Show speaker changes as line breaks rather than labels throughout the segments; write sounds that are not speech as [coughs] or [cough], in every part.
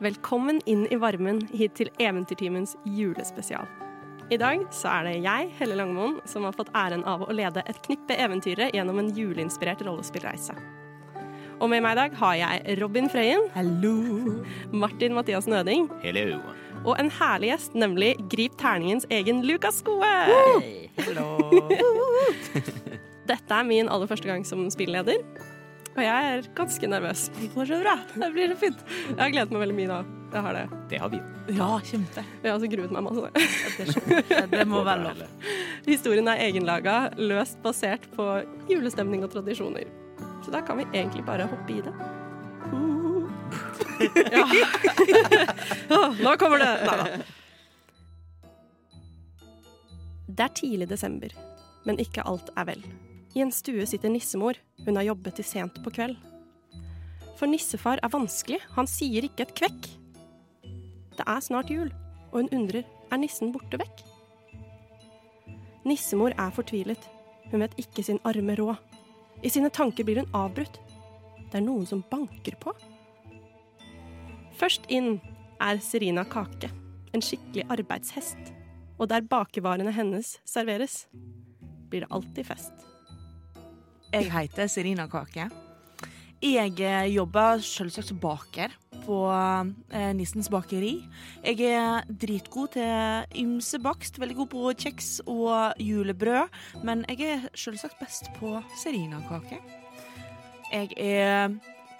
Velkommen inn i varmen hit til Eventyrtimens julespesial. I dag så er det jeg, Helle Langmoen, som har fått æren av å lede et knippe eventyrere gjennom en juleinspirert rollespillreise. Og med meg i dag har jeg Robin Frøyen. Martin Mathias Nøding.
Hello.
Og en herlig gjest, nemlig Grip terningens egen Lukas Skoe. Dette er min aller første gang som spilleder, og jeg er ganske nervøs. Det går så bra. Det blir så fint. Jeg har gledet meg veldig mye nå. Jeg har det.
Det har vi.
Ja, kjempe.
Jeg har også gruet meg masse.
Det må være lov. [laughs]
Eller-
Historien er egenlaga, løst basert på julestemning og tradisjoner. Så da kan vi egentlig bare hoppe i det. Ja. Åh, Nå kommer det! Neida. Det er tidlig desember, men ikke alt er vel. I en stue sitter nissemor. Hun har jobbet til sent på kveld. For nissefar er vanskelig. Han sier ikke et kvekk. Det er snart jul, og hun undrer er nissen borte vekk. Nissemor er fortvilet. Hun vet ikke sin arme råd. I sine tanker blir hun avbrutt. Det er noen som banker på. Først inn er Serina Kake, en skikkelig arbeidshest. Og der bakevarene hennes serveres, blir det alltid fest.
Jeg heter Serina Kake. Jeg eh, jobber selvsagt som baker på eh, Nissens bakeri. Jeg er dritgod til ymse bakst, veldig god på kjeks og julebrød. Men jeg er selvsagt best på Serina Kake. Jeg er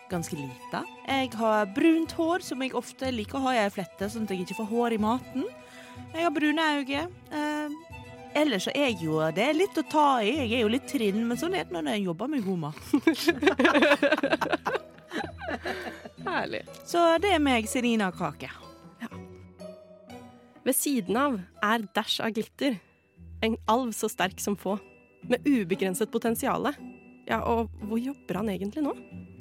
ganske lita. Jeg har brunt hår, som jeg ofte liker å ha i ei flette, sånn at jeg ikke får hår i maten. Jeg har brune øyne. Eh, Ellers så er jeg jo det er litt å ta i. Jeg er jo litt trinn, men sånn er det når en jobber med god mat.
Herlig.
Så det er meg, Serina Kake.
Ved siden av er Dash av glitter. En alv så sterk som få. Med ubegrenset potensiale. Ja, og hvor jobber han egentlig nå?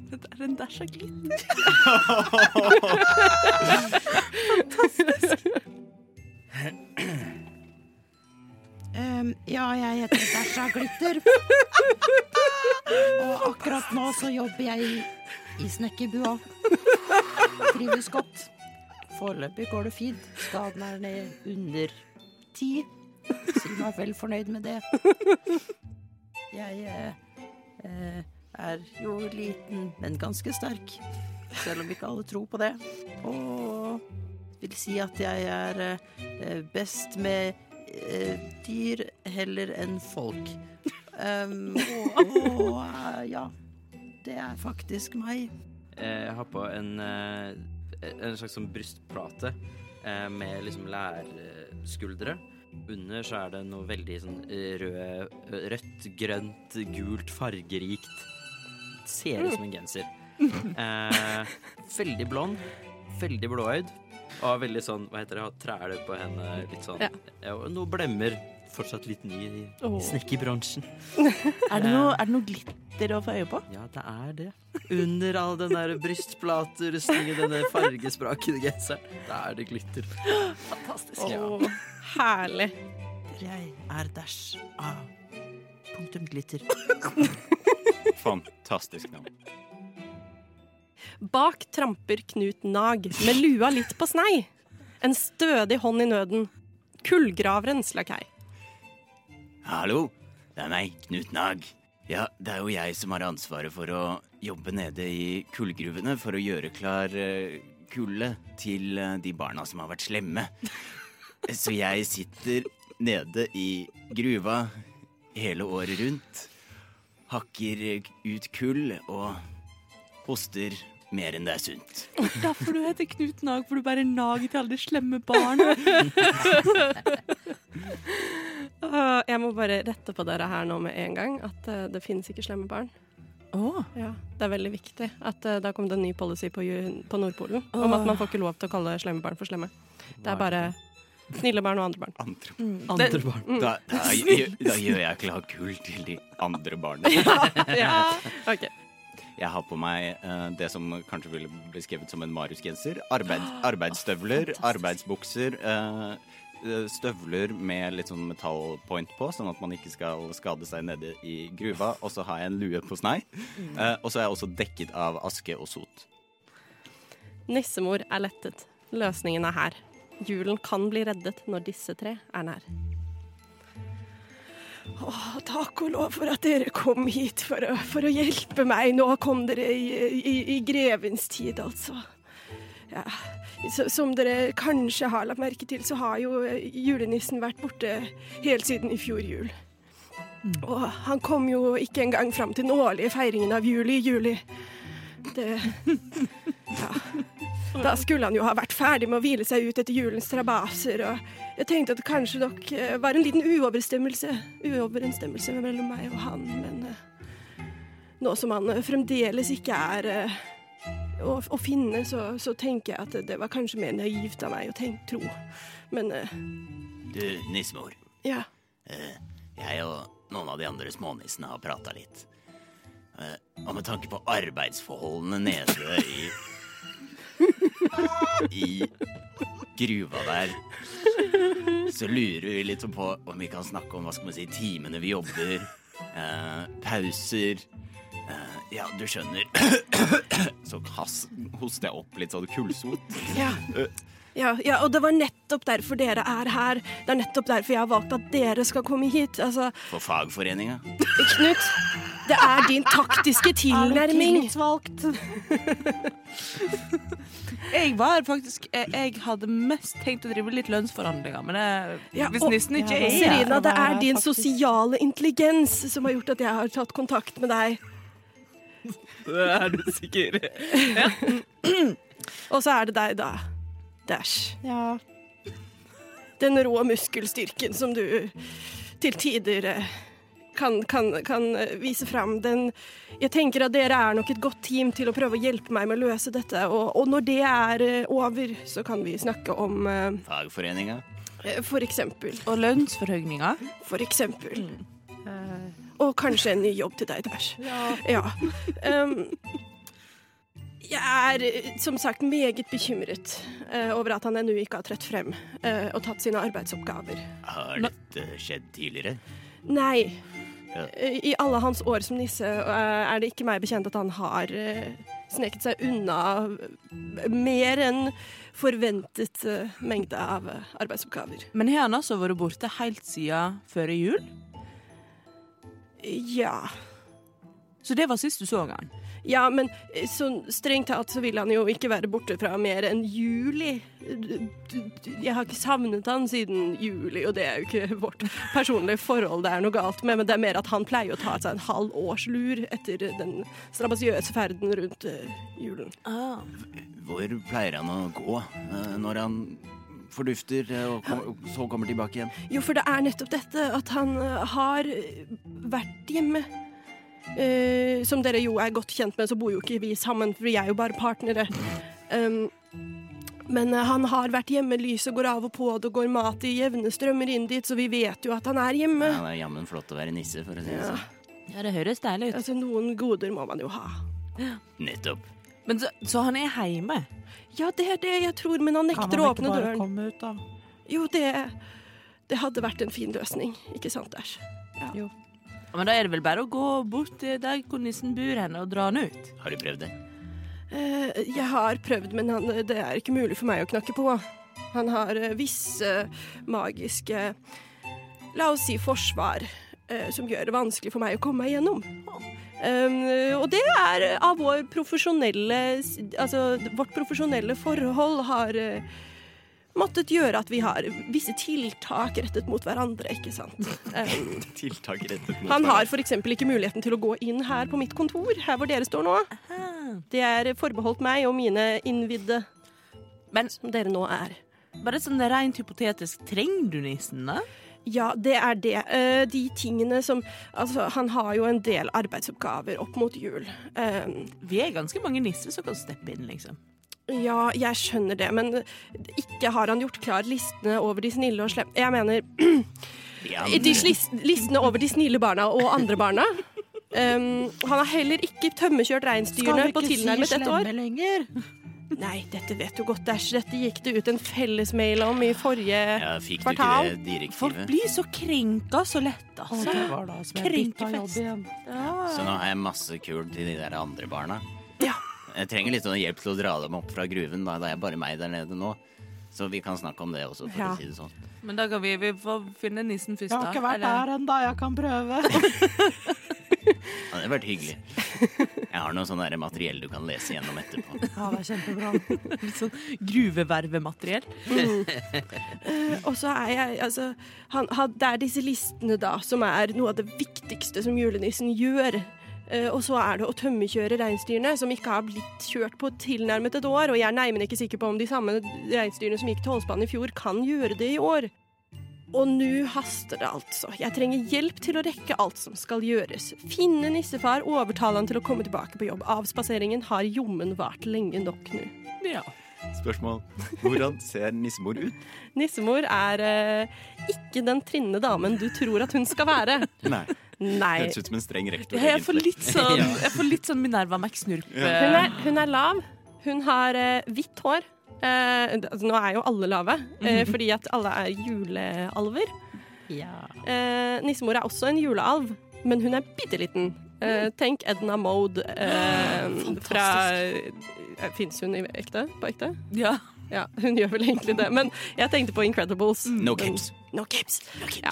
Det er en dæsj av glitter.
Ehm, ja, jeg heter Sasha Glitter. Og akkurat nå så jobber jeg i, i snekkerbua. Trives godt. Foreløpig går det fint. Skaden er ned under ti. Så jeg er vel fornøyd med det. Jeg eh, eh, er jo liten, men ganske sterk. Selv om ikke alle tror på det. Og vil si at jeg er eh, best med eh, dyr heller enn folk. Um, og, og eh, ja. Det er faktisk meg.
Eh, Jeg har på en, eh, en slags sånn brystplate eh, med liksom lærskuldre. Under så er det noe veldig sånn rød, rødt, grønt, gult, fargerikt. Ser ut som en genser. Eh, veldig blond, veldig blåøyd. Og har veldig sånn, hva heter det, har træler på henne, litt sånn.
Ja.
Ja, og noe blemmer. Fortsatt litt ny i
Åh.
snekkerbransjen.
Er det noe, er det noe glitter å få øye på?
Ja, det er det. Under all den der brystplaterustningen, denne fargesprakende genseren, der er det glitter.
Fantastisk.
Ja.
Å, herlig.
Jeg er Dash A. Punktum
[laughs]
glitter.
Fantastisk navn.
Bak tramper Knut Nag med lua litt på snei. En stødig hånd i nøden. Kullgraverens lakei.
Hallo, det er meg, Knut Nag. Ja, det er jo jeg som har ansvaret for å jobbe nede i kullgruvene for å gjøre klar eh, kullet til eh, de barna som har vært slemme.
[laughs]
Så jeg sitter nede i gruva hele året rundt, hakker eh, ut kull og hoster mer enn det er sunt.
Derfor du heter Knut Nag, for du bærer nag til alle de slemme barna.
Åh, Jeg må bare rette på dere her nå med en gang at eh, det finnes ikke slemme barn.
Oh.
Ja, Det er veldig viktig at eh, da kom det en ny policy på, ju- på Nordpolen om at man får ikke lov til å kalle slemme barn for slemme. Det er bare snille barn og andre [laughs] barn.
Andre
Mm.
Andre barn.
Da, da, gjør- da gjør jeg klar kull til de andre barna.
Ja. Ok.
Jeg har på meg eh, det som kanskje ville bli skrevet som en Marius-genser. Arbeid, arbeidsstøvler, arbeidsbukser. eh, eh, støvler med litt sånn metallpoint på, sånn at man ikke skal skade seg nede i gruva. Og så har jeg en lue på snei. Eh, og så er jeg også dekket av aske og sot.
Nissemor er lettet. Løsningen er her. Julen kan bli reddet når disse tre er nær. Åh, takk og lov for at dere kom hit for å, for å hjelpe meg. Nå kom dere i, i, i grevens tid, altså. Ja. så- Som dere kanskje har lagt merke til, så har jo eh, julenissen vært borte helt siden i fjor jul. Og han kom jo ikke engang fram til den årlige feiringen av jul i juli. Det Ja. Da skulle han jo ha vært ferdig med å hvile seg ut etter julens trabaser, og jeg tenkte at det kanskje nok eh, var en liten uoverensstemmelse Uoverensstemmelse mellom meg og han, men eh, nå som han eh, fremdeles ikke er eh, å, å finne, så, så tenker jeg at det var kanskje mer naivt av meg å tenke, tro. Men eh,
Du, nissemor.
ja.
Eh, Jeg og noen av de andre smånissene har prata litt. Eh, Og med tanke på arbeidsforholdene nede i I gruva der, så lurer vi litt på om vi kan snakke om hva skal man si, timene vi jobber, eh, pauser eh, Ja, du skjønner. [coughs] Så kass, hoster jeg opp litt sånn kullsot.
Ja. Ja, ja, og det var nettopp derfor dere er her. Det er nettopp derfor jeg har valgt at dere skal komme hit. Altså,
For fagforeninga.
Knut, det er din taktiske tilnærming.
Tillitsvalgt.
Jeg var faktisk Jeg, jeg hadde mest tenkt å drive litt lønnsforhandlinger, men det,
Ja,
hvis
og-
nissen ikke
Ja,
er her
Serina, det er din
Faktisk.
sosiale intelligens som har gjort at jeg har tatt kontakt med deg.
Er du sikker?
Og så er det deg, da. Dash.
Ja.
Den rå muskelstyrken som du til tider eh, kan, kan, kan eh, vise fram. Den Jeg tenker at dere er nok et godt team til å prøve å hjelpe meg med å løse dette. Og, og når det er eh, over, så kan vi snakke om eh,
Fagforeninga.
for eksempel
Og lønnsforhøyninger.
For eksempel. Og kanskje en ny jobb til deg, Dash. Ja. Ehm, jeg er eh, som sagt meget bekymret eh, over at han ennå ikke har trøtt frem eh, og tatt sine arbeidsoppgaver.
Har dette skjedd tidligere?
Nei.
Ja.
Eh, I alle hans år som nisse eh, er det ikke meg bekjent at han har eh, sneket seg unna eh, mer enn forventet eh, mengde av eh, arbeidsoppgaver.
Men har han altså vært borte helt siden før jul?
Ja.
Så det var sist du så han.
Ja, men eh, så strengt tatt så vil han jo ikke være borte fra mer enn juli. Du- du- du- Jeg har ikke savnet han siden juli, og det er jo ikke [laughs] vårt personlige forhold det er noe galt med, men det er mer at han pleier å ta seg en halv års lur etter den strabasiøse ferden rundt eh, julen.
Ah.
Hvor pleier han å gå eh, når han fordufter eh, og kom, og så kommer tilbake igjen?
Jo, for det er nettopp dette at han eh, har eh, vært hjemme. Eh, som dere jo er godt kjent med, så bor jo ikke vi sammen, for vi er jo bare partnere. Um, men eh, han har vært hjemme, lyset går av og på, det går mat i jevne strømmer inn dit, så vi vet jo at han er hjemme.
Han er jammen flott å være nisse, for å si det sånn.
Ja, det høres deilig
Altså, noen goder må man jo ha.
Nettopp.
Men så, så han er hjemme?
Ja, det er det jeg tror, men han
Kan
nekter
han
å
ikke
åpne
bare
døren.
komme ut, da?
Jo, det, det hadde vært en fin løsning, ikke sant, Dash?
Ja, Men da er det vel bare å gå bort til der hvor nissen bor henne, og dra han ut?
Har du prøvd det? [laughs]
Eh, jeg har prøvd, men han, det er ikke mulig for meg å knakke på. Han har eh, visse magiske La oss si forsvar eh, som gjør det vanskelig for meg å komme meg gjennom. Eh, og det er eh, av vår profesjonelle s- Altså, vårt profesjonelle forhold har eh, måttet gjøre at vi har visse tiltak rettet mot hverandre, ikke sant. Eh,
Tiltak rettet mot
han har f.eks. ikke muligheten til å gå inn her på mitt kontor, her hvor dere står nå. Det er forbeholdt meg og mine innvidde,
Men
som dere nå er.
bare sånn rent hypotetisk, trenger du nissen, da?
Ja, det er det. Eh, De tingene som Altså, han har jo en del arbeidsoppgaver opp mot jul. Eh,
Vi er ganske mange nisser som kan steppe inn, liksom.
Ja, jeg skjønner det, men ikke har han gjort klar listene over de snille og slemme Jeg mener de slis- listene over de snille barna og andre barna. Eh, han har heller ikke tømmekjørt reinsdyrene på tilnærmet ett år.
lenger?
Nei, dette vet du godt, Dash. Dette gikk det ut en fellesmail om i forrige
Ja, fikk du ikke
kvartal.
det
Folk
direktivet?
blir så krenka så lett,
Og
altså.
det var da som jeg bytta jobb
Krenkefest.
igjen.
Så nå har jeg masse kul til de der andre barna.
Ja.
Jeg trenger litt sånn hjelp til å dra dem opp fra gruven. Da. Det er bare meg der nede nå. Så vi kan snakke om det også, for
Ja.
å si det sånn.
Men da kan vi, vi får finne nissen først,
Jeg
da.
har ikke vært
Eller-
der ennå, jeg kan prøve.
Ja, det hadde vært hyggelig. Jeg har noe sånn der materiell du kan lese gjennom etterpå.
Ja, det er kjempebra.
Litt sånn gruvevervemateriell.
Og så er jeg Altså, han, han, det er disse listene, da, som er noe av det viktigste som julenissen gjør. Eh, og så er det å tømmekjøre reinsdyrene, som ikke har blitt kjørt på tilnærmet et år. Og jeg er neimen ikke sikker på om de samme reinsdyrene som gikk til Holsbanen i fjor, kan gjøre det i år. Og nå haster det, altså. Jeg trenger hjelp til å rekke alt som skal gjøres. Finne nissefar, overtale han til å komme tilbake på jobb. Avspaseringen har jommen vart lenge nok nå.
Ja.
Spørsmål. Hvordan ser nissemor ut?
Nissemor er eh, ikke den trinne damen du tror at hun skal være.
Nei.
Nei.
Høres ut som en streng rektor.
Jeg får
egentlig.
litt sånn, jeg får litt sånn Minerva Max-snurp.
Hun er, hun er lav. Hun har eh, hvitt hår. Eh, altså, nå er jo alle lave, eh, fordi at alle er julealver.
Ja.
Eh, nissemor er også en julealv, men hun er bitte liten. Eh, tenk Edna Mode eh, fra Fins hun i ekte? På ekte?
Ja.
Ja, hun gjør vel egentlig det, men jeg tenkte på Incredibles.
No caps.
No caps. Ja.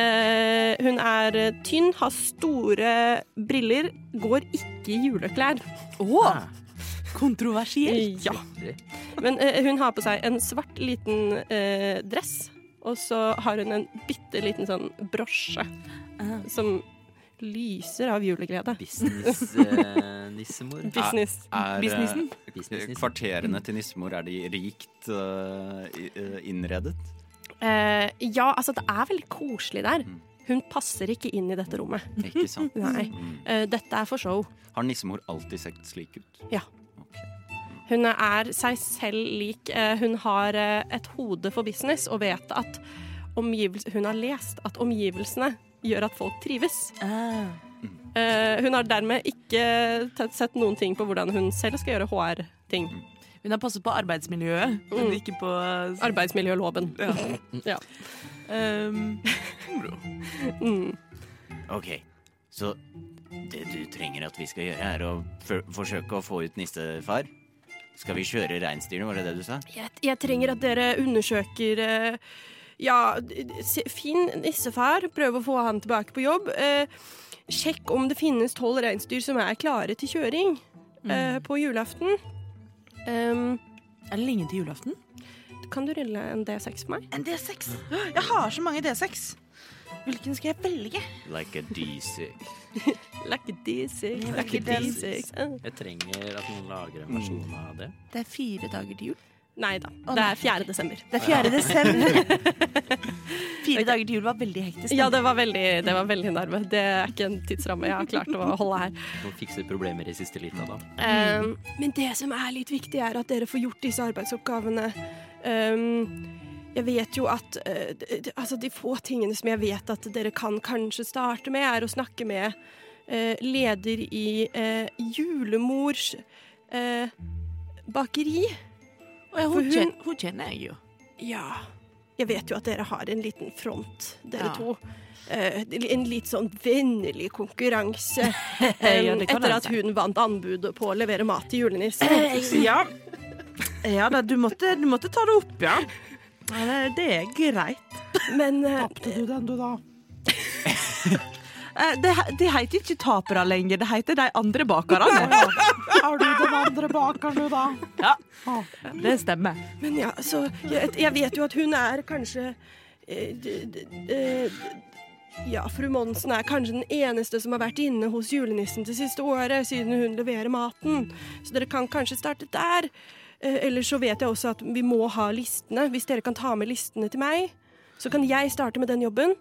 Eh, hun er eh, tynn, har store briller, går ikke i juleklær.
Åh, kontroversiell.
Ja. Men eh, hun har på seg en svart liten eh, dress, og så har hun en bitte liten sånn brosje som lyser av juleglede.
eh, Business-nissemor.
Business.
Er, eh,
Businessen?
Business-nissemor.
Kvarterene til nissemor, er de rikt eh, i- eh, innredet?
Eh, ja, altså det er veldig koselig der. Hun passer ikke inn i dette rommet.
Ikke sant?
Nei.
Mm.
Eh, dette er for show.
Har nissemor alltid sett slik ut?
Ja.
Ok.
Hun er seg selv lik. Eh, Hun har eh, et hode for business og vet at omgivels- Hun har lest at omgivelsene gjør at folk trives.
Ah.
Eh, Hun har dermed ikke t- sett noen ting på hvordan hun selv skal gjøre HR-ting.
Hun har passet på arbeidsmiljøet, men ikke på
Arbeidsmiljøloven.
Ja.
Ja.
Um,
Ok, så det du trenger at vi skal gjøre er å for forsøke å få ut nissefar? Skal vi kjøre reinsdyrene, var det det du sa?
Jeg, jeg trenger at dere undersøker eh, Ja, d- d- se- finn nissefar, prøv å få han tilbake på jobb. eh, sjekk om det finnes tolv reinsdyr som er klare til kjøring eh, på julaften. Ehm,
Er det lenge til julaften?
Kan du rulle en D6 for meg?
En D6. Jeg har så mange D6. Hvilken skal jeg velge?
Like a D6.
Like D6,
Lucky
like D6. Eh,
Jeg trenger at noen lager en
Mm.
versjon av det.
Det er fire dager til jul.
Nei da. Det er 4. desember.
Det er 4. desember. [laughs] fire dager til jul var veldig hektisk.
Ja, det var veldig, det var veldig nerve. Det er ikke en tidsramme jeg har klart å holde her.
Må fikse problemer i siste lita, da.
Mm.
Ehm,
men det som er litt viktig, er at dere får gjort disse arbeidsoppgavene. Ehm, jeg vet jo at eh, d- d- Altså, de få tingene som jeg vet at dere kan kanskje starte med, er å snakke med eh, leder i eh, julemors eh, bakeri.
Og jeg-
For
hun,
hun-
kjen- hun kjenner jeg jo.
Ja. Jeg vet jo at dere har en liten front, dere
Ja.
to. Eh, en litt sånn vennlig konkurranse
[laughs] Ja,
em,
det kan
etter
han
at
si.
hun vant anbudet på å levere mat til julenissen.
[clears throat] Ja. Ja da, du måtte, du måtte ta det opp, ja. Ja, Det, det er greit.
Men eh,
Tapte du den, du, da?
Eh, Det, he- det heter ikke tapere lenger, det heter de andre bakerne.
Er du den andre bakeren, du, da?
Ja, det stemmer.
Men ja, så jeg, jeg vet jo at hun er kanskje eh, d, d, eh, Ja, fru Monsen er kanskje den eneste som har vært inne hos julenissen det siste året, siden hun leverer maten. Så dere kan kanskje starte der. Eh, Eller så vet jeg også at vi må ha listene. Hvis dere kan ta med listene til meg, så kan jeg starte med den jobben.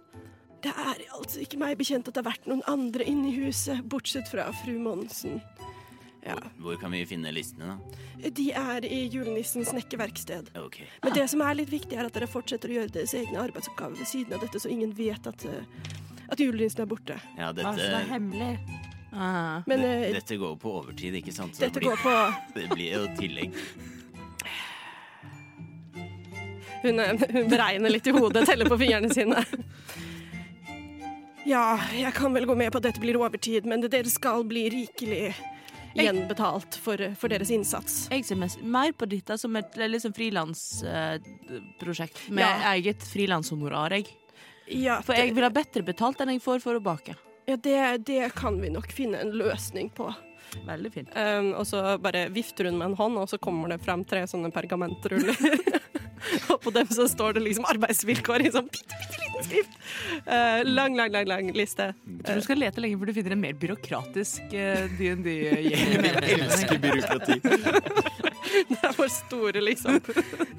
Det er altså ikke meg bekjent at det har vært noen andre inne i huset, bortsett fra fru Monsen. Ja.
Hvor kan vi finne listene, da?
De er i julenissens snekkerverksted.
Ok.
Men det som er litt viktig, er at dere fortsetter å gjøre deres egne arbeidsoppgaver ved siden av dette, så ingen vet at, eh, at julenissen er borte.
Ja,
Altså, det er
dette,
hemmelig.
Ah.
Men eh,
dette går jo på overtid, ikke sant? Så
dette
det, blir,
går på
det blir jo tillegg.
hun,
eh,
hun beregner litt i hodet, teller på fingrene sine.
Ja, jeg kan vel gå med på at dette blir overtid, men dere skal bli rikelig gjenbetalt for, eh, for deres innsats.
Jeg ser mest, mer på dette som et liksom, frilansprosjekt eh, med
Ja.
eget frilanshonorar. jeg.
Ja,
For jeg vil ha bedre betalt enn jeg får for å bake.
ja det, det kan vi nok finne en løsning på.
Veldig fint.
Um, og så bare vifter hun med en hånd, og så kommer det fram tre sånne pergamentruller. og på dem så står det liksom arbeidsvilkår i sånn bitte, bitte liten skrift. Eh, lang, lang, lang, lang liste. [laughs]
Jeg tror du skal lete lenge før du finner en mer byråkratisk eh, [laughs] DND-gjeng.
Elsker byråkrati.
Det er vår store, liksom.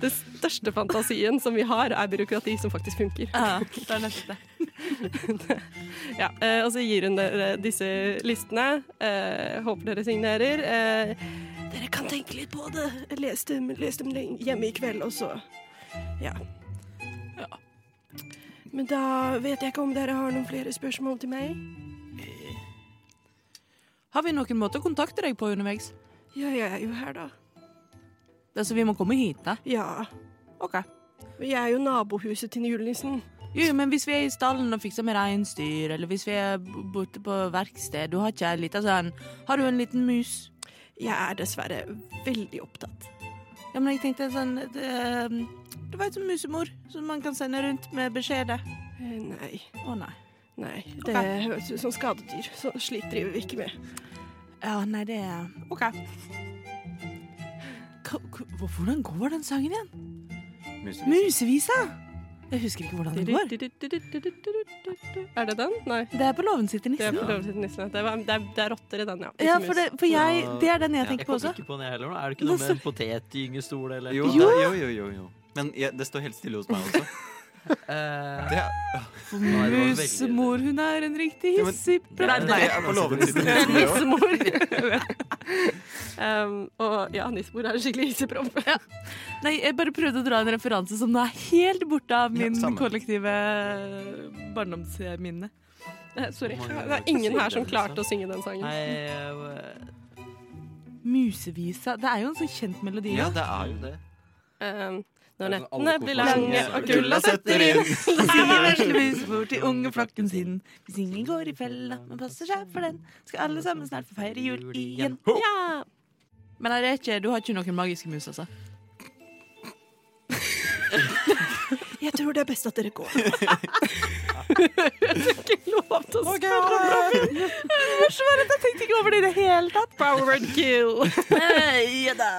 Den største fantasien som vi har, er byråkrati som faktisk funker.
Ja, det er nettopp det.
Ja, eh, og så gir hun dere disse listene. Eh, håper dere signerer. Eh, dere kan tenke litt på det. Les dem, les dem lenge- hjemme i kveld, og så ja. Men da vet jeg ikke om dere har noen flere spørsmål til meg.
Har vi noen måte å kontakte deg på underveis?
Ja, jeg er jo her, da.
Altså, vi må komme hit, da.
Ja.
Ok.
Jeg er jo nabohuset til julenissen.
Jo, jo, men hvis vi er i stallen og fikser med reinsdyr, eller hvis vi er b- borte på verksted, du har ikke en liten sånn Har du en liten mus?
Jeg er dessverre veldig opptatt.
Ja, men jeg tenkte en sånn eh, Du vet sånn musemor som man kan sende rundt med beskjeder.
Eh, Nei.
Å nei.
Nei. Det
Ok.
høres ut som skadedyr. Så slik driver vi ikke med.
Ja, nei, det er OK. Hva, hva- hvordan går den sangen igjen? Musevisa! Jeg husker ikke hvordan den går.
Er det den? Nei.
Det er på låven sitter
Det er
nissen.
på lov til nissen. Det, var, det, er, det er rotter i den, ja.
Ja, for, det, for jeg, det er den jeg
Jeg
tenker på
kom
også.
ikke på den jeg heller nå. Er det ikke noe
Hva
med potetgyngestol eller
Jo, da, jo, jo, jo, jo. Men ja, det står helt stille hos meg også.
Eh,
[laughs] Det er,
Nei, det var veldig-
Musemor, hun er en riktig
Ja, men-
hissig
[laughs] Nei,
prat...
det er på låven sitter nissen, det
[laughs]
også.
Nissemor. um, og ja, nissemor er en skikkelig hissepropp. [laughs]
Nei, jeg bare prøvde å dra en referanse som nå er helt borte av min
samme.
kollektive eh, barndomsminne. Eh, sorry.
Hvor mange
Det er ingen her som
den,
klarte å
liksom?
synge den sangen.
Nei, eh,
Musevisa. Det er jo en sånn kjent melodi.
Ja,
Ja.
det er
er
jo
jo det.
Um, når
Det er sånn alle
nettene blir lange
konfirmasjoner.
og kulda setter inn [laughs]
Alle vesle musebord til unge flokken sin. Hvis ingen går i fella, men passer seg for den, skal alle sammen snart få feire jul igjen.
Ja.
Men er det ikke, du har ikke noen magiske mus, [laughs] altså?
Jeg tror det er best at dere
[laughs]
går. Jeg fikk ikke lov til å spørre.
Svært, jeg tenkte ikke over det i det hele tatt.
Powered kill.
Ja da.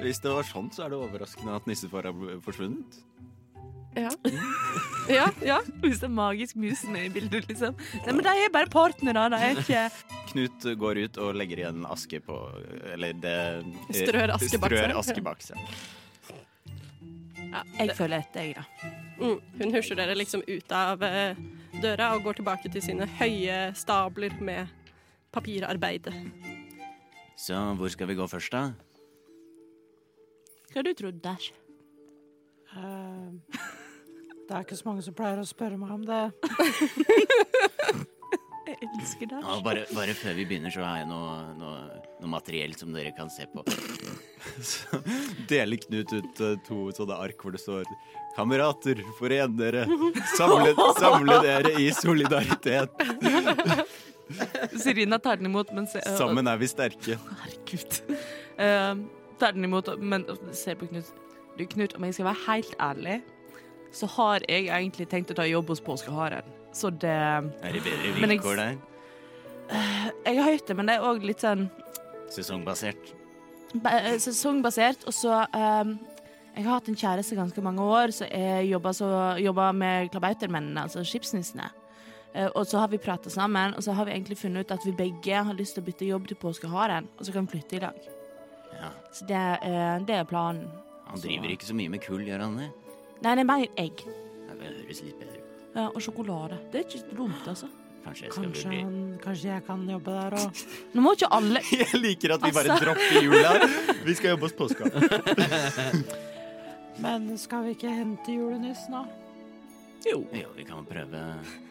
Hvis det var sånn, så er det overraskende at nissefar har bl- forsvunnet.
[laughs]
Ja. ja, ja.
Hvis det er magisk mus med i bildet, liksom. Nei, men de er bare partnere, de er ikke
Knut går ut og legger igjen aske på Eller det eh,
Strør aske bak seg.
strør aske bak seg.
Jeg føler etter, jeg, da.
Mm. Hun husjer dere liksom ut av eh, døra og går tilbake til sine høye stabler med papirarbeidet.
Så hvor skal vi gå først, da?
Hva du trodde Dash?
Eh, det er ikke så mange som pleier å spørre meg om det.
Jeg elsker deg.
Ja, bare, bare før vi begynner, så har jeg noe, noe, noe materiell som dere kan se på. Så deler Knut ut eh, to sånne ark hvor det står 'Kamerater, foren dere.
[laughs]
Samle, samle dere i solidaritet.
Serina tar den imot, men ser
Sammen er vi sterke'.
Herregud. [laughs] Eh, tar den imot, men ser på Knut. Du, Knut, om jeg skal være helt ærlig, så har jeg egentlig tenkt å ta jobb hos påskeharen. Så det
Er det bedre
Men jeg-
vilkår der?
Jeg har hørt det, men det er òg litt sånn
Sesongbasert.
ba- eh, sesongbasert. Og så eh, Jeg har hatt en kjæreste ganske mange år, så jeg jobber, så, jobber med klabautermennene, altså skipsnissene. Eh, og så har vi prata sammen, og så har vi egentlig funnet ut at vi begge har lyst til å bytte jobb til påskeharen, og så kan vi flytte i lag.
Ja.
Så det, eh, det er planen.
Han driver ikke så mye med kull, gjør han det?
Nei, det er mer egg
Ja, Det høres litt bedre ut.
ja, og sjokolade. Det er ikke dumt, altså.
Kanskje jeg skal
Kanskje,
vurdere.
han, kanskje jeg kan jobbe der òg.
Nå må ikke alle
Jeg liker at vi bare
Altså.
dropper jula. Vi skal jobbe hos påska.
Men skal vi ikke hente julenissen, da?
Jo.
Jo, vi kan prøve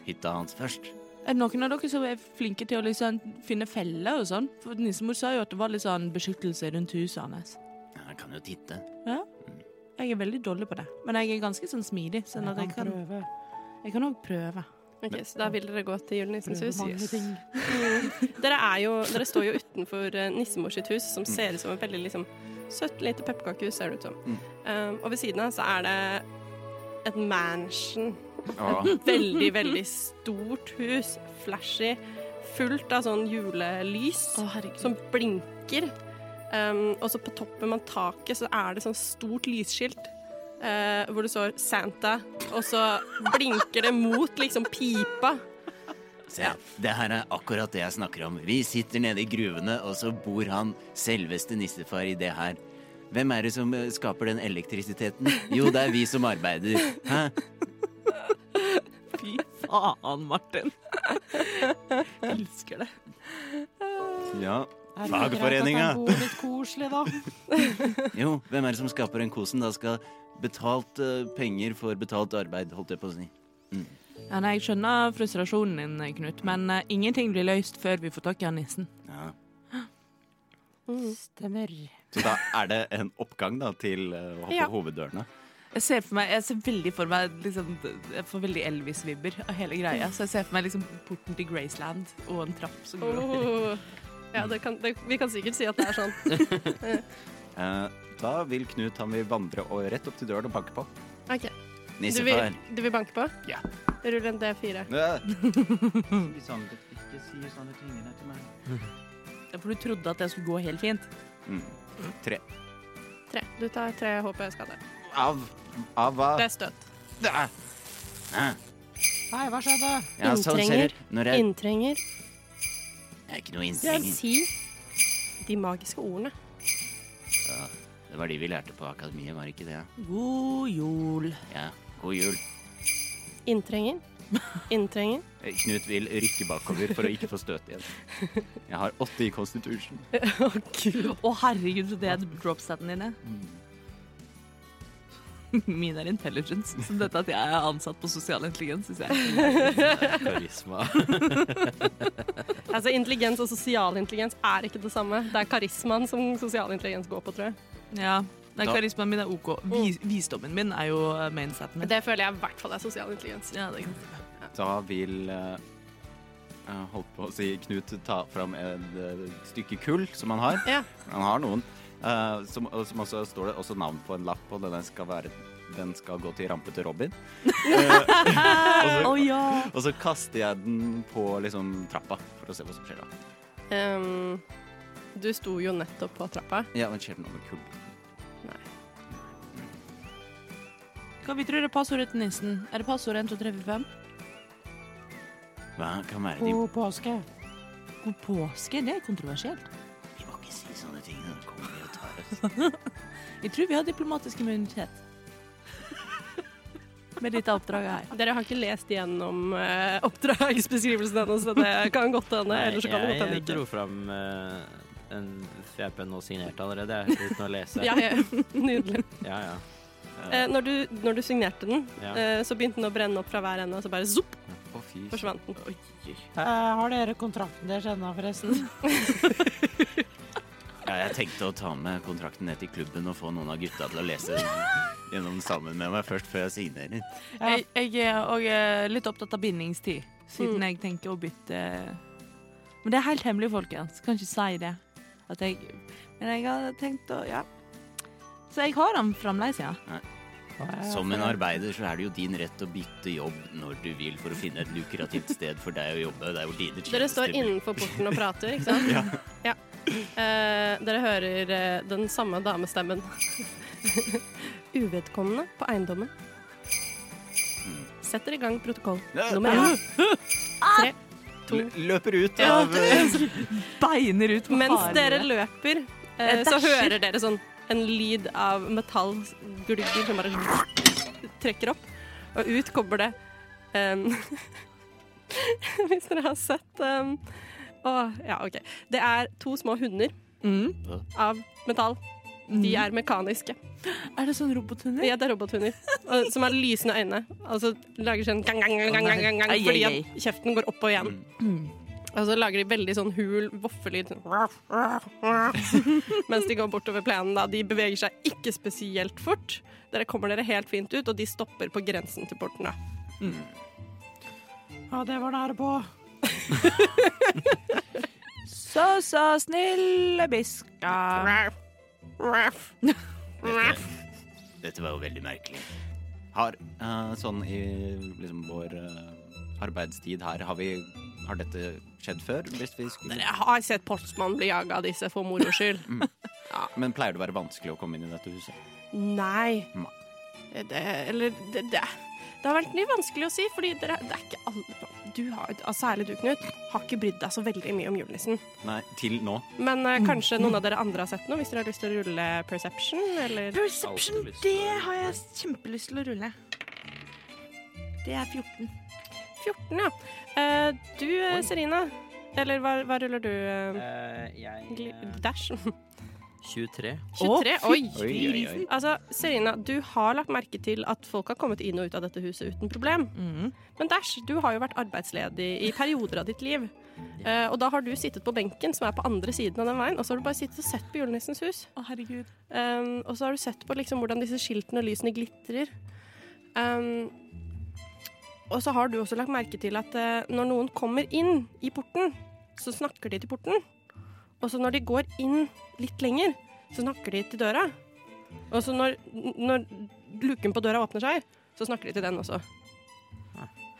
hytta hans først.
Er det noen av dere som er flinke til å liksom finne feller og sånn? For Nissemor sa jo at det var litt sånn beskyttelse rundt huset hans.
Ja, Han kan jo titte.
Jeg er veldig dårlig på det, men jeg er ganske sånn smidig. Sånn at jeg kan,
prøve.
jeg kan også prøve.
Ok, Så da vil dere gå til julenissens hus?
mange
Yes.
ting.
Dere, er jo, dere står jo utenfor eh, nissemor sitt hus, som ser ut som et veldig liksom, søtt lite pepperkakehus, ser det ut som. Um, og ved siden av så er det et mansion.
Å,
Veldig, veldig stort hus. Flashy. Fullt av sånn julelys som blinker. Um, og så på toppen av taket så er det sånn stort lysskilt. eh, hvor det står 'Santa', og så blinker det mot liksom pipa.
se, det her er akkurat det jeg snakker om. Vi sitter nede i gruvene, og så bor han selveste nissefar i det her. Hvem er det som eh, skaper den elektrisiteten? Jo, det er vi som arbeider. Hæ?
Fy faen, Martin. Jeg elsker det.
Ja.
Er det greit at
Fagforeninga.
han bor litt koselig, da?
Jo, hvem er det som skaper den kosen? Da skal betalt eh, penger for betalt arbeid, holdt jeg på å si. Mm.
Ja, nei, Jeg skjønner frustrasjonen din, Knut, men eh, ingenting blir løst før vi får tak i han nissen.
Ja.
Mm.
Stemmer.
Så da er det en oppgang da til eh, ho-
Ja.
hoveddørene.
Jeg ser for meg, jeg ser veldig for meg liksom, Jeg får veldig Elvis-vibber av hele greia. Så jeg ser for meg liksom porten til Graceland og en trapp som går opp.
Oh. Ja, det kan, det, vi kan sikkert si at det er sånn.
Eh, Da vil Knut han vil vandre og rett opp til døren og banke på.
[laughs]
Ok, Du
Nissefar.
vil, du vil banke på?
Ja.
Rull en D4.
Ja.
For du trodde at det skulle gå helt fint.
Mm. Tre.
Tre. Du tar tre HP-skade.
Av Av hva?
Det er støt.
Ah. Ah.
Nei, hva skjedde?
Ja, sånn ser det ut. Når jeg
Inntrenger.
Det er ikke noe innstenging.
Si de magiske ordene.
Ja, Det var de vi lærte på akademiet, var det ikke det?
God jul.
Ja. God jul.
Inntrenger. Inntrenger.
Eh, Knut vil rykke bakover for å ikke få støt igjen. Jeg har åtte i constitution.
[laughs] Å, herregud, så det er dropstaten dine. [laughs] Min er intelligence. Så dette at jeg er ansatt på sosial intelligens, syns jeg.
Karisma.
Altså, intelligens og sosial intelligens er ikke det samme. Det er karismaen som sosial intelligens går på, tror jeg.
Ja, nei,
Da-
Karismaen min er OK. Vis, visdommen min er jo eh, mainstaten min.
Det føler jeg i hvert fall er sosial intelligens.
Ja, det er
Da vil eh, jeg Holdt på å si Knut ta fram et eh, stykke kull som han har.
Ja.
Han har noen. eh, som, og som også står det også navn på en lapp, og den skal, være, den skal gå til rampe til Robin.
Å ja!
Og så kaster jeg den på liksom trappa for å se hva som skjer da.
Ehm, du sto jo nettopp på trappa.
Ja, men skjer det noe med kull?
Hva vi tror er passordet til nissen? Er det passordet 1, 2, 3, 4, 5?
Hva kan være de
God påske.
God påske, det er kontroversielt.
Vi må ikke si sånne ting. Da kommer de og tar oss.
Jeg tror vi har diplomatisk immunitet. Med dette oppdraget her.
Dere har ikke lest gjennom eh, oppdragsbeskrivelsen ennå, så det kan godt hende. Eller så kan det godt hende
jeg
ikke.
dro fram eh, en fjærpenn og signerte allerede, jeg, uten å lese.
[laughs] Ja, ja. Nydelig.
ja, ja.
Eh, når, du, når du signerte den,
Ja.
eh, så begynte den å brenne opp fra hver ende, og så bare zopp,
Å, fy
forsvant den.
Eh, har dere kontrakten deres ennå, forresten?
Ja, jeg tenkte å ta med kontrakten ned til klubben og få noen av gutta til å lese den gjennom sammen med meg først før jeg signerer.
Ja.
[laughs] Jeg, jeg er òg eh, litt opptatt av bindingstid, siden jeg tenker å bytte Men det er helt hemmelig, folkens. Kan ikke si det. At jeg, men jeg har tenkt å Ja. Så jeg har den fremdeles, ja.
Eh,
Som en arbeider så er det jo din rett å bytte jobb når du vil for å finne et lukrativt sted for deg å jobbe. Det er jo dine
Dere står
tjenester.
innenfor porten og prater, ikke
[laughs]
sant? ja. Eh, dere hører eh, den samme damestemmen. [laughs] Uvedkommende på eiendommen.
Mm.
Setter i gang protokoll.
Ja.
Nummer én. Tre. To.
L- Løper ut
Ja,
av eh,
Beiner ut med
Mens
halen.
dere løper, eh,
Jeg
så
dasher.
hører dere sånn en lyd av metall glugger som bare trekker opp, og ut kommer det em, [laughs] Hvis dere har sett um, Å, ja, OK. Det er to små hunder
Mm.
av metall. De er mekaniske.
Er det sånn robothunder?
Ja, det er robothunder. og- Som har lysende øyne. Altså lager sånn gang, gang, gang, gang, gang, gang, gang,
Ai, ai,
fordi
ai.
at kjeften går opp og igjen. Og så lager de veldig sånn hul voffelyd. sånn Mens de går bortover plenen, da. De beveger seg ikke spesielt fort. Dere kommer dere helt fint ut, og de stopper på grensen til porten, da.
Ja, det var nære på.
Så, så snille biska.
Dette, dette var jo veldig merkelig. Har eh, sånn i liksom vår eh, arbeidstid her Har vi Har dette skjedd før? Hvis vi skulle
Jeg har sett postmannen bli jaga av disse for moro skyld.
Men pleier det å være vanskelig å komme inn i dette huset?
Nei.
Nei.
Det, eller det, det Det har vært litt vanskelig å si, fordi dere, det er ikke alle Du har, altså, Særlig du, Knut, har ikke brydd deg så veldig mye om julenissen.
Nei, til nå.
Men
Mm.
eh, kanskje noen av dere andre har sett noe, hvis dere har lyst til å rulle perception, eller
Perception,
Alltid lyst til å
det har jeg kjempelyst til å rulle. Det er 14.
14, ja. Eh, du, eh, Serina, eller hva, hva ruller du? eh,
Eh, jeg
gli-
eh,
Dash? [laughs]
23.
23?
Å,
Oi!
Oi, oi, oi.
Altså, Serina, du har lagt merke til at folk har kommet inn og ut av dette huset uten problem.
Mm.
Men Dash, du har jo vært arbeidsledig i perioder av ditt liv. Eh, og da har du sittet på benken som er på andre siden av den veien, og så har du bare sittet og sett på julenissens hus.
Å, herregud.
Um, og så har du sett på liksom hvordan disse skiltene og lysene glitrer. Um, og så har du også lagt merke til at eh, når noen kommer inn i porten, så snakker de til porten. Og så når de går inn litt lenger, så snakker de til døra. Og så når, når luken på døra åpner seg, så snakker de til den også.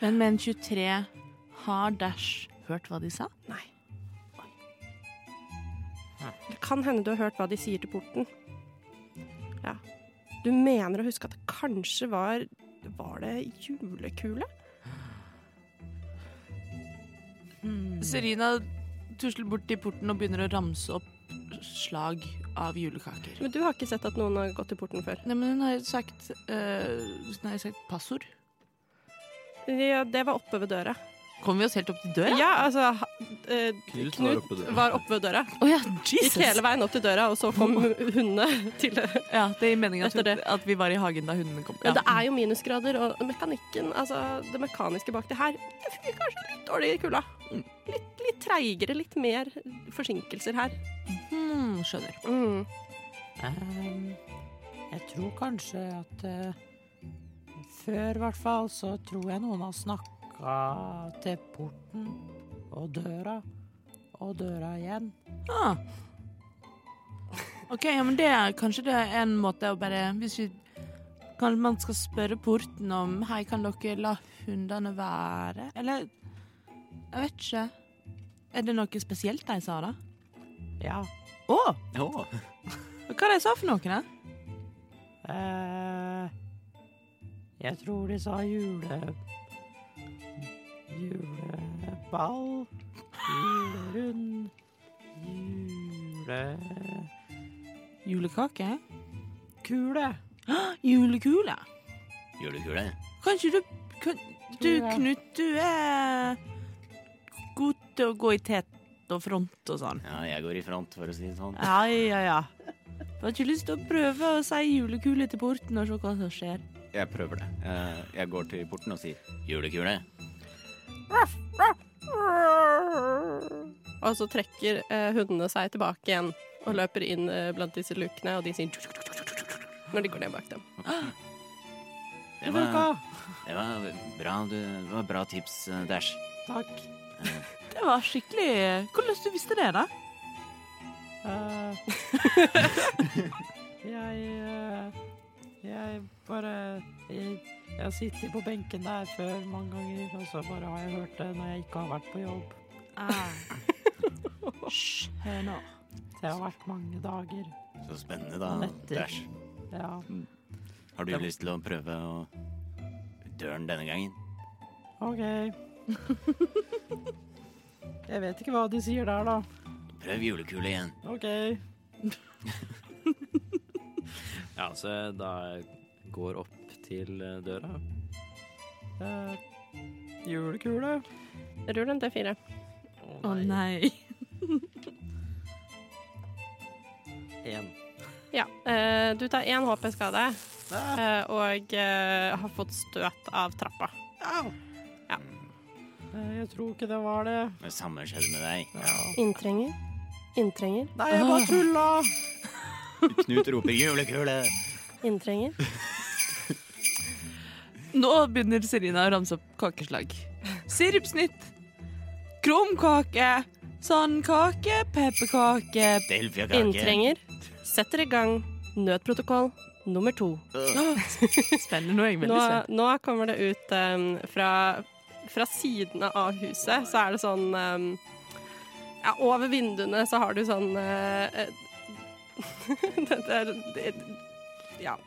Men med en 23 har Dash hørt hva de sa?
Nei. Det kan hende du har hørt hva de sier til porten. Ja. Du mener å huske at det kanskje var Var det julekule?
Mm. Serina tusler bort til porten og begynner å ramse opp slag av julekaker.
Men du har ikke sett at noen har gått til porten før?
Nei, men hun har jo sagt, eh, hun har jo sagt passord.
Ja, det var oppe ved døra.
Kom vi oss helt opp til døra?
Ja, altså ha- eh,
Knut var oppe ved
Knut
døra.
var oppe ved [laughs] døra.
Å ja,
Gikk hele veien opp til døra, og så kom hundene til det.
Ja, det gir mening at,
Etter det.
hun- at vi var i hagen da hundene kom. Ja.
Men det er jo minusgrader, og mekanikken, altså det mekaniske bak det her, det funker kanskje litt dårlig i kulda.
Mm.
Litt, litt treigere, litt mer forsinkelser her.
Hmm, skjønner.
Mm.
Ehm, jeg tror kanskje at eh, Før, i hvert fall, så tror jeg noen har snakka til porten og døra. Og døra igjen.
Ah. OK, ja, men det er kanskje det er en måte å bare Hvis vi Kanskje man skal spørre porten om Hei, kan dere la hundene være? Eller Jeg vet ikke. Er det noe spesielt de sa, da?
Ja.
Å!
Å,
hva de sa for noe, da?
eh, jeg tror de sa jule... Juleball. Julerund. Julekule.
Julekake? Ah, Julekule?
Julekule.
Kan ikke du kan, Du,
Ja.
Knut, du er god til å gå i tet og front og sånn.
Ja, jeg går i front, for å si det sånn.
Ja, ja, ja. Du har ikke lyst til å prøve å si julekule til porten og se hva som skjer?
Jeg prøver det. Eh, Jeg går til porten og sier 'julekule'.
Og så trekker eh, hundene seg tilbake igjen og løper inn eh, blant disse lukene, og de sier når de går ned bak dem.
Det var, det var bra, du, det var bra tips, eh, Dash.
Takk.
Det var skikkelig Hvordan du visste det, da?
Eh, [laughs] jeg eh, Jeg bare jeg, jeg har sittet på benken der før mange ganger, og så bare har jeg hørt det når jeg ikke har vært på jobb.
Skjønner.
Det har vært mange dager.
Så spennende, da,
Netter.
Dash.
Ja.
Har du lyst til å prøve å døren denne gangen?
[laughs]
OK. Jeg vet ikke hva de sier der, da.
Prøv julekule igjen.
OK.
Ja, så da jeg går opp til eh, døra.
Eh, julekule.
Rull en D4.
Å
Å nei.
En.
Ja. eh, du tar én HP-skade eh, og eh, har fått støt av trappa.
Eh, jeg tror ikke det var det.
Det samme skjedde med deg.
Inntrenger. Inntrenger.
Nei, jeg bare tulla!
Knut roper 'julekule'.
Inntrenger.
Nå begynner Serina å ramse opp kakeslag. Sirupsnytt. Krumkake. Sandkake. Pepperkake.
Delfiakake.
Inntrenger setter i gang nødprotokoll nummer to.
Spennende nå, jeg er
Nå,
veldig spent.
nå kommer det ut em, fra, fra sidene av huset, så er det sånn em, Ja, over vinduene så har du sånn eh, eh, [laughs] det, er, det, Ja.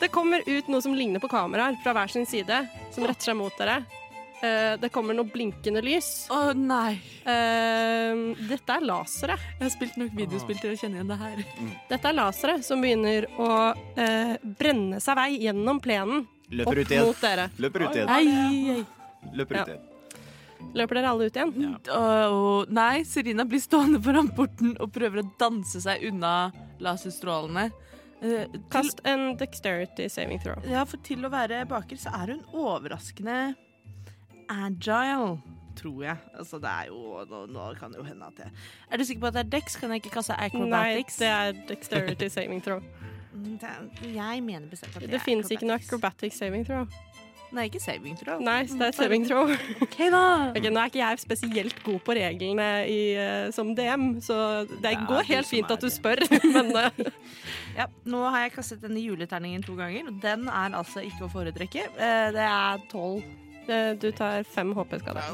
Det kommer ut noe som ligner på kameraer fra hver sin side, som retter seg mot dere. Eh, det kommer noe blinkende lys.
Å nei.
Em, dette er lasere.
Jeg har spilt nok videospill til å kjenne igjen det her.
Dette er lasere som begynner å eh, brenne seg vei gjennom plenen
Løper
opp
ut igjen.
mot dere.
Løper ut igjen.
Ei, ei.
Løper
Ja.
ut igjen.
Løper dere alle ut igjen?
Å, nei, Serina blir stående foran porten og prøver å danse seg unna laserstrålene. Eh, til,
Kast en dexterity saving throw.
ja, for til å være baker så er hun overraskende agile, tror jeg. Altså, det er jo Nå, nå kan det jo hende at jeg Er du sikker på at det er Dex? Kan jeg ikke kaste
Nei,
acrobatics?
det er
[laughs]
dexterity saving throw.
Mm, det er- Jeg mener bestemt at
Det,
er
finnes ikke noe
acrobatics.
acrobatic saving throw.
Nei, ikke saving, tror jeg.
Nei, så det er saving
[laughs]
throw.
OK, da.
Ok, nå er ikke jeg spesielt god på reglene i, eh, som DM, så det
er
går
du
helt
som
fint
er
at du
det.
spør, [laughs] men eh,
Ja, nå har jeg kastet denne juleterningen to ganger, og den er altså ikke å foretrekke. Eh, Det er tolv.
eh, du tar fem HP-skader.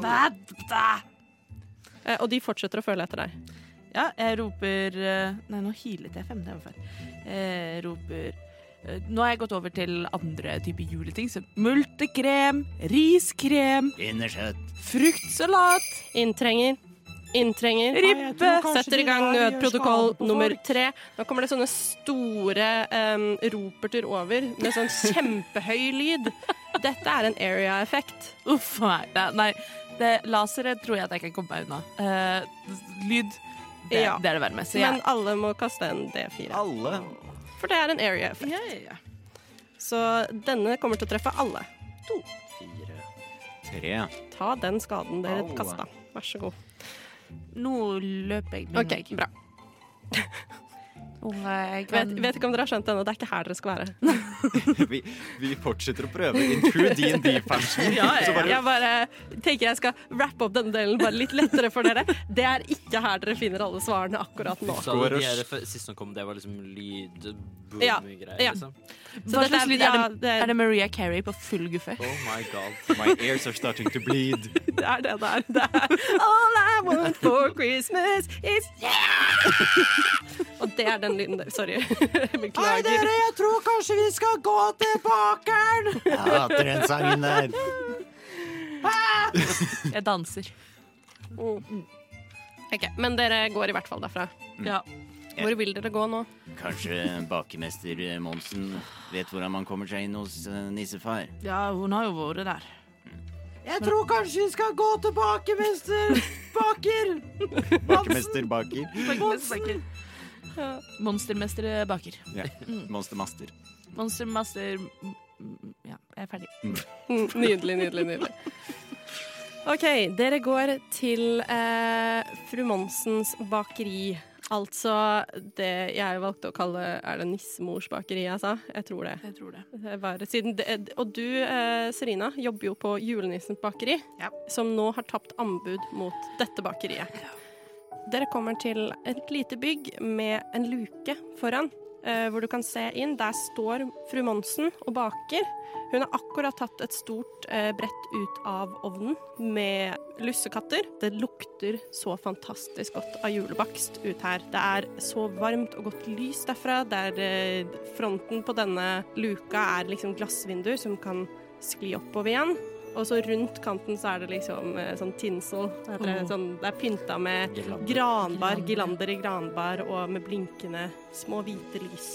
Eh, Og de fortsetter å føle etter deg.
Ja, jeg roper eh, Nei, nå hilet jeg fem, det var feil. Eh, roper eh, Nå har jeg gått over til andre typer juleting, som multekrem, riskrem,
Innerskjøtt.
fruktsalat,
Inntrenger. Inntrenger.
ribbe
Setter i gang nødprotokoll nummer tre. Nå kommer det sånne store em, roperter over med
[laughs]
sånn kjempehøy lyd. Dette er en area-effekt.
Uff a meg. Nei, nei det, lasere tror jeg at jeg kan komme meg unna. Eh, lyd det,
Ja.
det er det verre med. Så
Men
jeg
alle må kaste en D4,
Alle.
for det er en area-effekt.
ja, ja, ja.
Så denne kommer til å treffe alle.
Fire.
Tre.
Ta den skaden dere
Au.
kasta. Vær så god.
Nå løper jeg.
OK, bra.
Og eh, jeg kan...
Vet, vet ikke om dere har skjønt det ennå. Det er ikke her dere skal
[laughs]
være.
[laughs] Vi, vi fortsetter å prøve in true D&D-fashion. Så bare
Jeg bare tenker jeg skal rappe opp denne delen bare litt lettere for dere. Det er ikke her dere finner alle svarene akkurat nå.
Så
Går
de
og
her
s-
f- siste som kom, det var liksom
Ja,
lydboom-greier,
ja.
liksom?
Så
Hva
dette
slags
er,
lyd
ja,
er
det
det? Er det Maria Carey på full guffe?
Oh my god.
My ears are starting to bleed.
Det er det der. Det er [laughs] All I want for Christmas is [laughs] Og det er den lyden der. Sorry. [laughs] Beklager.
jeg tror kanskje vi skal gå til bakeren!
Jeg hater den sangen der.
Jeg danser.
Mm. Ok, Men dere går i hvert fall derfra.
Ja.
Hvor vil dere gå nå?
Kanskje bakemester Monsen vet hvordan man kommer seg inn hos eh, nissefar.
ja, hun har jo vært der.
Jeg tror kanskje vi skal gå tilbake, mester baker!
Bakemester Baker.
Monstermester baker.
Ja. Monstermaster.
Monstermaster mm, Ja, jeg er ferdig.
Mm, Nydelig, nydelig, nydelig. OK, dere går til eh, fru Monsens bakeri. Altså det jeg valgte å kalle Er det nissemors bakeri jeg sa? Jeg tror det.
Jeg tror det.
Det var, siden det, og du, eh, Serina, jobber jo på Julenissens bakeri,
Ja.
som nå har tapt anbud mot dette bakeriet. Dere kommer til et lite bygg med en luke foran, eh, hvor du kan se inn. Der står fru Monsen og baker. Hun har akkurat tatt et stort eh, brett ut av ovnen med lussekatter. Det lukter så fantastisk godt av julebakst ut her. Det er så varmt og godt lys derfra. Der eh, fronten på denne luka er liksom glassvinduer som kan skli oppover igjen. Og så rundt kanten så er det liksom eh, sånn tinsel. Det er,
Åh.
sånn, det er pynta med
Girlander.
granbar,
Girlander.
gilander i granbar og med blinkende små hvite lys.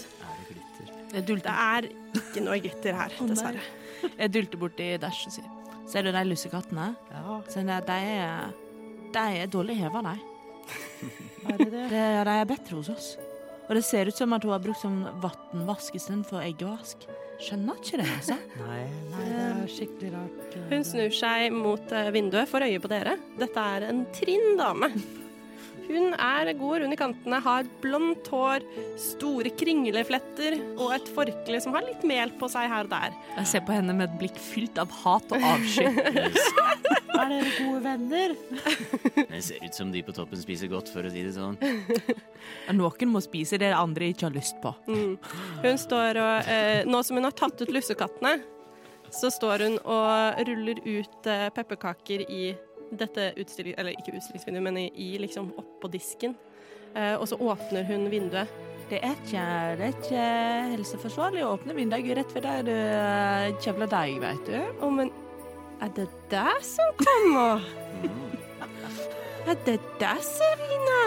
Jeg
Det
dulter,
er ikke noe glitter her,
nei.
dessverre.
jeg dulter borti dashen sin. Ser du de lussekattene?
Ja,
Se, De er, de er dårlig heva, de.
er det det?
Det, ja, de er bedre hos oss. Og det ser ut som at hun har brukt sånn vannvask istedenfor eggevask. Skjønner ikke det, altså.
Nei, nei, det er skikkelig rart.
Hun snur seg mot eh, vinduet, får øye på dere. Dette er en trinn dame. Hun er god rund i kantene, har blondt hår, store kringlefletter og et forkle som har litt mel på seg her og der.
Jeg ser på henne med et blikk fylt av hat og avsky.
Er dere gode venner?
Det ser ut som de på toppen spiser godt, for å si det sånn.
[laughs] Noen må spise det andre ikke har lyst på.
Mm. Hun står og eh, Nå som hun har tatt ut lussekattene, så står hun og ruller ut eh, pepperkaker i dette utstilling... Eller ikke utstillingsvinduet, men i, i liksom oppå disken. Eh, og så åpner hun vinduet.
Det er ikke, det er ikke helseforsvarlig å åpne vinduet rett ved der du eh, kjevler deg, vet du.
Å, men er det deg som kommer?
Mm.
Er det deg, Serina?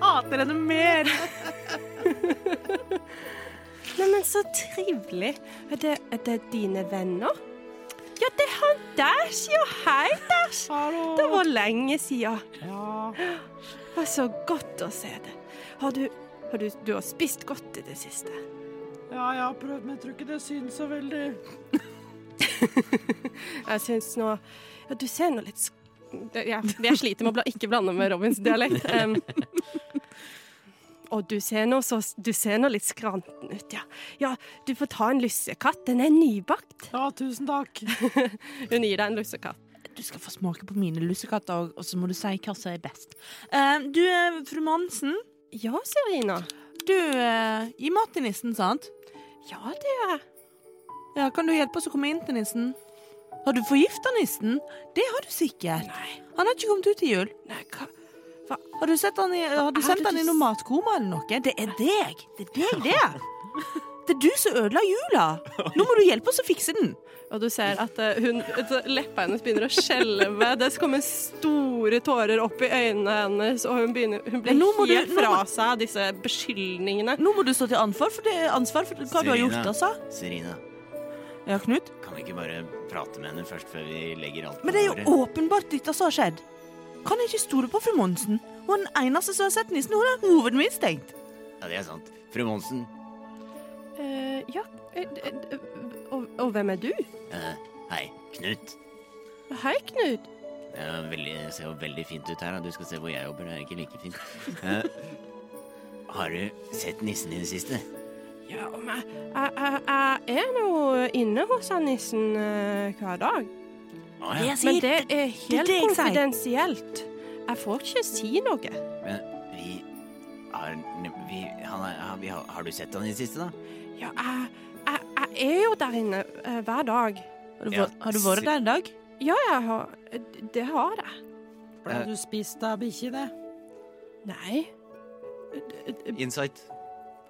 Hater henne mer!
Neimen, så trivelig. Er det, er det dine venner? Ja, det er han Dash, jo. Hei, Dash. Det var lenge siden.
Ja.
Det var så godt å se det. Har du, har du, du har spist godt i det siste.
ja, jeg har prøvd, men jeg tror ikke det syns så veldig.
Jeg syns nå ja, Du ser nå litt sk- det- ja, Jeg sliter med å bla, ikke blande med Robins dialekt. Em, og du ser, nå så, du ser nå litt skranten ut, ja. Ja, du får ta en lussekatt. Den er nybakt.
Ja, tusen takk.
Hun gir deg en lussekatt.
Du skal få smake på mine lussekatter, og- og så må du si hva som er best. Eh, du, eh, fru Monsen,
Ja, Serina.
du eh, gir mat til nissen, sant?
Ja, det gjør jeg.
Ja, Kan du hjelpe oss å komme inn til nissen? Har du forgifta nissen? Det har du sikkert.
Nei,
Han har ikke kommet ut til jul.
nei, hva
Har du, sett han i, har du
Hva er
sendt
det
han
du
i noe
s-
matkoma eller noe? Det er deg! Det er deg, det! [laughs] Det er du som ødela jula! Nå må du hjelpe oss å fikse den!
Og du ser at eh, hun, at leppa hennes begynner å skjelve. Det kommer store tårer opp i øynene hennes, og hun, begynner, hun blir
Men nå må du-
helt
nå
fra
må-
seg av disse beskyldningene.
Nå må du stå til ansvar for, det, ansvar for hva du har gjort,
Serena.
altså.
Serina,
Ja, Knut?
kan vi ikke bare prate med henne først, før vi legger alt på
Men det er
bordet?
jo åpenbart dette som har skjedd. Kan jeg ikke stole på fru Monsen? Hun er den eneste som har sett nissen. Hun har hovedet mitt stengt.
Ja, det er sant. Fru Monsen,
Eh, ja, eh, eh, eh, og, og hvem er du?
eh, hei, Knut.
Hei, Knut.
Det er veldig, ser jo veldig fint ut her. Da. Du skal se hvor jeg jobber. Det er ikke like fint. Eh, har du sett nissen i det siste?
Ja, om jeg, jeg, jeg, jeg er nå inne hos han nissen eh, hver dag.
Å ja.
Jeg
Men
sier
det
det.
er helt
det jeg sier.
konfidensielt. Jeg får ikke si noe.
Men vi har, vi, han er, har, vi har, har du sett han i det siste, da?
Ja, jeg, jeg, jeg er jo der inne eh, hver dag.
Har du, vært- har du vært der i dag?
Ja, jeg har Det har jeg.
Ble du spist av bikkje, det?
Nei.
Insight.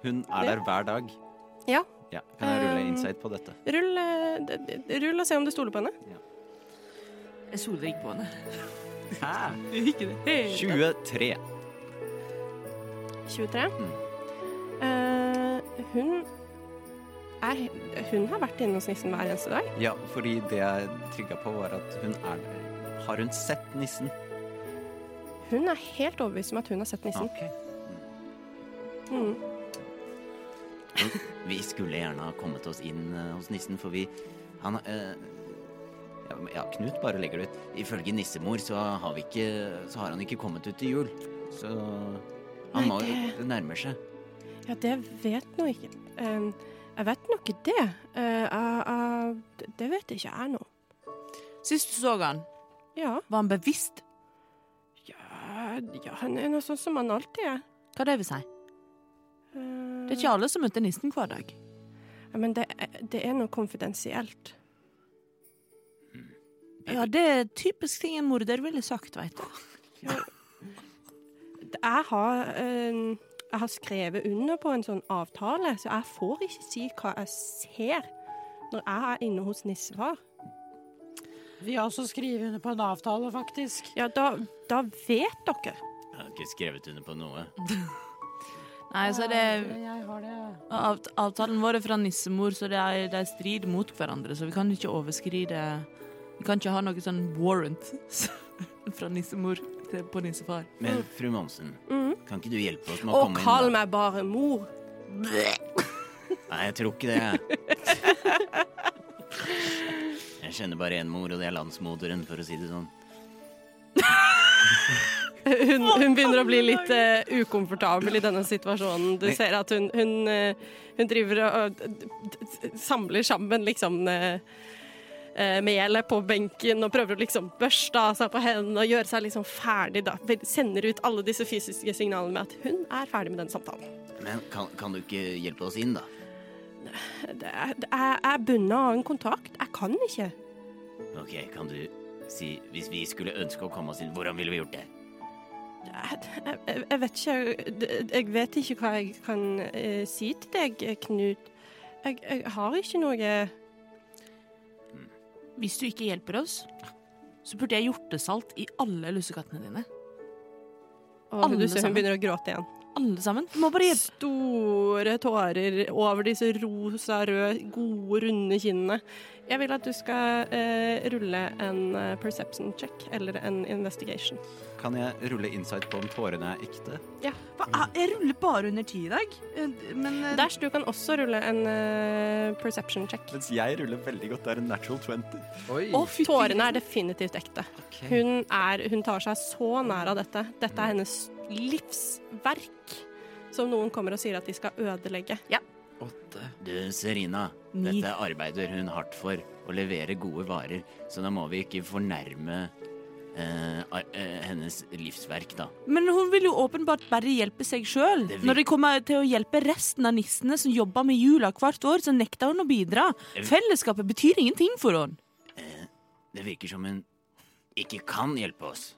Hun er der hver dag.
Ja.
ja kan jeg rulle
Um,
insight på dette?
Rull, eh, d- d- rull og se om du stoler på henne.
Jeg soler ikke på henne.
Hæ? 23.
23.
Mm.
Eh, hun er, Hun har vært inne hos nissen hver eneste dag.
Ja, fordi det jeg trigga på, var at hun er der. Har hun sett nissen?
Hun er helt overbevist om at hun har sett nissen.
Ok.
Mm.
Vi skulle gjerne ha kommet oss inn eh, hos nissen, for vi Han eh, ja, men- ja, Knut bare legger det ut. Ifølge nissemor så har, vi ikke, så har han ikke kommet ut til jul. Så han
Nei,
må jo
det-
Det nærmer seg.
Ja, det vet nå ikke Em, Jeg vet nå ikke det. Eh, jeg- jeg- det- det vet ikke jeg nå.
Sist du så han,
Ja.
var han bevisst
ja. Ja, han er noe sånn som han alltid er.
hva det vil si.
Eh,
Det er ikke alle som møter nissen hver dag.
ja, Eh, men det, er- det er noe konfidensielt.
Ja, det er typisk ting en morder ville sagt, veit du.
Jeg har, eh, jeg har skrevet under på en sånn avtale, så jeg får ikke si hva jeg ser når jeg er inne hos nissefar.
Vi har også skrevet under på en avtale, faktisk.
Ja, da, da vet dere.
Jeg har ikke skrevet under på noe.
Mm.
Nei, så det
Jeg har altså, det.
avt Avtalen vår er fra nissemor, så det er, det er strid mot hverandre. Så vi kan ikke overskride Vi kan ikke ha noe sånn warrant [laughs] fra nissemor til, på nissefar.
Men fru Monsen, kan ikke du hjelpe oss med
Mm.
å
Og
komme
kall
inn?
meg bare mor.
da? Nei, jeg tror ikke det. Jeg kjenner bare én mor, og det er landsmoderen, for å si det sånn.
Hun, hun begynner å bli litt eh, ukomfortabel i denne situasjonen. Du
Nei.
ser at hun, hun, eh, hun driver og d- d- d- samler sammen liksom eh, eh, melet på benken og prøver å liksom børste av seg på hendene og gjøre seg liksom ferdig. Da. Vel, Sender ut alle disse fysiske signalene med at hun er ferdig med den samtalen.
Men kan, kan du ikke hjelpe oss inn, da?
Det er, det er, jeg er bundet av en kontakt. Jeg kan ikke.
Ok, kan du si Hvis vi skulle ønske å komme oss inn, hvordan ville vi gjort det?
Jeg, jeg, jeg vet ikke jeg- Jeg vet ikke hva jeg kan eh, si til deg, Knut. Jeg, jeg har ikke noe
Hvis du ikke hjelper oss, så burde jeg hjortesalt i alle lussekattene dine.
Og
Alle
du ser hun
sammen.
begynner å gråte igjen.
Alle sammen. Du må bare hjelpe.
Store tårer over disse rosa, røde, gode, runde kinnene. Jeg vil at du skal eh, rulle en eh, perception check eller en investigation.
Kan jeg rulle insight på om tårene er ekte?
Hva? Jeg ruller bare under ti i dag. Eh, Men eh,
Dash, du kan også rulle en eh, perception check.
Mens jeg ruller veldig godt, det er en natural 20.
Oi.
Og tårene er definitivt ekte.
Ok.
Hun, er, hun tar seg så nær av dette. Dette er hennes livsverk, som noen kommer og sier at de skal ødelegge.
Åtte.
Du, Serina.
Ni.
Dette arbeider hun hardt for. Å levere gode varer. Så da må vi ikke fornærme eh, ar- eh, hennes livsverk, da.
Men hun vil jo åpenbart bare hjelpe seg sjøl.
Det vil-
Når det kommer til å hjelpe resten av nissene som jobber med jula hvert år, så nekter hun å bidra.
Jeg vil-
Fellesskapet betyr ingenting for henne.
Det virker som hun ikke kan hjelpe oss.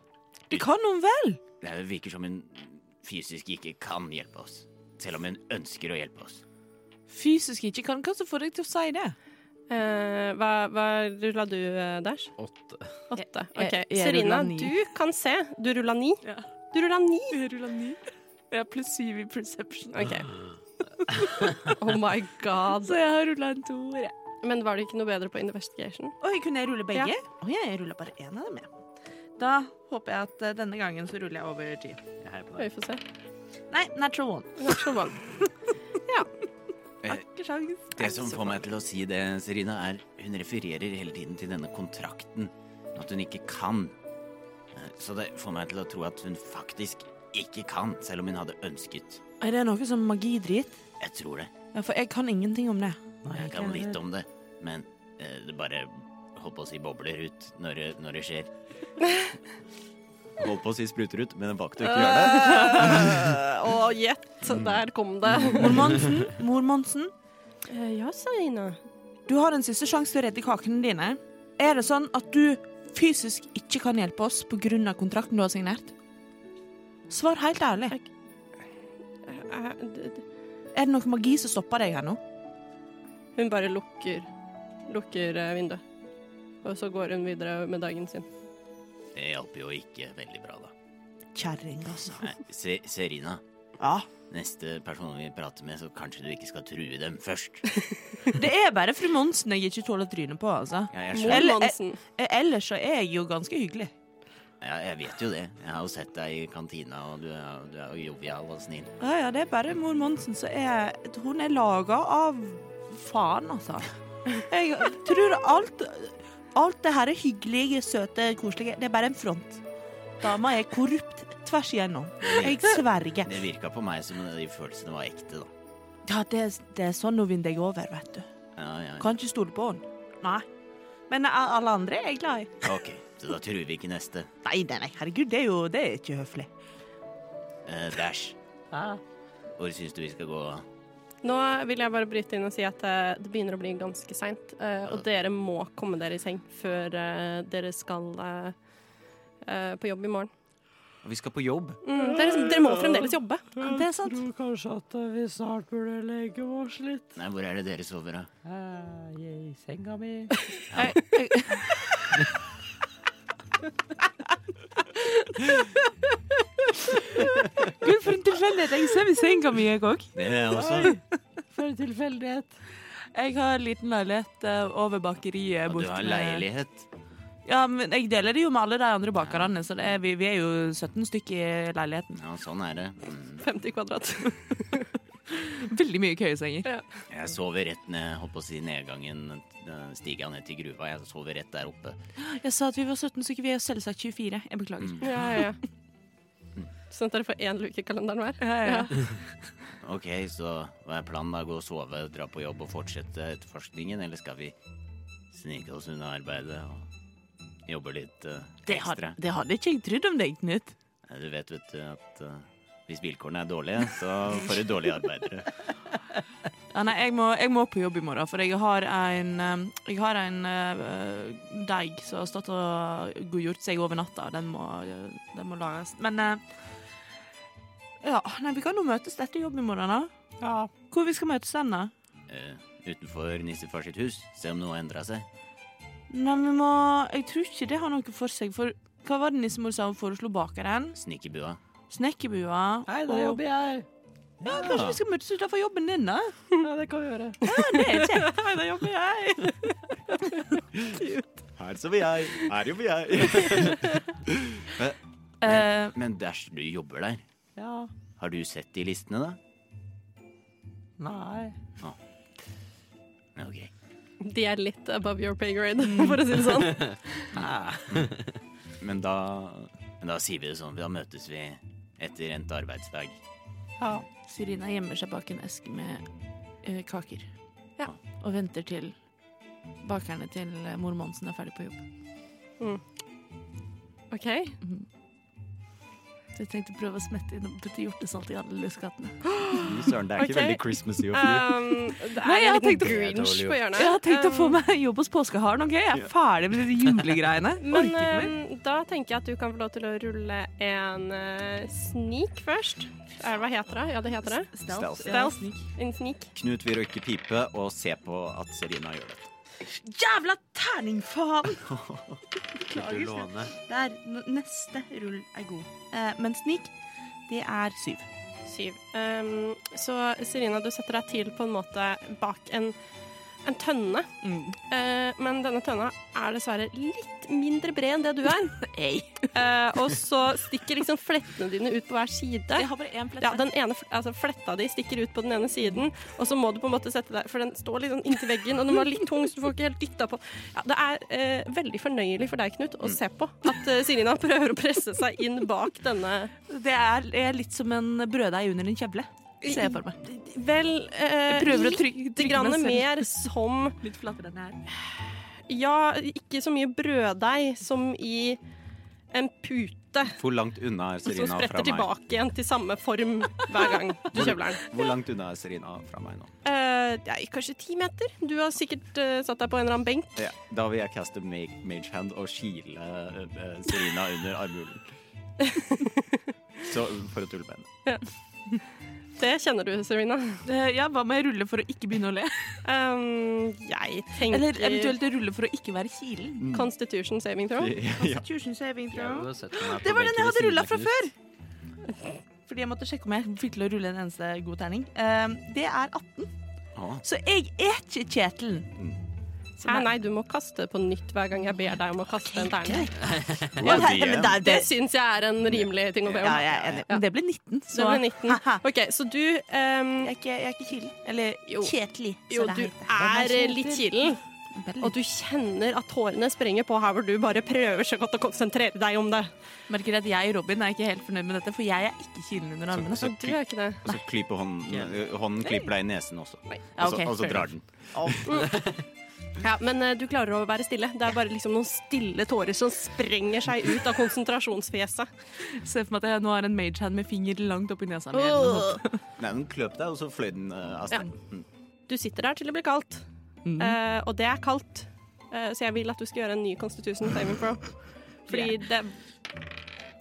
Det kan hun vel?
Det virker som hun fysisk ikke kan hjelpe oss. Selv om hun ønsker å hjelpe oss.
Fysisk ikke kan. Hva som får deg til å si det?
Eh, hva, hva rulla du, eh, Dash?
Åtte.
Åtte.
Jeg-
OK.
jeg
Serina,
rullet ni.
du kan se. Du rulla ni.
Ja.
Du rulla ni.
Jeg rulla ni. Jeg har pluss syv i perception. [laughs]
OK. Oh my god.
Så jeg har rulla en toer, jeg.
Men var det ikke noe bedre på investigation?
Oi, kunne jeg rulle begge?
Ja.
Å ja, jeg ruller bare én av dem, jeg. Da håper jeg at eh, denne gangen så ruller jeg over ti.
Jeg heier på
Vi
deg.
får se.
Nei, natural one.
Natural one.
Ikke sjans.
Det som får meg til å si det, Serina, er hun refererer hele tiden til denne kontrakten. At hun ikke kan. Eh, Så det får meg til å tro at hun faktisk ikke kan, selv om hun hadde ønsket.
Er det noe som magidrit?
Jeg tror det.
Ja, for jeg kan ingenting [laughs] om det.
Jeg kan litt om det, men eh, det bare holdt på å si bobler ut når, det- når det skjer.
[laughs] Holdt på å si spruter ut, men jeg valgte å ikke gjøre
Ah!
det.
[laughs] Å, gjett. Der kom det.
Mor Monsen, mor Monsen,
Eh, ja, Serina.
du har en siste sjanse til å redde kakene dine. Er det sånn at du fysisk ikke kan hjelpe oss pga. kontrakten du har signert? Svar helt ærlig.
Eh, d- d-
Er det noe magi som stopper deg her nå?
Hun bare lukker, lukker eh, vinduet. Og så går hun videre med dagen sin.
Det hjalp jo ikke veldig bra, da.
Kjerring, altså.
Nei, Se, Serina,
Ja.
neste person vi prater med, så kanskje du ikke skal true dem først.
Det er bare fru Monsen jeg ikke tåler trynet på, altså.
Ja, jeg skjønner.
Mor
Eller-
Monsen.
Eh, Ellers så er jeg jo ganske hyggelig.
Ja, jeg vet jo det. Jeg har jo sett deg i kantina, og du er, du er jo jovial og snill.
Ja, ja, det er bare mor Monsen som er Hun er laga av faen, altså. Jeg tror alt Alt det her er hyggelige, søte, koselige. Det er bare en front. Dama er korrupt tvers igjennom. Jeg sverger.
Det virka på meg som de følelsene var ekte, da.
Ja, det, er- det er sånn hun vinner deg over, vet du.
Ja, ja, ja.
Kan ikke stole på henne. Nei. Men a- alle andre er jeg glad i.
Ok, så da truer vi ikke neste.
Nei, nei, nei. Herregud, det er jo det er ikke høflig.
Eh, Dash, hvor syns du vi skal gå?
Nå vil jeg bare bryte inn og si at eh, det begynner å bli ganske seint, eh, og dere må komme dere i seng før eh, dere skal eh, eh, på jobb i morgen.
Og vi skal på jobb.
Mm, dere, dere må fremdeles jobbe.
Det er sant.
tror kanskje at eh, vi snart burde legge oss litt.
Nei, hvor er det dere sover, da?
Eh, I senga mi.
Gud, for en tilfeldighet. Jeg sover i senga mi, jeg òg.
Det er også.
For en tilfeldighet.
Jeg har en liten leilighet eh, over bakeriet.
Og
borte
du har
ved-
leilighet.
Ja, men jeg deler det jo med alle de andre bakerne, så det er, vi, vi er jo 17 stykker i leiligheten.
Ja, sånn er det. Mm.
50 kvadrat.
Veldig mye køyesenger.
Jeg sover rett ned, holdt på å si nedgangen, eh, stiga ned til gruva. Jeg sover rett der oppe. Mm.
Jeg sa at vi var 17 stykker, vi er selvsagt 24. Jeg beklager.
Ja, ja, ja. Sånn at dere får én luke i kalenderen hver.
Ok, så hva er planen da? Gå og sove, dra på jobb og fortsette etterforskningen, eller skal vi snike oss unna arbeidet og jobbe litt eh,
Det, har,
ekstra?
det hadde ikke jeg trodd om deg, Knut.
Nei, Du vet, vet du, at eh, hvis vilkårene er dårlige, så får du dårlige arbeidere.
[laughs] Ja, nei, jeg må, jeg må på jobb i morgen, for jeg har en, eh, jeg har en eh, deig som har stått og godgjort seg over natta. Den må, eh, den må lages. Men eh, ja, nei, vi kan jo møtes etter jobb i morgen, da. Hvor vi skal møtes den, da?
Eh, utenfor nissefar sitt hus, se om noe har endra seg.
Nei, vi må Jeg tror ikke det har noe for seg, for hva var det nissemor sa hun foreslo bakeren?
Snikebua.
Snekkerbua?
Hei, da jobber jeg.
Ja, kanskje vi skal møtes utenfor jobben din, da?
Ja, det kan vi gjøre.
Det er kjekt. [laughs] Hei, da [laughs] jobber jeg.
Her sover jeg, her jobber jeg.
Eh,
[laughs] Men dæsj, du jobber der.
Ja.
Har du sett de listene, da?
Nei.
Ja, Ok.
De er litt above your pay grade, for å si det
[laughs]
sånn.
Ah.
Men da Men da sier vi det sånn. Da møtes vi etter endt arbeidsdag.
Sirina gjemmer seg bak en eske med eh, kaker.
Ja.
Og venter til bakerne til eh, mor Monsen er ferdig på jobb.
OK.
Mhm.
Så jeg tenkte prøve å smette inn litt hjortesalt i alle lusekatene.
Fy Søren, det er ikke
Ok.
veldig Christmassy å fly.
Um, det er
Nei, jeg
en liten
tenkte-
grinch på hjørnet.
Jeg har tenkt å få
Um,
meg jobb hos påskeharen. ok? Jeg er ferdig med disse julegreiene.
Men
Orker ikke mer.
um, da tenker jeg at du kan få lov til å rulle en uh, sneak først. Er det hva heter det? Ja, det heter det.
Stealth.
Stealth. En sneak.
Knut vil røyke pipe og se på at Serina gjør det.
Jævla [laughs] terningfaen!
Vil du låne?
Der, n- neste rull er god. Eh, men snik, det er syv.
Syv. Um, så Serina, du setter deg til på en måte bak en, en tønne.
Mm.
Eh, men denne tønna er dessverre litt mindre bred enn det du
[laughs]
er. Eh, og så stikker liksom flettene dine ut på hver side.
Jeg har bare én flett.
Ja, den ene, fl- altså fletta di stikker ut på den ene siden, og så må du på en måte sette deg For den står litt sånn inntil veggen, og den var litt tung, så du får ikke helt dytta på. Ja, det er eh, veldig fornøyelig for deg, Knut, å se på at eh, Sirina prøver å presse seg inn bak denne
Det er, er litt som en brøddeig under en kjevle. Ser jeg for meg.
Vel, eh,
Prøver å
litt
trykke, trykke
grann
meg selv.
mer som
[laughs] Litt flatere enn jeg er.
Ja, ikke så mye brøddeig som i en pute
Hvor langt unna er
som
Serina fra
spretter
meg?
tilbake igjen til samme form hver gang du
[laughs]
kjøvler den.
Hvor langt unna er Serina fra meg nå?
Eh, det er kanskje ti meter. Du har sikkert eh, satt deg på en eller annen benk.
Ja, da vil jeg caste mage, mage hand og kile eh, Serina under armhulen. Så for å tulle med henne.
Det kjenner du, Serena.
Eh, ja, hva må jeg rulle for å ikke begynne å le?
Um, jeg tenker
Eller eventuelt Mm. rulle for å ikke være kilen.
Constitution saving throw.
[laughs] Altså,
Ja.
Det var den jeg hadde rullet fra før! Fordi jeg måtte sjekke om jeg fikk til å rulle en eneste god terning. Eh, det er 18.
Å.
Så jeg er ikke Kjetil.
Hæ, Eh, nei, du må kaste på nytt hver gang jeg ber deg om å kaste en terning.
Ja, nei, men det, er-
Det
det,
syns jeg er en rimelig ting å be
ja,
om.
jeg er enig. Men det ble 19, så
Så ble 19. OK, så du um,
Jeg er ikke, jeg er ikke kilen. Eller
Jo.
Kjetli, som
Jo,
det
du
heter.
er litt kilen.
Veldig.
Og du kjenner at tårene sprenger på her hvor du bare prøver så godt å konsentrere deg om det.
Merker at jeg og Robin er ikke helt fornøyd med dette, for jeg er ikke kilen under armene.
Så,
Du
kli,
gjør ikke det.
og så klyper hånden eh, Hånden klyper deg i nesen også.
Ja,
Og så,
ok,
og så
fair
altså, drar den.
Ja, men eh, du klarer å være stille. Det er bare liksom noen stille tårer som sprenger seg ut av konsentrasjonsfjeset.
Se for meg at jeg nå har en mage hand med finger langt oppi nesa mi. eller noe sånt.
Åh.
Nei, den kløp deg, og så fløy den eh, av sted.
Du sitter der til det blir kaldt, Eh, og det er kaldt. Eh, så jeg vil at du skal gjøre en ny Constitution saving pro. Fordi det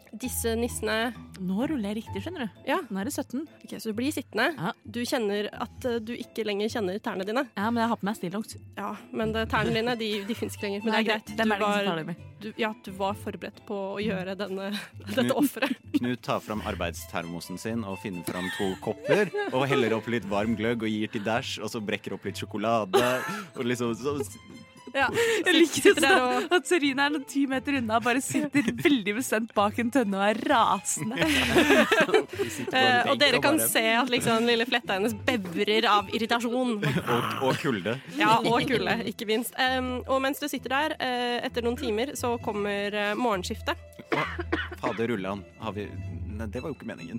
Disse nissene
Nå ruller jeg riktig, skjønner du.
Ja.
Nå er det 17.
OK, så du blir sittende.
Ja.
Du kjenner at eh, du ikke lenger kjenner tærne dine.
Ja, men jeg har på meg stillongs.
Ja, men det, tærne dine de, de fins ikke lenger. Men det er greit.
Hvem er det som
var-
tar det med?
du, ja, du var forberedt på å gjøre denne, dette [laughs] offeret.
Knut tar fram arbeidstermosen sin og finner fram to kopper. Og heller opp litt varm gløgg og gir til Dash, og så brekker opp litt sjokolade. Og liksom så,
Ja.
Jeg liker sånn
Sitter der og-
at Serina er noen ti meter unna og bare [laughs] sitter veldig bestemt bak en tønne og er rasende.
Eh, og dere kan se at liksom, lille fletta hennes bevrer av irritasjon.
og, og kulde.
Ja, [laughs] og kulde, ikke minst. Em, og mens du sitter der, eh, etter noen timer, så kommer eh, morgenskiftet.
Å, Fader rullan. Har vi
men det var jo ikke meningen.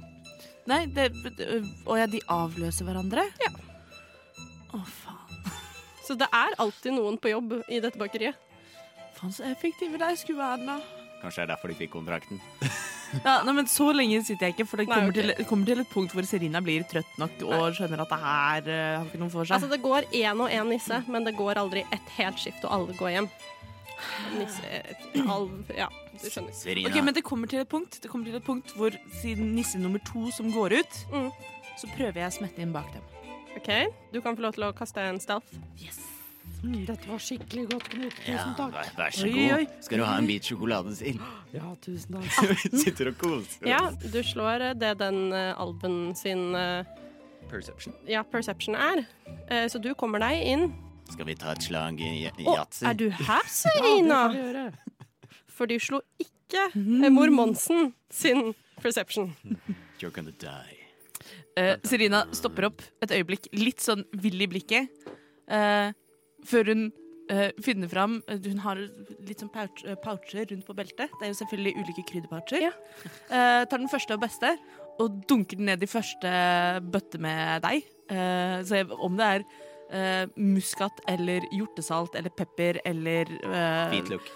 Nei, det øh, Å ja, de avløser hverandre? Ja. Å, faen.
Så det er alltid noen på jobb i dette bakeriet.
Faen, så effektive de skulle være, da.
Kanskje det er derfor de fikk kontrakten.
Ja, nei, men Så lenge sitter jeg ikke, for det
Nei,
kommer,
ok.
til, det kommer til et punkt hvor Serina blir trøtt nok og skjønner at det her eh, har ikke noe for seg.
Altså, det går én og én nisse, men det går aldri ett helt skift, og alle går hjem. Nisse Alv Ja, du skjønner.
Serina,
Ok, Men det kommer til et punkt Det kommer til et punkt hvor siden nisse nummer to som går ut,
Mm.
så prøver jeg å smette inn bak dem.
OK, du kan få lov til å kaste en stealth.
Mm, dette var skikkelig godt, Knut. Tusen
ja,
takk.
vær, vær så
Oi,
god.
oi.
Skal du ha en bit sjokolade til?
Ja, tusen takk.
Sitter og koser.
Ja, du slår eh, det den eh, alven sin eh,
Perception.
ja, perception er. Eh, Så du kommer deg inn.
Skal vi ta et slag i i
Å,
yatzy?
er du her,
Ja, det
Serina?
får vi gjøre.
For du slo ikke eh, mor Monsen sin perception.
You're gonna die.
Eh, Serina stopper opp et øyeblikk, litt sånn vill i blikket, eh, før hun eh, finner fram Hun har litt sånn pouch, eh, poucher rundt på beltet. Det er jo selvfølgelig ulike krydderpoucher.
Ja.
Eh, tar den første og beste og dunker den ned i første bøtte med deig. Eh, så jeg, om det er eh, muskat eller hjortesalt eller pepper eller eh,
Hvitløk.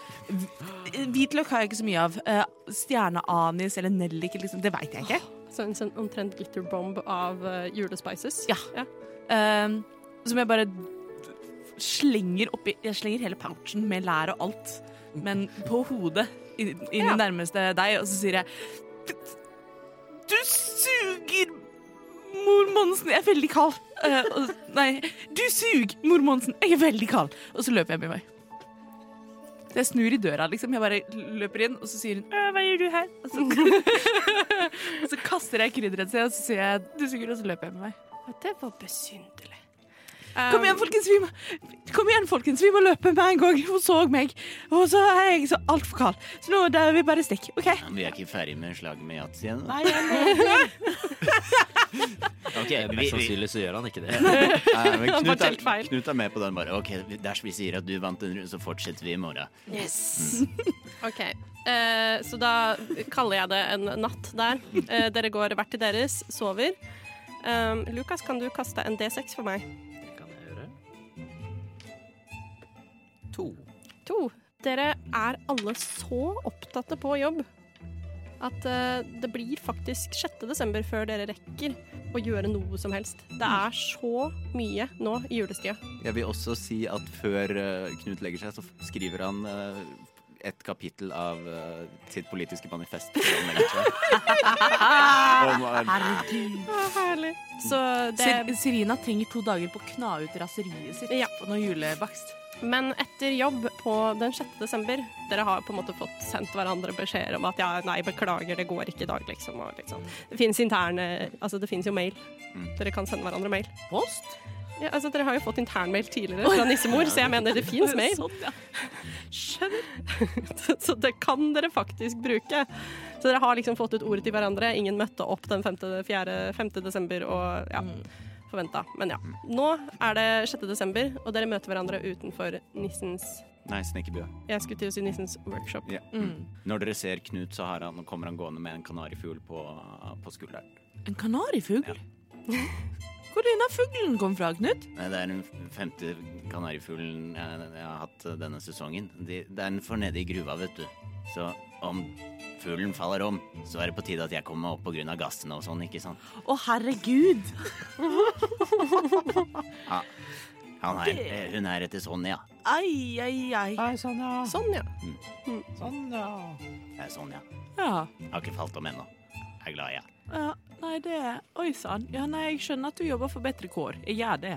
Hvitløk har jeg ikke så mye av. Eh, Stjerneanis eller nellik, liksom, det veit jeg ikke.
Så en sånn omtrent glitterbomb av eh, julespices.
Ja. Ehm, som jeg bare slenger oppi Jeg slenger hele pouchen med lær og alt, men på hodet inn inn i
Ja.
nærmeste deg, og så sier jeg "Du- Du suger, mor Monsen. Jeg er veldig kald. Eh, og, nei, du suger, mor Monsen. Jeg er veldig kald. Og så løper jeg min vei. Så jeg snur i døra, liksom. Jeg bare løper inn, og så sier hun «Øh, 'Hva gjør du her?' Og så, og så [laughs] kaster jeg krydderet til, og så sier jeg 'Du suger', og så løper jeg min vei.
Det var besynderlig. Um,
Kom igjen, folkens, vi må, kom igjen, folkens, vi må løpe med en gang. Hun så meg, og så er jeg så altfor kald. Så nå det er vi bare stikk, OK?
Ja, Vi er ikke ferdig med slaget med yatzy ennå.
Nei, jeg må-
Ok, vi,
Eh, Mest
vi,
sannsynlig så gjør han
[laughs]
ikke det.
Nei, men Knut,
helt feil.
er, Knut er med på den bare.
ok, Dersom vi sier at du vant en runde, så fortsetter vi i morgen.
OK. Eh, så da kaller jeg det en natt der. Eh, dere går hvert til deres, sover. Eh, Lukas, kan du kaste en D6 for meg?
Det kan jeg gjøre. To.
To. Dere er alle så opptatte på jobb at eh, det blir faktisk 6. desember før dere rekker å gjøre noe som helst. Det er så mye nå i julestida.
Jeg vil også si at før eh, Knut legger seg, så skriver han eh, et kapittel av eh, sitt politiske
[laughs]
manifest. før han legger seg. [laughs] Om, eh,
[laughs]
Ah, Herlig. Så
Ser,
det
Serina trenger to dager på å kna ut raseriet sitt
Ja.
på noe julebakst.
Men etter jobb på den 6. desember Dere har på en måte fått sendt hverandre beskjeder om at ja, nei, beklager, det går ikke i dag, liksom. Og liksom. Det fins interne Altså, det fins jo mail. Dere kan sende hverandre mail.
Post?
Ja, altså, dere har jo fått internmail tidligere fra nissemor, [laughs] så jeg mener det fins mail.
Sånn, ja. Skjønner.
[laughs] Så det kan dere faktisk bruke. Så dere har liksom fått ut ordet til hverandre. Ingen møtte opp den 5. 4, 5. desember og ja,
Mm.
forventa. Men ja. Nå er det 6. desember, og dere møter hverandre utenfor nissens
Nei, snekkerbua.
Jeg skulle til å si nissens workshop.
Ja.
Mm.
Når dere ser Knut, så har han, kommer han gående med en kanarifugl på, på skulderen.
En kanarifugl? [laughs] Hvor er denne fuglen kom fra, Knut?
Nei, Det er den femte kanarifuglen jeg, jeg har hatt eh, denne sesongen. De, den får nede i gruva, vet du. Så om fuglen faller om, så er det på tide at jeg kommer meg opp pga. gassene og sånn, ikke sant?
Å, herregud!
Han er, eh, hun er etter sånn, ja.
Ai, ai, ai.
Nei, sånn, ja.
Sånn, ja.
Sånn, ja.
Jeg er sånn, ja.
Ja.
Har ikke falt om ennå. Jeg er glad, ja.
Ja, nei, det Oi sann. Ja, nei, jeg skjønner at du jobber for bedre kår. Jeg gjør det.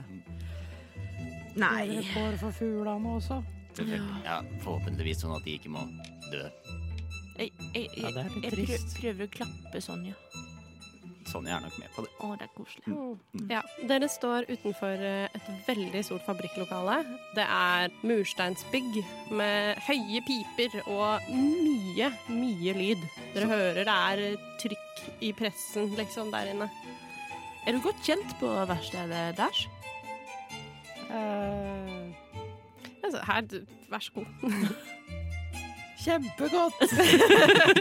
Bedre kår for fuglene også.
Selvfølgelig. Ja, forhåpentligvis sånn at de ikke må dø.
Jeg, jeg,
Ja, det er litt
jeg prø-
trist.
prøver å klappe Sonja.
Sonja er nok med på det.
Å, det er koselig.
ja. Dere står utenfor eh, et veldig stort fabrikklokale. Det er mursteinsbygg med høye piper og mye, mye lyd. Dere hører det er eh, trykk i pressen, liksom, der inne.
Er du godt kjent på verkstedet der?
Eh,
Altså, her, du- vær så god.
kjempegodt.
Ja,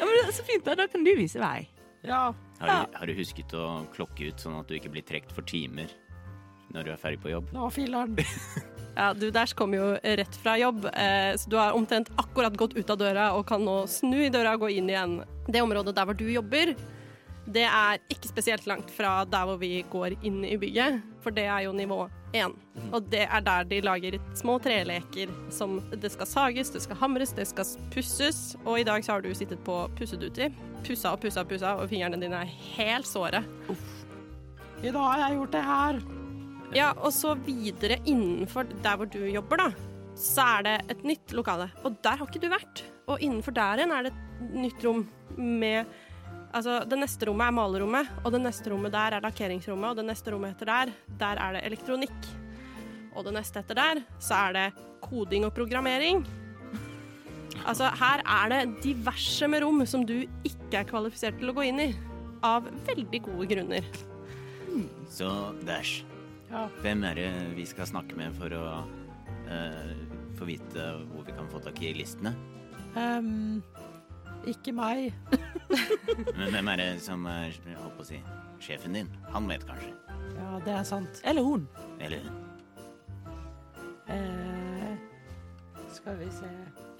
men det er Så fint, da. Da kan du vise vei.
Har, du- har du husket å klokke ut sånn at du ikke blir trukket for timer når du er ferdig på jobb?
Nå, filler'n.
Ja, du Dash kom jo rett fra jobb, eh, så du har omtrent akkurat gått ut av døra og kan nå snu i døra og gå inn igjen. Det området der hvor du jobber, det er ikke spesielt langt fra der hvor vi går inn i bygget, for det er jo nivå 1. Og det er der de lager små treleker som det skal sages, det skal hamres, det skal pusses, og i dag så har du sittet på pusseduty. Pussa og pussa og pussa, og fingrene dine er helt såre.
I dag har jeg gjort det her.
Ja, og så videre innenfor der hvor du jobber, da, så er det et nytt lokale. Og der har ikke du vært. Og innenfor der igjen er det et nytt rom med Altså, det neste rommet er malerommet, og det neste rommet der er lakkeringsrommet, og det neste rommet etter der, der er det elektronikk. Og det neste etter der, så er det koding og programmering. Altså, her er det diverse med rom som du ikke er kvalifisert til å gå inn i. Av veldig gode grunner.
Så Dash,
Ja.
hvem er det vi skal snakke med for å eh, få vite hvor vi kan få tak i listene?
Ehm, ikke meg.
Men hvem er det som er jeg holdt på å si, sjefen din? Han vet kanskje.
Ja, det er sant.
Eller hun.
Eller hun.
Eh, skal vi se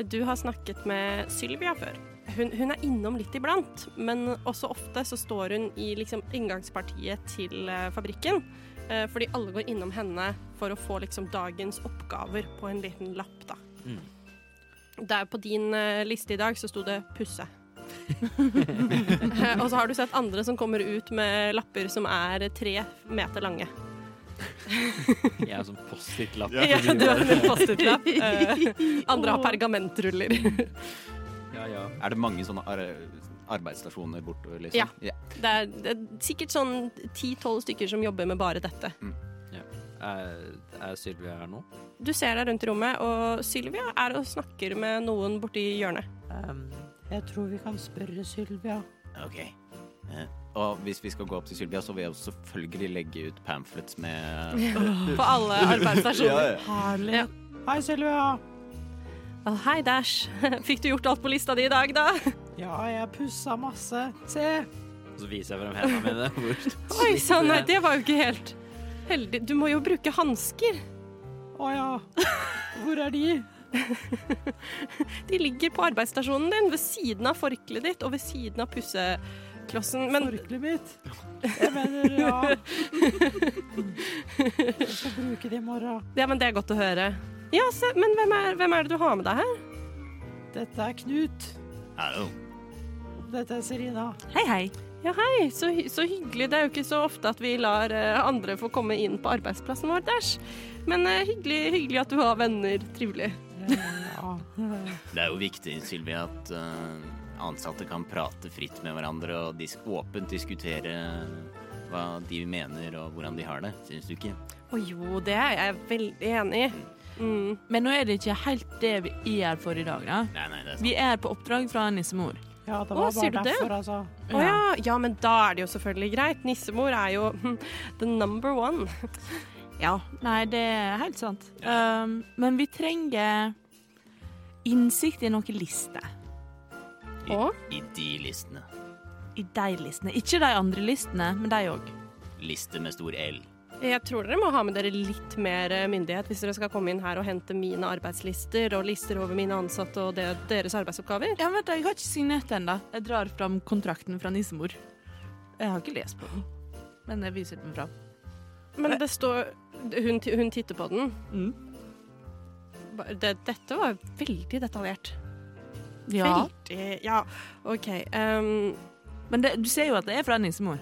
Du har snakket med Sylvia før. Hun, hun er innom litt iblant, men også ofte så står hun i liksom inngangspartiet til eh, fabrikken. eh, Fordi alle går innom henne for å få liksom dagens oppgaver på en liten lapp, da.
Mm.
Der på din eh, liste i dag så sto det 'pusse'. [laughs] Eh, Og så har du sett andre som kommer ut med lapper som er tre meter lange.
Jeg er sånn Post-It-lapp.
Ja, [laughs] du har en Post-It-lapp. Eh, Andre har pergamentruller.
Ja, ja.
Er det mange sånne ar arbeidsstasjoner bortover, liksom?
Ja. Det er, det er sikkert sånn 10-12 stykker som jobber med bare dette.
Er, er Sylvia her nå?
Du ser deg rundt i rommet, og Sylvia er og snakker med noen borti hjørnet.
Ehm, Jeg tror vi kan spørre Sylvia.
Ok. Eh,
Og hvis vi skal gå opp til Sylvia, så vil jeg selvfølgelig legge ut pamphlets med
På alle arbeidsstasjoner.
Herlig.
Ja.
Hei, Sylvia.
Å, hei, Dash. [laughs] Fikk du gjort alt på lista di i dag, da?
Ja, jeg pussa masse. Se.
Og så viser jeg frem hendene
[laughs]
mine. Hvor
Oi sann, nei, det var jo ikke helt heldig. Du må jo bruke hansker.
Å ja. Hvor er de?
De ligger på arbeidsstasjonen din, ved siden av forkleet ditt og ved siden av pusseklossen. Men
Forkleet mitt. Jeg mener, ja. Jeg skal bruke det i morgen.
ja, men det er godt å høre. Ja, se, men hvem er, hvem er det du har med deg her?
Dette er Knut.
Hallo.
Dette er Serina.
Hei, hei.
Ja, hei, så, hy- så hyggelig. Det er jo ikke så ofte at vi lar eh, andre få komme inn på arbeidsplassen vår, Dash. Men eh, hyggelig, hyggelig at du har venner. Trivelig.
Ja.
Det er jo viktig, Sylvia, at eh, ansatte kan prate fritt med hverandre og dis åpent diskutere hva de mener og hvordan de har det. Syns du ikke?
Å jo, det er jeg veldig enig i. Mm.
Men nå er det ikke helt det vi er her for i dag, da.
Nei, nei, det er sant.
Vi er på oppdrag fra nissemor.
ja, det
Å,
var
sier
bare
du det?
derfor, altså.
Å ja. ja, men da er det jo selvfølgelig greit. Nissemor er jo hm, the number one.
Ja, nei, det er helt sant. Um, men vi trenger innsikt i noen lister.
I,
Og?
I de listene.
I de listene. Ikke de andre listene, men de òg.
Liste med stor L.
Jeg tror dere må ha med dere litt mer eh, myndighet hvis dere skal komme inn her og hente mine arbeidslister og lister over mine ansatte og det, deres arbeidsoppgaver.
Ja, vent, da, jeg har ikke signert den, da. Jeg drar fram kontrakten fra nissemor. Jeg har ikke lest på den, men jeg viser den fram.
Men det står Hun, ti- hun titter på den.
Mm.
Ba- Det, dette var veldig detaljert.
Ja.
Veldig Ja, OK. ehm,
Men det, du ser jo at det er fra nissemor.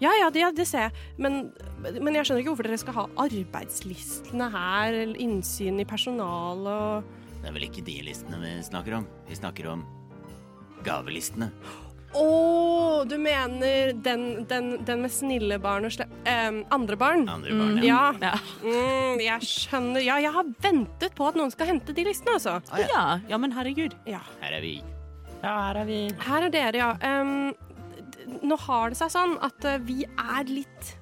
ja, ja, det, ja, det ser jeg. Men, men jeg skjønner ikke hvorfor dere skal ha arbeidslistene her, eller innsyn i personalet og
Det er vel ikke de listene vi snakker om. Vi snakker om gavelistene.
Å, du mener den, den, den med snille barn og slem... ehm, andre barn?
Andre barn, ja.
Ja.
Ja.
Mm, jeg skjønner. Ja, jeg har ventet på at noen skal hente de listene, altså.
ja. ja, men herregud.
Ja.
Her er vi.
Ja, her er vi.
Her er dere, ja. Ehm, d- d- nå har det seg sånn at eh, vi er litt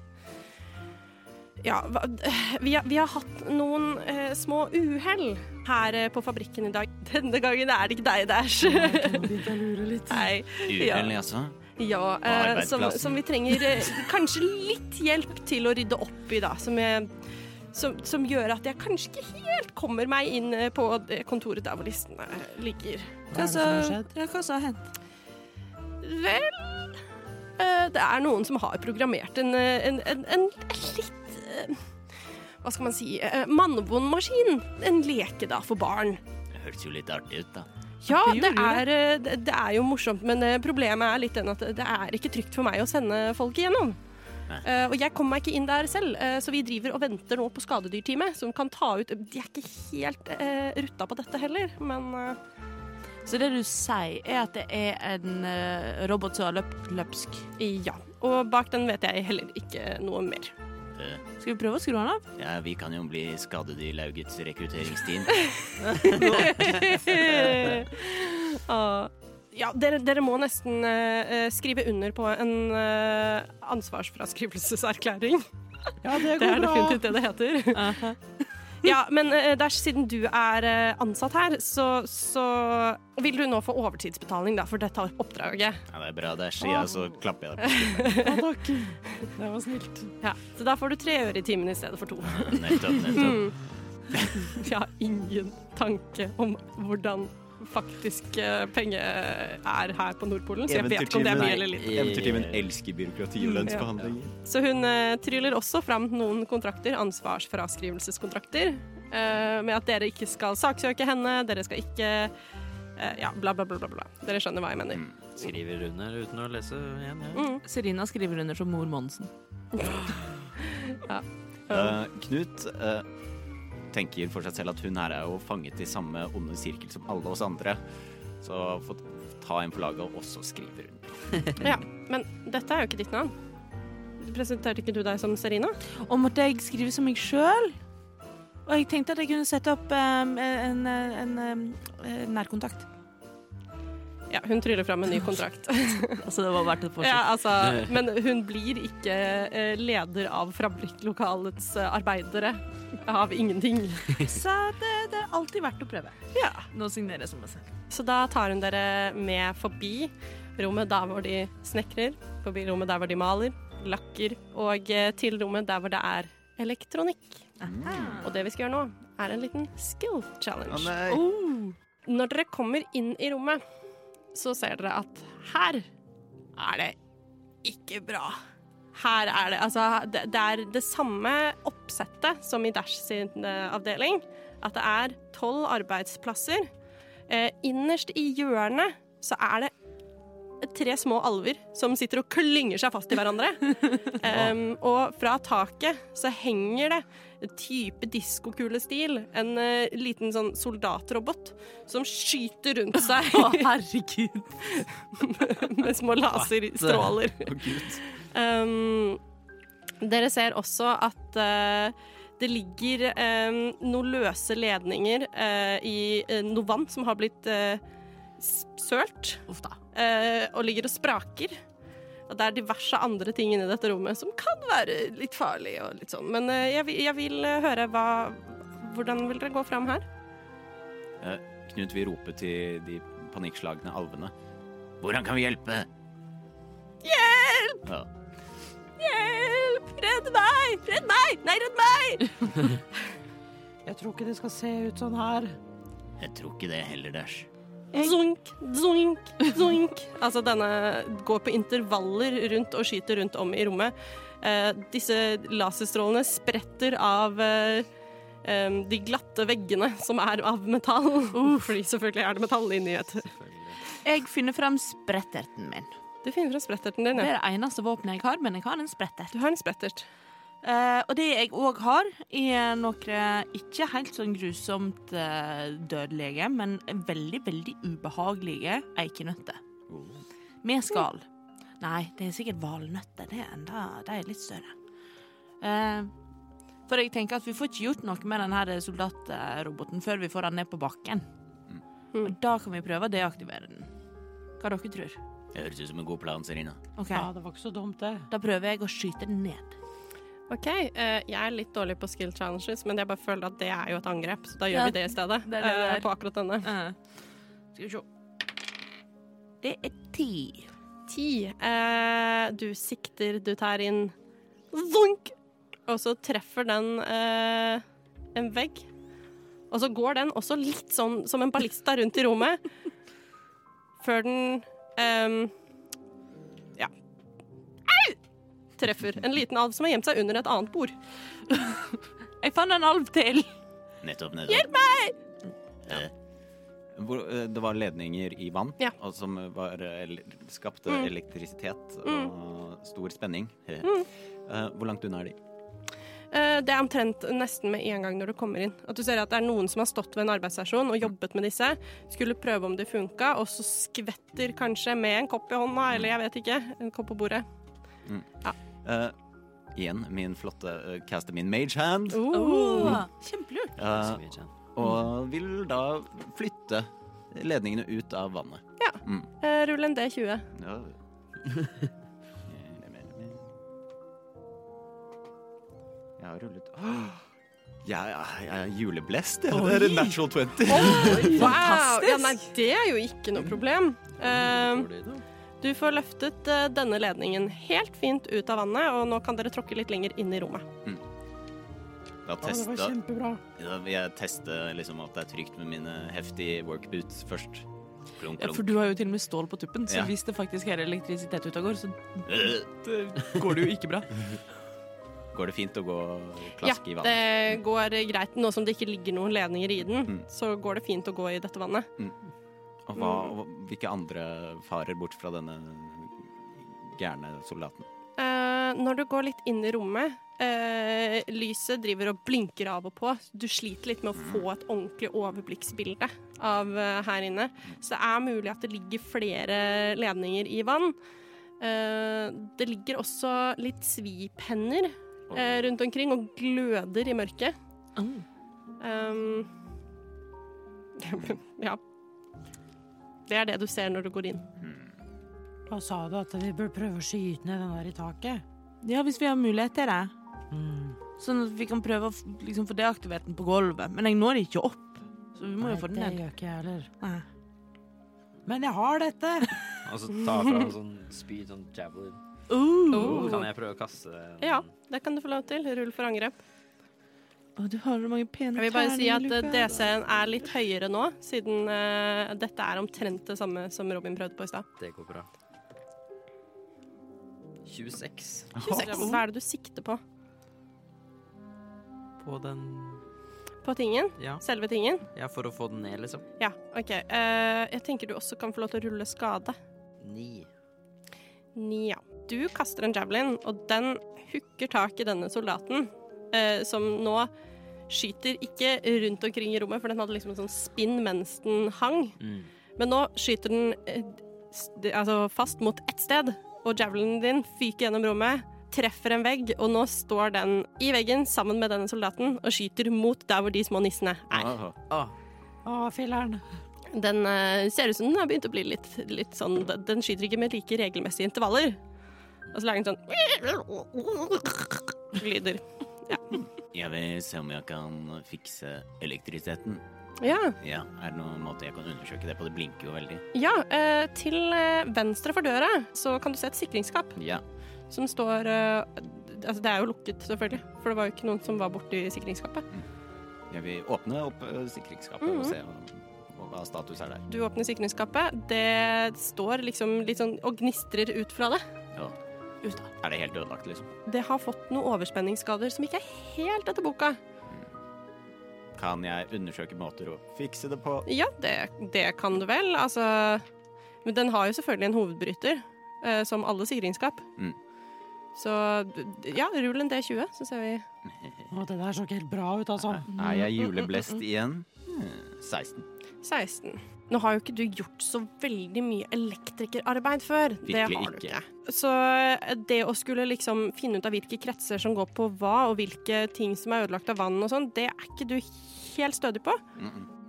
Ja, hva, øh, vi, har, vi har hatt noen eh, små uhell her eh, på fabrikken i dag. [laughs] Denne gangen er det ikke deg, Dash. Nå Nei.
Uhell, jaså?
Ja, eh, som,
arbeidsplassen.
som vi trenger eh, kanskje litt hjelp til å rydde opp i, da. Som, jeg, som, som gjør at jeg kanskje ikke helt kommer meg inn eh, på det kontoret der hvor listene ligger.
Hva er det som har skjedd?
Ja, hva som har hendt?
Vel eh, Det er noen som har programmert en, eh, en, en, en litt eh, Hva skal man si eh, Mannevond maskin. En leke, da, for barn.
Det høres jo litt artig ut, da.
Ja,
Det
det
gjorde
er, eh, det det er jo morsomt, men eh, problemet er litt den at det er ikke trygt for meg å sende folk igjennom.
Nei.
Eh, og jeg kommer meg ikke inn der selv, eh, så vi driver og venter nå på skadedyrteamet, som kan ta ut De er ikke helt eh, rutta på dette heller, men eh,
Så det du sier, er at det er en eh, robot som har løpt løpsk.
eh, ja. Og bak den vet jeg heller ikke noe mer.
Skal vi prøve å skru [laughs] han av?
Ja, vi kan jo bli skadedyrlaugets rekrutteringsteam.
Ah, [laughs] ja, dere, dere må nesten eh, eh, skrive under på en eh, ansvarsfraskrivelseserklæring.
Ja, det
Det
går
er
bra.
definitivt det det [laughs] heter. ja, men eh, Dash, siden du er eh, ansatt her, så, så vil du nå få overtidsbetaling da, for dette oppdraget.
Ja, det er bra der, sier jeg, så klapper jeg deg på
Ja, takk. Det var snilt.
Ja, så da får du tre øre i timen i stedet for to.
skulderen. Nettopp,
Mm.
nettopp.
[laughs] Jeg har ingen tanke om hvordan faktisk eh, penge er her på Nordpolen, så jeg vet ikke om det er mye eller Mm. litt.
Eventyrtimen elsker byråkrati og lønnsforhandlinger.
Så hun eh, tryller også fram noen kontrakter, ansvarsfraskrivelseskontrakter, eh, med at dere ikke skal saksøke henne, dere skal ikke eh, Ja, bla, bla, bla, bla, bla. Dere skjønner hva jeg
Mm.
mener.
[laughs] Skriver under uten å lese igjen, ja.
Mm.
Serina skriver under som mor Monsen.
Eh, Knut eh, tenker for seg selv at hun her er jo fanget i samme onde sirkel som alle oss andre. Så få ta en på laget og også skrive rundt.
Ja, Men dette er jo ikke ditt navn. Du Presenterte ikke du deg som Serina?
Og måtte jeg skrive som meg sjøl? Og jeg tenkte at jeg kunne sette opp em, en, en, em, eh, nærkontakt.
Ja, hun tryller fram en ny kontrakt.
[laughs] Altså, det var verdt et forsøk.
ja, altså, men hun blir ikke eh, leder av fabrikklokalets eh, arbeidere av ingenting.
Så det, det er alltid verdt å prøve.
Ja.
Nå signerer jeg som meg selv.
Så da tar hun dere med forbi rommet der hvor de snekrer, forbi rommet der hvor de maler, lakker, og eh, til rommet der hvor det er elektronikk. Og det vi skal gjøre nå, er en liten skill challenge. Når dere kommer inn i rommet, så ser dere at her er det ikke bra. Her er det Altså, det, det er det samme oppsettet som i Dash sin eh, avdeling. At det er tolv arbeidsplasser. Eh, innerst i hjørnet så er det tre små alver som sitter og klynger seg fast i
[laughs]
hverandre. Em, og fra taket så henger det type diskokulestil en eh, liten sånn soldatrobot som skyter rundt seg
Å, herregud.
[laughs] med små laserstråler. Um, dere ser også at eh, det ligger eh, noen løse ledninger eh, i eh, noe vann som har blitt eh, s- sølt,
Uff da.
eh, og ligger og spraker. Og det er diverse andre ting inni dette rommet som kan være litt farlig og litt sånn. Men eh, jeg, vil- jeg vil eh, høre hva Hvordan vil dere gå fram her?
Knut vil rope til de panikkslagne alvene.
Hvordan kan vi hjelpe? Hjelp! Ja.
Hjelp! Redd meg! Redd meg! Nei, redd meg!
Jeg tror ikke det skal se ut sånn her.
Jeg tror ikke det heller, Dash.
Zunk, zunk, zunk. [laughs] altså denne går på intervaller rundt og skyter rundt om i rommet. Eh, disse laserstrålene spretter av eh, em, de glatte veggene som er av metall. [laughs] Fordi selvfølgelig er det metall inni et
Jeg finner frem spretterten min.
Du finner fra spretterten din,
Det
ja.
er det eneste våpenet jeg har, men jeg har en sprettert.
Du har en sprettert.
Eh, og det jeg òg har, er noe ikke helt sånn grusomt eh, dødelige, men veldig, veldig ubehagelige eikenøtter. Med skall. Nei, det er sikkert valnøtter. Det er enda, de er litt større. Eh, for jeg tenker at vi får ikke gjort noe med denne soldatroboten før vi får den ned på bakken. Og da kan vi prøve å deaktivere den. Hva dere tror.
Det høres ut som en god plan, Serina.
OK,
Ja, det var ikke så dumt, det.
da prøver jeg å skyte den ned.
Å OK, eh, jeg er litt dårlig på skill challenges, men jeg bare føler at det er jo et angrep, så da gjør
Ja,
vi det i stedet.
det er det det
eh,
er.
På akkurat denne.
Eh, Skal vi se. Det er ti.
Ti. Eh, du sikter, du tar inn Zunk! Og så treffer den eh, en vegg. Og så går den også litt sånn som en ballista rundt i rommet, før den ehm, Ja. Au! Treffer en liten alv som har gjemt seg under et annet bord.
Jeg fant en alv til.
Nettopp, nettopp. Hjelp meg! Hvor, eh, det var ledninger i vann
Ja.
og som var, eh, el- skapte elektrisitet og stor spenning. [laughs] Eh, Hvor langt unna er de?
Eh, Det er omtrent nesten med en gang når du kommer inn. At du ser at det er noen som har stått ved en arbeidsstasjon og jobbet med disse, skulle prøve om de funka, og så skvetter kanskje med en kopp i hånda, eller jeg vet ikke, en kopp på bordet.
Eh, igjen min flotte eh, caster min mage hand.
Oh,
eh,
Kjempelurt.
Uh,
Så mye tjent.
og vil da flytte ledningene ut av vannet.
Eh, Rull en D20.
Ja. Jeg har rullet Åh! jeg, jeg, jeg er juleblest, jeg. Det er en natural 20.
Wow! Ja, nei, det er jo ikke noe problem. Eh,
Hvor er det da?
du får løftet eh, denne ledningen helt fint ut av vannet, og nå kan dere tråkke litt lenger inn i rommet.
Da
det var
testa,
kjempebra.
da vil jeg teste liksom at det er trygt med mine heftige workboots først. Plunk,
Ja,
plunk.
for du har jo til og med stål på tuppen, så
Ja.
hvis det faktisk er elektrisitet ute og går, så
Øh,
går det jo ikke bra.
[laughs] Går det fint å gå klask i
ja,
vannet?
det går greit. Nå som det ikke ligger noen ledninger i den,
Mm.
så går det fint å gå i dette vannet.
Og hva, og hvilke andre farer bort fra denne gærne soldaten?
Eh, når du går litt inn i rommet, eh, lyset driver og blinker av og på. Du sliter litt med å få et ordentlig overblikksbilde av eh, her inne. Så det er mulig at det ligger flere ledninger i vann. Eh, det ligger også litt svipenner eh, rundt omkring og gløder i mørket. Um, [laughs] ja. Det er det du ser når du går inn.
Hva sa du at vi burde prøve å skyte ned den der i taket? Mm.
Ja, hvis vi har mulighet til det.
Mm.
Sånn at vi kan prøve å f- liksom, få deaktivert den på gulvet. Men jeg når ikke opp, så vi må jo få den
det
ned.
gjør ikke jeg heller.
Nei.
Men jeg har dette!
Og så ta fra en sånn spyd, sånn javelin.
Oh.
Kan jeg prøve å kaste den?
Uh. Ja, det kan du få lov til. Rull for angrep.
Å, du har så mange pene
Jeg vil bare si at eh,
tærne, Luca.
DC-en er litt høyere nå, siden eh, dette er omtrent det samme som Robin prøvde på i stad.
Det går bra. 26
26. Hva er det du sikter på?
på den
På tingen?
Ja.
Selve tingen?
Ja, for å få den ned, liksom.
Ja, OK. Eh, jeg tenker du også kan få lov til å rulle skade.
9.
Nja. Du kaster en javelin, og den hooker tak i denne soldaten, eh, som nå skyter ikke rundt omkring i rommet, for den hadde liksom en sånn spinn mens den hang.
Mm.
Men nå skyter den eh, s- det- altså fast mot ett sted, og javelinen din fyker gjennom rommet, treffer en vegg, og nå står den i veggen sammen med denne soldaten og skyter mot der hvor de små nissene er.
Åh.
Ah,
Å, filler'n.
Den eh, ser ut som den har begynt å bli litt, litt sånn den- Den skyter ikke med like regelmessige intervaller. Og så lager den sånn [laughs] Lyder.
Jeg vil se om jeg kan fikse elektrisiteten.
Ja.
Ja, Er det noen måte jeg kan undersøke det på? Det blinker jo veldig.
ja eh, til eh, venstre for døra så kan du se et sikringsskap.
Ja.
som står eh, Altså, det er jo lukket, selvfølgelig, for det var jo ikke noen som var borti sikringsskapet.
Jeg vil åpne opp eh, sikringsskapet og se hva- hva, hva status er der.
Du åpner sikringsskapet, det står liksom litt sånn og gnistrer ut fra det.
Ja. Er det helt ødelagt, liksom?
Det har fått noen overspenningsskader som ikke er helt etter boka.
Kan jeg undersøke måter å fikse det på?
Ja, det, det kan du vel, altså Men den har jo selvfølgelig en hovedbryter, eh, som alle sikringsskap.
Mm.
Så ja, rull en D20, så ser vi.
Å, det der så ikke helt bra ut, altså.
Er jeg juleblest igjen? Hmm, 16.
16. Nå har jo ikke du gjort så veldig mye elektrikerarbeid før. det
Virkelig
har du
ikke.
ikke. Så eh, det å skulle liksom finne ut av hvilke kretser som går på hva, og hvilke ting som er ødelagt av vann og sånn, det er ikke du helt stødig på.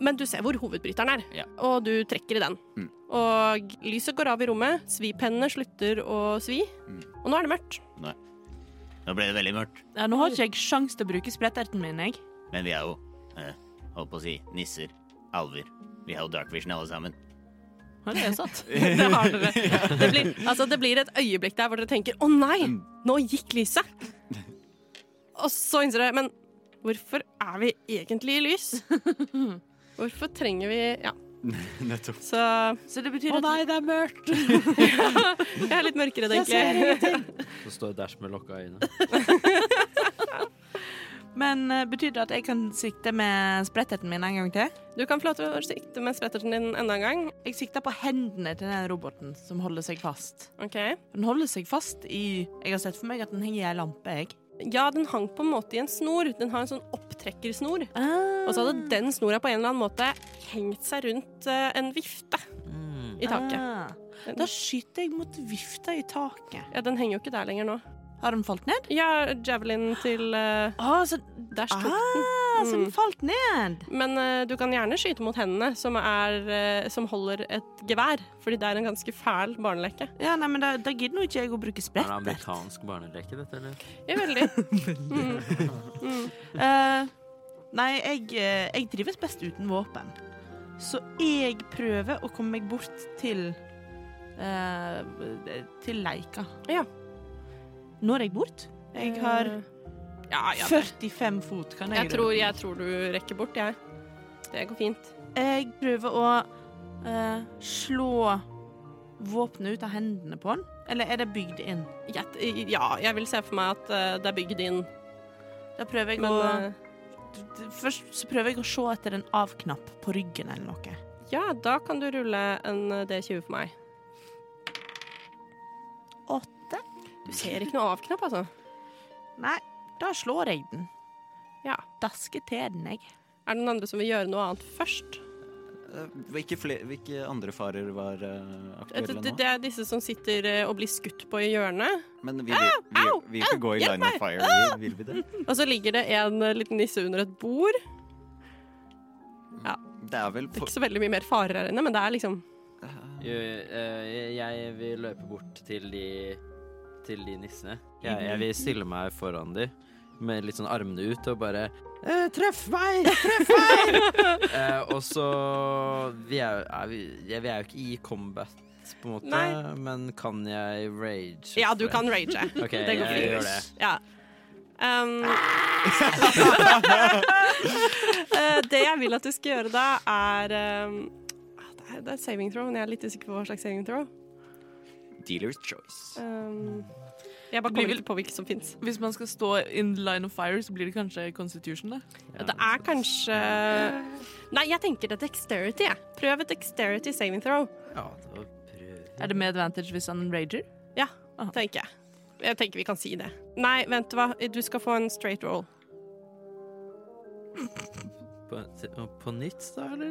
Men du ser hvor hovedbryteren er,
Ja.
og du trekker i den.
Mm.
Og
Mm.
lyset går av i rommet, svipennene slutter å svi, og nå er det mørkt.
Nei.
Nå ble det veldig mørkt.
Ja, nå har ikke jeg sjans til å bruke spretterten min, jeg.
Men vi er jo, eh, holdt på å si, nisser, alver. Vi har jo dark vision alle sammen.
Ja, Det er jo
[laughs]
sant.
Det har dere. Det blir, altså, det blir et øyeblikk der hvor dere tenker 'Å nei, nå gikk lyset'. Og så innser dere 'Men hvorfor er vi egentlig i lys?' Hvorfor trenger vi Ja.
Nettopp.
Så [laughs]
Så det betyr
Å
at
nei, det er mørkt!
jeg er litt mørkeredd,
Jeg ser
egentlig.
Så står Dash med lokka øyne.
[laughs]
Men eh, betyr det at jeg kan sikte med spretterten min en gang til?
Du kan få lov til å sikte med spretterten din enda en gang.
Jeg sikter på hendene til den roboten som holder seg fast.
Ok.
Den holder seg fast i Jeg har sett for meg at den henger i ei lampe, jeg.
Ja, den hang på en måte i en snor. Den har en sånn opptrekkersnor. Og så hadde den snora på en eller annen måte hengt seg rundt eh, en vifte
Mm.
i taket.
Ah. Da skyter jeg mot vifta i taket.
Ja, Den henger jo ikke der lenger nå.
Har den falt ned?
Ja, javelin til eh,
Ah, så,
Dash tok den.
ah, så den falt ned!
Men eh, du kan gjerne skyte mot hendene, som, er, eh, som holder et gevær. Fordi det er en ganske fæl barneleke.
Ja, nei, men da, da gidder nå ikke jeg å bruke
Er det
sprettert.
amerikansk barneleke, dette, eller?
Ja,
[laughs]
veldig. Mm.
Eh, nei, jeg, eh, jeg trives best uten våpen. Så jeg prøver å komme meg bort til eh, Til leika.
Ja.
Når jeg bort? Jeg har
Eh, ja, ja.
45 fot, kan jeg
Jeg tror, jeg tror du rekker bort, jeg. Det går fint.
Jeg prøver å eh, slå våpenet ut av hendene på den. Eller er det bygd inn?
Jeg, ja, jeg vil se for meg at eh, det er bygd inn.
Da prøver jeg
Men
å
eh,
Først så prøver jeg å se etter en av-knapp på ryggen eller noe.
ja, da kan du rulle en eh, D20 for meg.
Åtte?
Du ser ikke noe avknapp, altså.
Nei, da slår jeg den.
Ja.
Dasker til den, jeg.
Er det noen andre som vil gjøre noe annet først?
Eh, Hvilke, fle- hvilke andre farer var eh,
Det,
aktuelle
det,
nå?
det er disse som sitter eh, og blir skutt på i hjørnet.
Men vi vil, vi, vi vil ikke gå i line of fire, vi, vil vi det?
Og så ligger det en eh, liten nisse under et bord.
Det er vel
Det er
for,
ikke så veldig mye mer farer her inne, men det er liksom
Jo, eh, Jeg vil løpe bort til de, til de nissene. Jeg, jeg vil stille meg foran de med litt sånn armene ut og bare eh, Treff meg! Treff meg!
[laughs]
eh, og så vi er, jo- er vi, ja, vi er jo ikke i combat, på en måte,
Nei.
men kan jeg rage?
Ja, du
for
kan rage.
[laughs] Ok,
det går
jeg
fint.
gjør det.
Ja. Um, [laughs]
[laughs]
Eh, det jeg vil at du skal gjøre da, er um, ah, det er- Det er saving throw, men jeg er litt usikker på hva slags saving throw.
dealer's choice.
Um, jeg bare kommer ikke på hvilke som fins.
Hvis man skal stå in line of fire, så blir det kanskje Constitution, da.
Det er kanskje Nei, jeg tenker det er dexterity. Jeg. Prøv et dexterity saving throw,
Ja, da prøver
Er det med advantage hvis han rager?
tenker jeg. Jeg tenker vi kan si det. Nei, vent, hva? Du skal få en straight roll.
på, og på nytt, da, eller?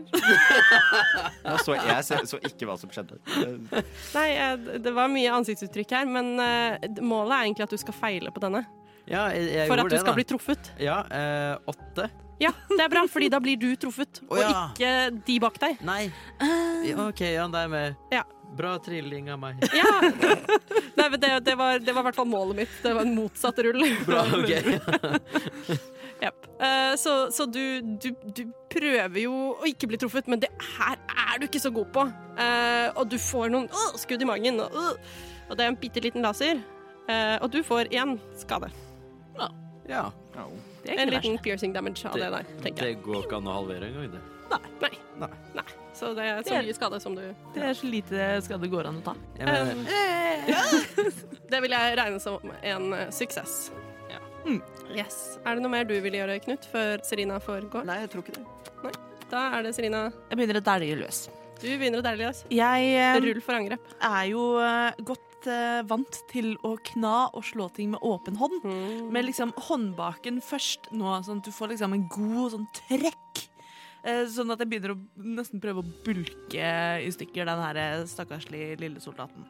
Ja, så jeg så, så ikke hva som skjedde. Eh,
Nei, eh, d- det var mye ansiktsuttrykk her, men eh, d- målet er egentlig at du skal feile på denne.
Ja, jeg, jeg
For
gjorde
at du
det,
skal
da.
bli truffet.
Ja, eh, åtte.
Ja, det er bra, fordi da blir du truffet, og
ja.
ikke de bak deg.
Nei. Ja, OK, ja, det er med.
Eh. Ja.
Bra trilling av meg.
Ja. [laughs] Nei, men det, det var det var i hvert fall målet mitt. Det var en motsatt rull.
Bra, [laughs] ok.
Jep. Eh, så så du, du, du prøver jo å ikke bli truffet, men det her er du ikke så god på. Eh, og du får noen øh, skudd i magen, og, øh, og det er en bitte liten laser. Eh, og du får én skade.
Ja.
Det er
En
ikke verst.
liten piercing damage av det der, tenker jeg.
Det går ikke an å halvere engang, det.
Nei.
Nei.
Nei. Så det er så mye skade som du
Det er så lite skade går an å ta.
Jeg
Eh.
mener,
Eh,
Det vil jeg regne som en eh, suksess.
Mm.
Yes. Er det noe mer du vil gjøre, Knut, før Serina får gå?
Nei, jeg tror ikke det.
Da er det Serina.
Jeg begynner å dælje løs.
Du begynner å deilige oss.
Jeg eh,
Rull for angrep.
er jo eh, godt eh, vant til å kna og slå ting med åpen hånd.
Mm.
Med liksom håndbaken først nå, sånn at du får liksom en god sånn trekk. Eh, Sånn at jeg begynner å nesten prøve å bulke i stykker den her eh, stakkarslige lille soldaten.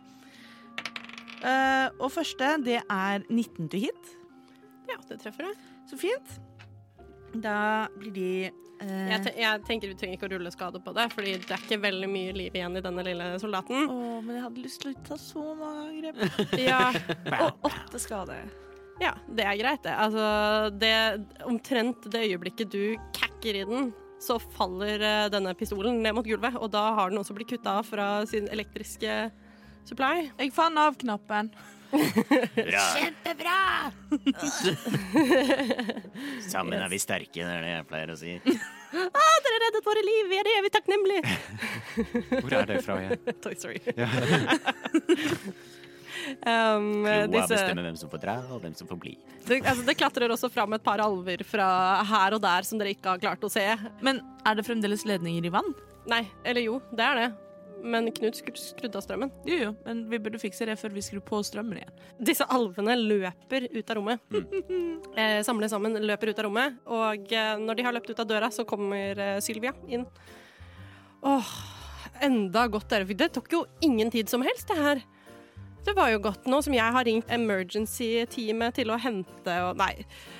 Eh, og første, det er 19 to hit.
Ja, det treffer du.
Så fint. Da blir de eh,
Jeg, te jeg tenker du trenger ikke å rulle skade på det, Fordi det er ikke veldig mye liv igjen i denne lille soldaten. [laughs]
[laughs] Å, men jeg hadde lyst til å ta så mange grep.
Ja.
Og åtte skade.
Ja, det er greit, det. Altså, det omtrent det øyeblikket du kakker i den, så faller eh, denne pistolen ned mot gulvet, og da har den også blitt kutta av fra sin elektriske supply.
Jeg fant av-knappen.
Bra.
Kjempebra!
[laughs] Sammen er vi sterke, det er det jeg pleier å si.
Dere reddet våre liv, vi er det evig takknemlige!
Hvor er det fra igjen?
[laughs] Toy Story. [laughs] um,
Kloa
disse,
bestemmer hvem som får dra, og hvem som får bli.
det, altså, det klatrer også fram et par alver fra her og der som dere ikke har klart å se.
Men er det fremdeles ledninger i vann?
Nei, eller jo, det er det. Men Knut skru- skrudde av strømmen.
Jo, jo, men vi burde fikse det før vi skrur på strømmen igjen.
Disse alvene løper ut av rommet. [laughs] Eh, samles sammen, løper ut av rommet. Og eh, når de har løpt ut av døra, så kommer eh, Sylvia inn. Åh, enda godt dere fikk det. tok jo ingen tid som helst, det her. Det var jo godt nå som jeg har ringt emergency-teamet til å hente og Nei.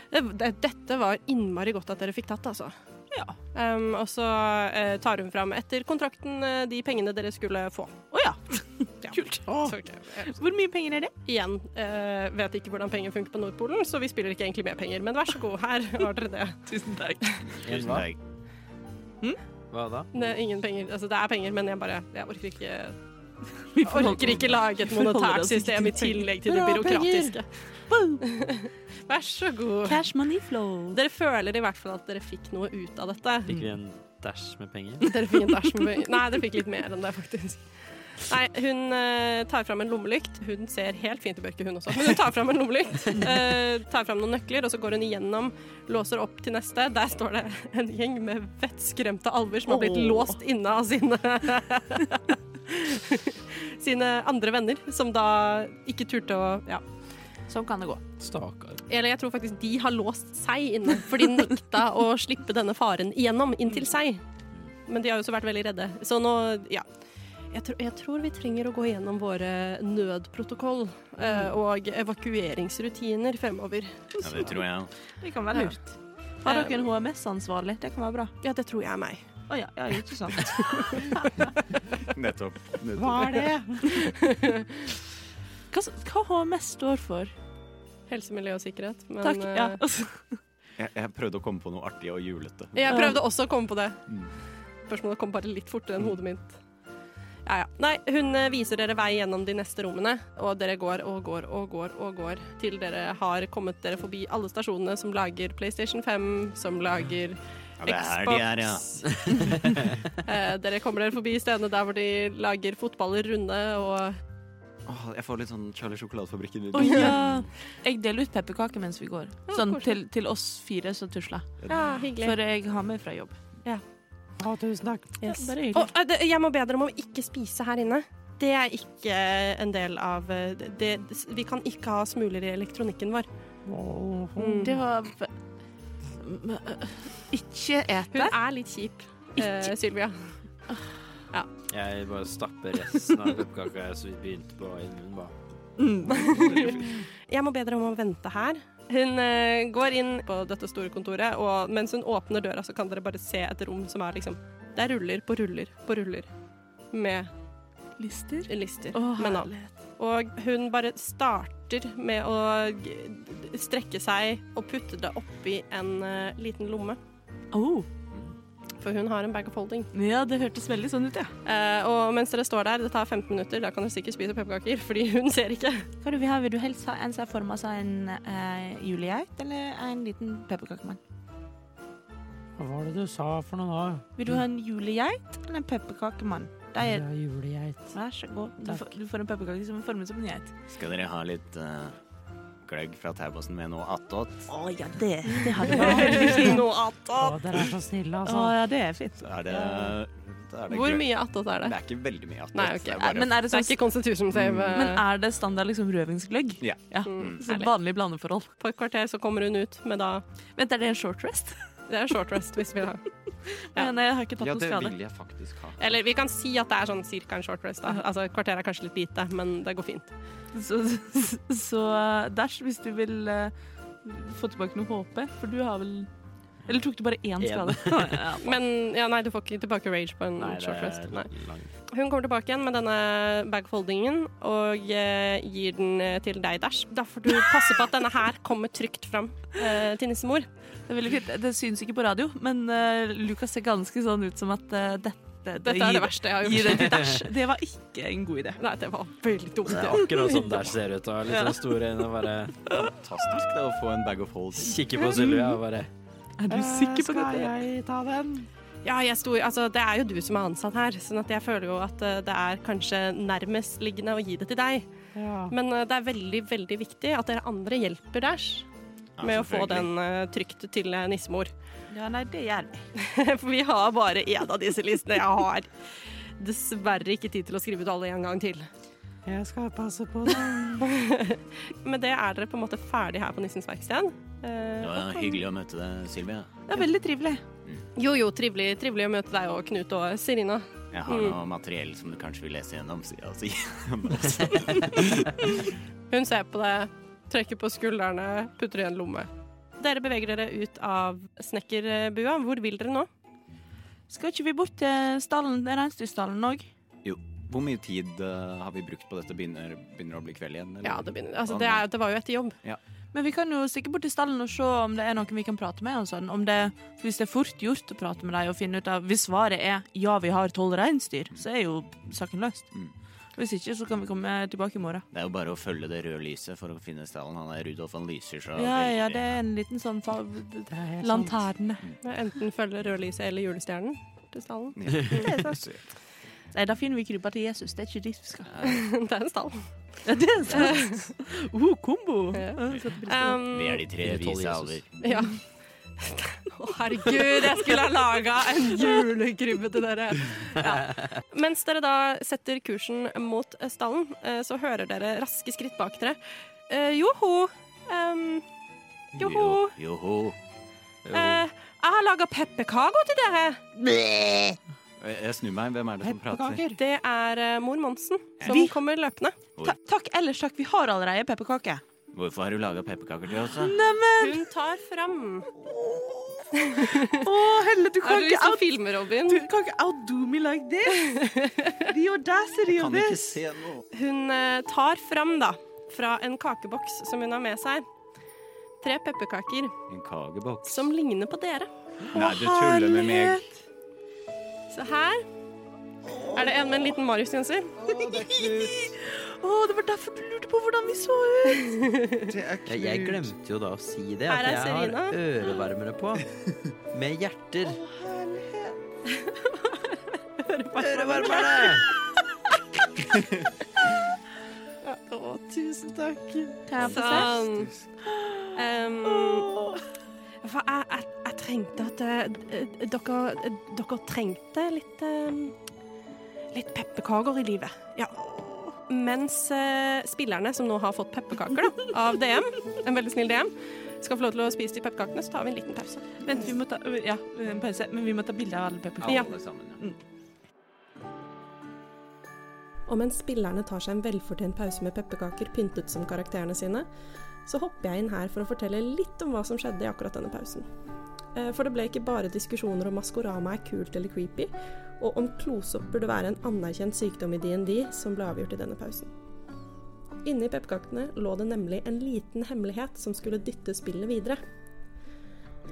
Det, det, dette var innmari godt at dere fikk tatt, altså.
Ja.
Ehm, og så eh, tar hun fram etter kontrakten eh, de pengene dere skulle få.
Å [laughs] ja.
Ja.
Kult.
Så, ok,
Hvor mye penger er det?
Igjen, eh, vet ikke hvordan penger funker på Nordpolen, så vi spiller ikke egentlig med penger. Men vær så god, her har dere det.
[laughs] Tusen takk.
Tusen takk.
Hva da?
det er ingen penger. Altså, det er penger, men jeg bare Jeg orker ikke,
Vi
jeg orker ikke lage et
vi forholder
monetært
oss ikke
system i
til penger.
tillegg til det
Bra,
byråkratiske. [laughs] Vær så god.
Cash money flow.
Dere føler i hvert fall at dere fikk noe ut av dette.
Fikk vi en dash med
[laughs]
penger?
Dere fikk en dash med penger. Nei, dere fikk litt mer enn det, faktisk. Nei, hun eh, tar fram en lommelykt. Hun ser helt fint i mørket, hun også. Men hun tar fram en lommelykt, eh, tar fram noen nøkler, og så går hun igjennom, låser opp til neste. Der står det en gjeng med vettskremte alver som har blitt
Åh.
låst inne av sine [laughs] Sine andre venner, som da ikke turte å ja.
Sånn kan det gå.
Stakkar.
Eller jeg tror faktisk de har låst seg inne, for de nekta å slippe denne faren igjennom inn til seg. Men de har jo også vært veldig redde. Så nå, ja. Jeg tror, jeg tror vi trenger å gå gjennom våre nødprotokoll eh, og evakueringsrutiner fremover.
Ja, det tror jeg òg.
Det kan være lurt. Har dere en HMS-ansvarlig? Det kan være bra.
Ja, det tror jeg er meg.
Eh. Å ja, ja, ikke [laughs] sant.
[laughs] Nettopp.
Hva er det?
Hva, s- hva HMS står for?
Helse, miljø og sikkerhet. Men,
Takk. Ja.
eh,
[laughs]
Jeg, jeg prøvde å komme på noe artig og julete.
Jeg prøvde også å komme på det.
Mm.
Spørsmålet kom bare litt fortere enn hodet mitt. Ja, ja. Nei, hun eh, viser dere vei gjennom de neste rommene, og dere går og går og går og går til dere har kommet dere forbi alle stasjonene som lager PlayStation 5, som lager
Ja, det er her de er, ja.
Xbox. [laughs] Eh, dere kommer dere forbi stedene der hvor de lager fotballer runde og
Åh, jeg får litt sånn Charlie Sjokoladefabrikken
Å ja. [laughs] Jeg deler ut pepperkaker mens vi går.
Ja,
Sånn
koselig.
til, til oss fire som tusler.
Ja, hyggelig.
For jeg har med fra jobb.
Å, tusen takk.
Yes. Bare
Og, eh, det- jeg må be dere om å ikke spise her inne. Det er ikke en del av eh, det, det, Vi kan ikke ha smuler i elektronikken vår. Mm.
Det var M- øh, Ikke
Hun
ete.
er litt kjip, eh, Sylvia.
Jeg bare stapper resten av pepperkaka som vi begynte på, i munnen. bare.
Mm.
Jeg må be dere om å vente her. Hun eh, går inn på dette store kontoret, og mens hun åpner døra, så kan dere bare se et rom som er liksom Det er ruller på ruller på ruller med
[laughs] Lister.
lister
Å,
med navn.
herlighet.
Og hun bare starter med å g- d- strekke seg og putte det oppi en eh, liten lomme,
Oh.
for hun har en bag of holding.
Ja, det hørtes veldig sånn ut, ja.
Eh, og mens dere står der, det tar 15 minutter, da kan dere sikkert spise pepperkaker, [laughs] fordi hun ser ikke.
Hva er det vi har? Vil du helst ha en som er forma som en eh, julegeit, eller en liten pepperkakemann?
Hva var det du sa for noe nå?
Vil du ha en julegeit eller en pepperkakemann? De
Det
er
er julegeit.
Vær så god. Du
Takk.
får, du får en pepperkake som er formet som en geit.
Skal dere ha litt eh, gløgg fra Taubassen med noe attåt?
Å ja, det, det [laughs] hadde
Noe
Å,
attåt.
dere er så snille,
Å
altså.
ja, det er sånn. fint.
Så er det, da er det
Hvor
gløgg.
mye attåt er det?
Det er ikke veldig mye attåt.
Nei, ok.
Det er
Men er det,
Det
sånn,
er ikke Constitution Save. eh,
men er det standard liksom røvingsgløgg?
Ja.
Mm,
Så
herlig.
vanlig blandeforhold.
På et kvarter så kommer hun ut med da
Vent, er det en short rest?
Det er short rest hvis vi vil ha. Ja.
Men jeg har ikke tatt
Ja,
noen
det
skade.
vil jeg faktisk ha.
Eller vi kan si at det er sånn cirka en short rest, da. Altså et kvarter er kanskje litt lite, men det går fint.
Så, [laughs] så, Dash, hvis du vil eh, få tilbake noe HP, for du har vel Eller tok du bare én
Én.
[laughs] skade? ja.
Men ja, nei, du får ikke tilbake rage på en
Nei, det
short rest.
er
Mm, Nei.
lang- lang.
Hun kommer tilbake igjen med denne bagfoldingen og eh, gir den eh, til deg, Dash. Da får du passe på at denne her kommer trygt fram eh, til nissemor.
Det er veldig fint. Det syns ikke på radio, men eh, Lukas ser ganske sånn ut som at eh, dette,
Dette er det verste jeg har
Gi
gjort.
det til Dash. Det var ikke en god idé.
[laughs] Nei, det var veldig dumt.
Det er akkurat som der ser ut. Og litt sånn store øyne og bare
[laughs]
Fantastisk det å få en bag of holding.
kikker på Sylvia og bare
Er du sikker på
Skal
dette?
jeg ta den?
Ja, jeg sto, altså, det er jo du som er ansatt her, sånn at jeg føler jo at eh, det er kanskje nærmest liggende å gi det til deg.
Ja.
Men eh, det er veldig, veldig viktig at dere andre hjelper Dash med å få den eh, trygt til eh, nissemor. [laughs]
Ja, nei, det gjør vi.
For vi har bare én av disse listene jeg har. Dessverre ikke tid til å skrive ut alle en gang til.
Jeg skal passe på den.
Med det er dere på en måte ferdig her på Nissens verksted. Eh,
Det var hyggelig å møte deg, Sylvia.
Det er veldig trivelig.
jo, jo, trivelig, trivelig å møte deg og Knut og Serina.
Jeg
Mm.
har noe materiell som du kanskje vil lese gjennom. sier [laughs] jeg, og så gir jeg meg også.
Hun ser på det, trekker på skuldrene, putter i en lomme. Dere beveger dere ut av snekkerbua. Hvor vil dere nå?
Skal ikke vi bort til stallen, den reinsdyrstallen òg?
Hvor mye tid eh, har vi brukt på dette? Begynner, begynner å bli kveld igjen? eller?
Ja, det, begynner, altså, det, er, det var jo etter jobb.
Men vi kan jo stikke bort til stallen og se om det er noen vi kan prate med. Og sånn. om det, for hvis det er fort gjort å prate med dem og finne ut av Hvis svaret er ja, vi har tolv reinsdyr, så er jo saken løst.
Mm.
Hvis ikke, så kan vi komme tilbake i morgen.
Det er jo bare å følge det røde lyset for å finne stallen. Han er Rudolf, han lyser så
Ja, ja,
[laughs] veldig.
det er en liten sånn fa
Det er helt sant.
Lanterne.
Enten følger rødlyset eller julestjernen til stallen.
Nei, da finner vi krybba til Jesus. Det er ikke dit vi skal.
[laughs] Det er en stall.
Ja, det [laughs] er sant. Uh, kombo.
Ja.
Ja, setter pris på det.
Vi
Um,
er de tre
Rudolf og
vise
Jesus.
alver.
ja. Å, herregud, jeg skulle ha laga en julekrybbe til dere! Ja. Mens dere da setter kursen mot stallen, eh, så hører dere raske skritt bak dere. Eh, Joho! Um, joho!
Jo- Joho.
Eh, jeg har laga pepperkaker til dere!
Jeg, jeg snur meg. Hvem er det som prater?
Pepperkaker.
Det er eh, mor Monsen som
Vi-
kommer løpende.
Ta takk, ellers takk. Vi har allerede pepperkaker.
Hvorfor har du laga pepperkaker til oss, da?
Hun tar fram.
Å, Helle, du
Har du lyst til å filme, Robin?
Du kan ikke outdo me like this! [laughs] The audacity of
Kan ikke
this!
se noe.
Hun eh, tar fram, da, fra en kakeboks som hun har med seg, tre pepperkaker
En kakeboks.
som ligner på dere.
Nei, du tuller med meg.
Så her er det en med en liten Marius-genser. [laughs]
Å, det var derfor du lurte på hvordan vi så ut!
Jeg, jeg glemte jo da å si det.
Her
At
er
jeg har
Serena.
ørevarmere på. Med hjerter. Ørevarmere!
Å, tusen takk.
Kan jeg få se?
Sånn. Ehm, for jeg, jeg, jeg trengte at eh, dere, dere trengte litt eh, Litt pepperkaker i livet. Ja. Mens eh, spillerne som nå har fått pepperkaker da, av DM, en veldig snill DM, skal få lov til å spise de pepperkakene, så tar vi en liten pause.
Vent, vi må ta øh, Ja, en pause. Men vi må ta bilde av alle pepperkakene.
Ja.
Alle sammen, ja.
Og mens spillerne tar seg en velfortjent pause med pepperkaker pyntet som karakterene sine, så hopper jeg inn her for å fortelle litt om hva som skjedde i akkurat denne pausen. Eh, For det ble ikke bare diskusjoner om Maskorama er kult eller creepy, og om klosopp burde være en anerkjent sykdom i DND som ble avgjort i denne pausen. Inni pepperkakene lå det nemlig en liten hemmelighet som skulle dytte spillet videre.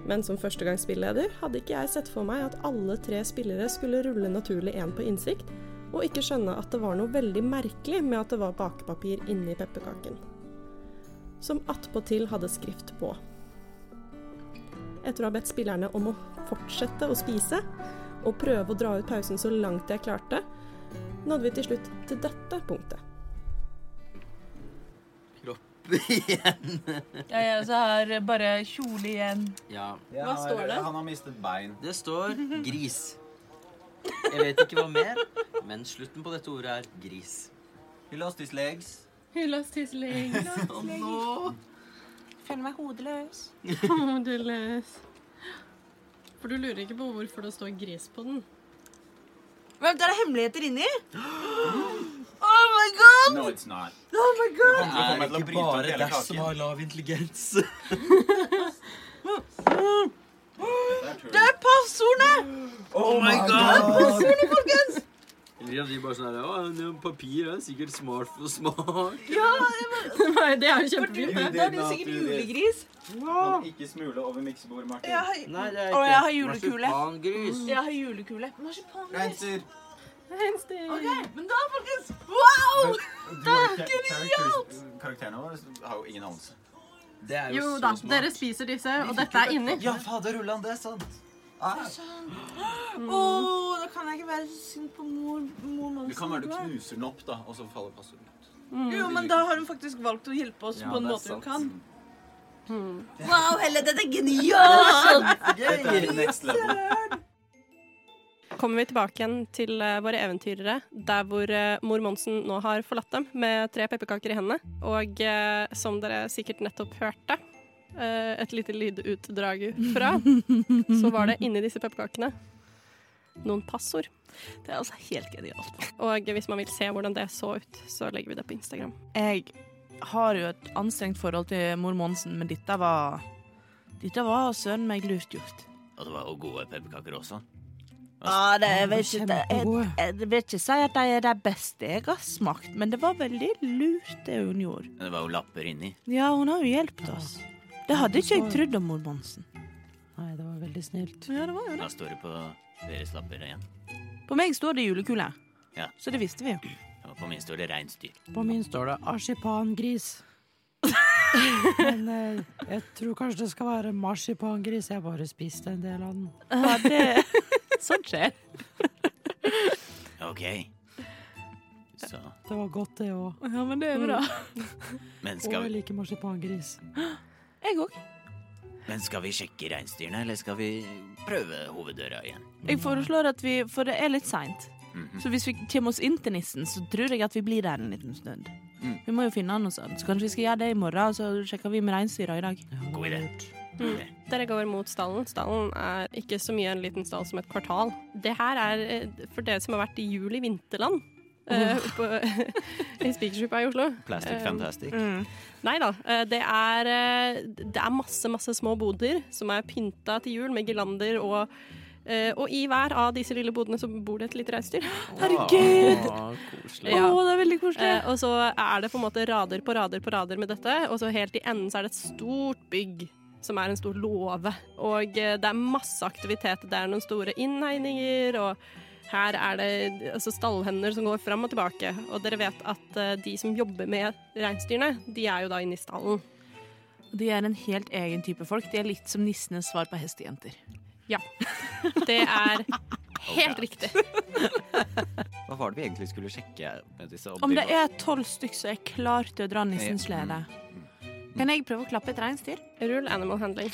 Men som førstegangsspilleder hadde ikke jeg sett for meg at alle tre spillere skulle rulle naturlig én på innsikt, og ikke skjønne at det var noe veldig merkelig med at det var bakepapir inni pepperkaken. Som attpåtil hadde skrift på. Etter å ha bedt spillerne om å fortsette å spise, og prøve å dra ut pausen så langt jeg klarte, nådde vi til slutt til dette punktet.
Ja, jeg også har bare kjole igjen.
Ja.
Hva
står det?
Han har mistet bein.
Det står gris. Jeg vet ikke hva mer, men slutten på dette ordet er gris.
He lost his legs.
Hyllas tisling,
Og nå
Føler meg [laughs] hodeløs.
hodeløs. For du lurer ikke på hvorfor det står gris på den?
Vent, det er hemmeligheter inni! [gasps] Oh my god!
No, it's not.
Oh my god!
Det
er det ikke bare deg som har lav [laughs] intelligens.
Det er passordene!
William, vi tenker bare sånn her Å, en papir er sikkert smart for smak.
Nei, det er jo kjempefint.
Du,
Da er det jo sikkert julegris.
Kan ikke smule over miksebordet, Martin.
Jeg har,
Nei, det er
Å, jeg har julekule. Mm.
Marsipangris.
jeg har julekule. Marsipangris.
Renser.
Ok, men da, folkens Wow!
Genialt! Karakterene våre har jo ingen anelse.
Det er
Jo
jo,
da,
så smart.
dere spiser disse, og dette er inni.
Ja, fader Ulland, det er sant. Ah,
Åh, da kan jeg ikke være så synd på mor, mor
det
Monsen.
kan være du knuser den opp, da, og så faller passordet ut.
Jo, men da har hun faktisk valgt å hjelpe oss
Ja,
på en
det er
måte hun
sant.
kan.
Wow,
Helle, [laughs]
dette er genialt! Dette er next level.
Kommer vi tilbake igjen til eh, våre eventyrere, der hvor eh, mor Monsen nå har forlatt dem med tre pepperkaker i hendene. Og eh, som dere sikkert nettopp hørte eh, et lite lydutdrag fra, så var det inni disse pepperkakene noen passord.
Det er altså helt genialt.
Og hvis man vil se hvordan det så ut, så legger vi det på Instagram.
Jeg har jo et anstrengt forhold til mor Monsen, men dette var Dette var søren meg lurt gjort.
Og det var jo gode pepperkaker også.
Ja, det, jeg, vet ikke, det- jeg,
Kjempegode.
jeg vil ikke si at de er de beste jeg har smakt, men det var veldig lurt, det hun gjorde.
Men det var jo lapper inni.
Ja, hun har jo hjulpet oss. Det hadde ikke jeg trodd om mor Monsen.
Nei, det var veldig snilt.
Ja, det var jo det.
Da står det på deres lapper igjen.
På meg står det julekule,
Ja.
så det visste vi jo.
Og på min står det reinsdyr.
På min står det arsipangris. Men eh, jeg tror kanskje det skal være marsipangris. Jeg har bare spist en del av den.
Ja, [laughs] det... Sånt Sånn skjer.
Ok. Så
Det var godt, det òg.
Ja, men det er bra.
Men
Og
skal,
jeg liker marsipangris.
Jeg òg.
men skal vi sjekke reinsdyrene, eller skal vi prøve hoveddøra igjen?
Jeg foreslår at vi For det er litt seint.
Mhm.
Så hvis vi kommer oss inn til nissen, så tror jeg at vi blir der en liten stund.
Mm.
Vi må jo finne han og sånn. Så kanskje vi skal gjøre det i morgen, og så sjekker vi med reinsdyra i dag.
God idé. Ok.
Dere går mot stallen. Stallen er ikke så mye en liten stall som et kvartal. Det her er eh, for dere som har vært i jul i vinterland. eh, på, [laughs] I Spikersuppa i Oslo.
Plastic
Eh,
fantastic.
mm.
Nei da. eh, Det er, eh, det er masse, masse små boder som er pynta til jul med girlander og eh, Og i hver av disse lille bodene så bor det et lite reinsdyr.
Herregud!
Å, koselig.
Ja.
Å, det er veldig koselig.
Eh, og så er det på en måte rader på rader på rader med dette, og så helt i enden så er det et stort bygg. Som er en stor låve. Og eh, det er masse aktivitet. Det er noen store innhegninger, og her er det altså, stallhender som går fram og tilbake. Og dere vet at eh, de som jobber med reinsdyrene, de er jo da inne i stallen.
De er en helt egen type folk. De er litt som nissenes svar på hestejenter.
Det er helt riktig.
Hva var det vi egentlig skulle sjekke med disse
Om det
oppdrivene?
er tolv stykk, så er jeg klar til å dra nissens slede.
Mm,
Kan jeg prøve å klappe et reinsdyr?
Rull animal handling.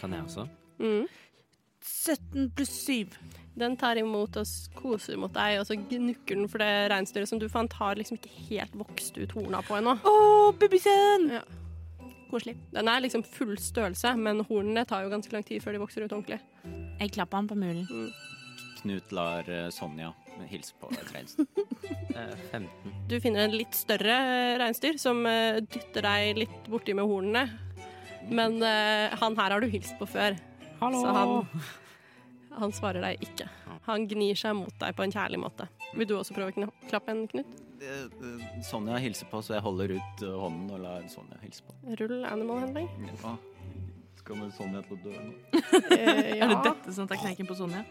Kan jeg også?
Mm.
17 pluss 7.
Den tar imot og s- koser mot deg, og så gnukker den for det reinsdyret som du fant, har liksom ikke helt vokst ut horna på ennå.
Å, babysen!
Ja.
Koselig.
Den er liksom full størrelse, men hornene tar jo ganske lang tid før de vokser ut ordentlig.
Jeg klapper han på mulen.
Knut lar eh, Sonja hilse på et reinsdyr.
Eh, 15.
Du finner en litt større eh, reinsdyr som eh, dytter deg litt borti med hornene. Men eh, han her har du hilst på før,
Hallo!
så han, han svarer deg ikke. Han gnir seg mot deg på en kjærlig måte. Vil du også prøve å kna- klappe en, Knut?
Eh, eh, Sonja hilser på, så jeg holder ut eh, hånden og lar Sonja hilse på.
Rull animal handling.
Ja. Kommer Sonja til å dø nå?
[laughs] Eh,
Er det
ja.
dette som er teknikken på Sonja?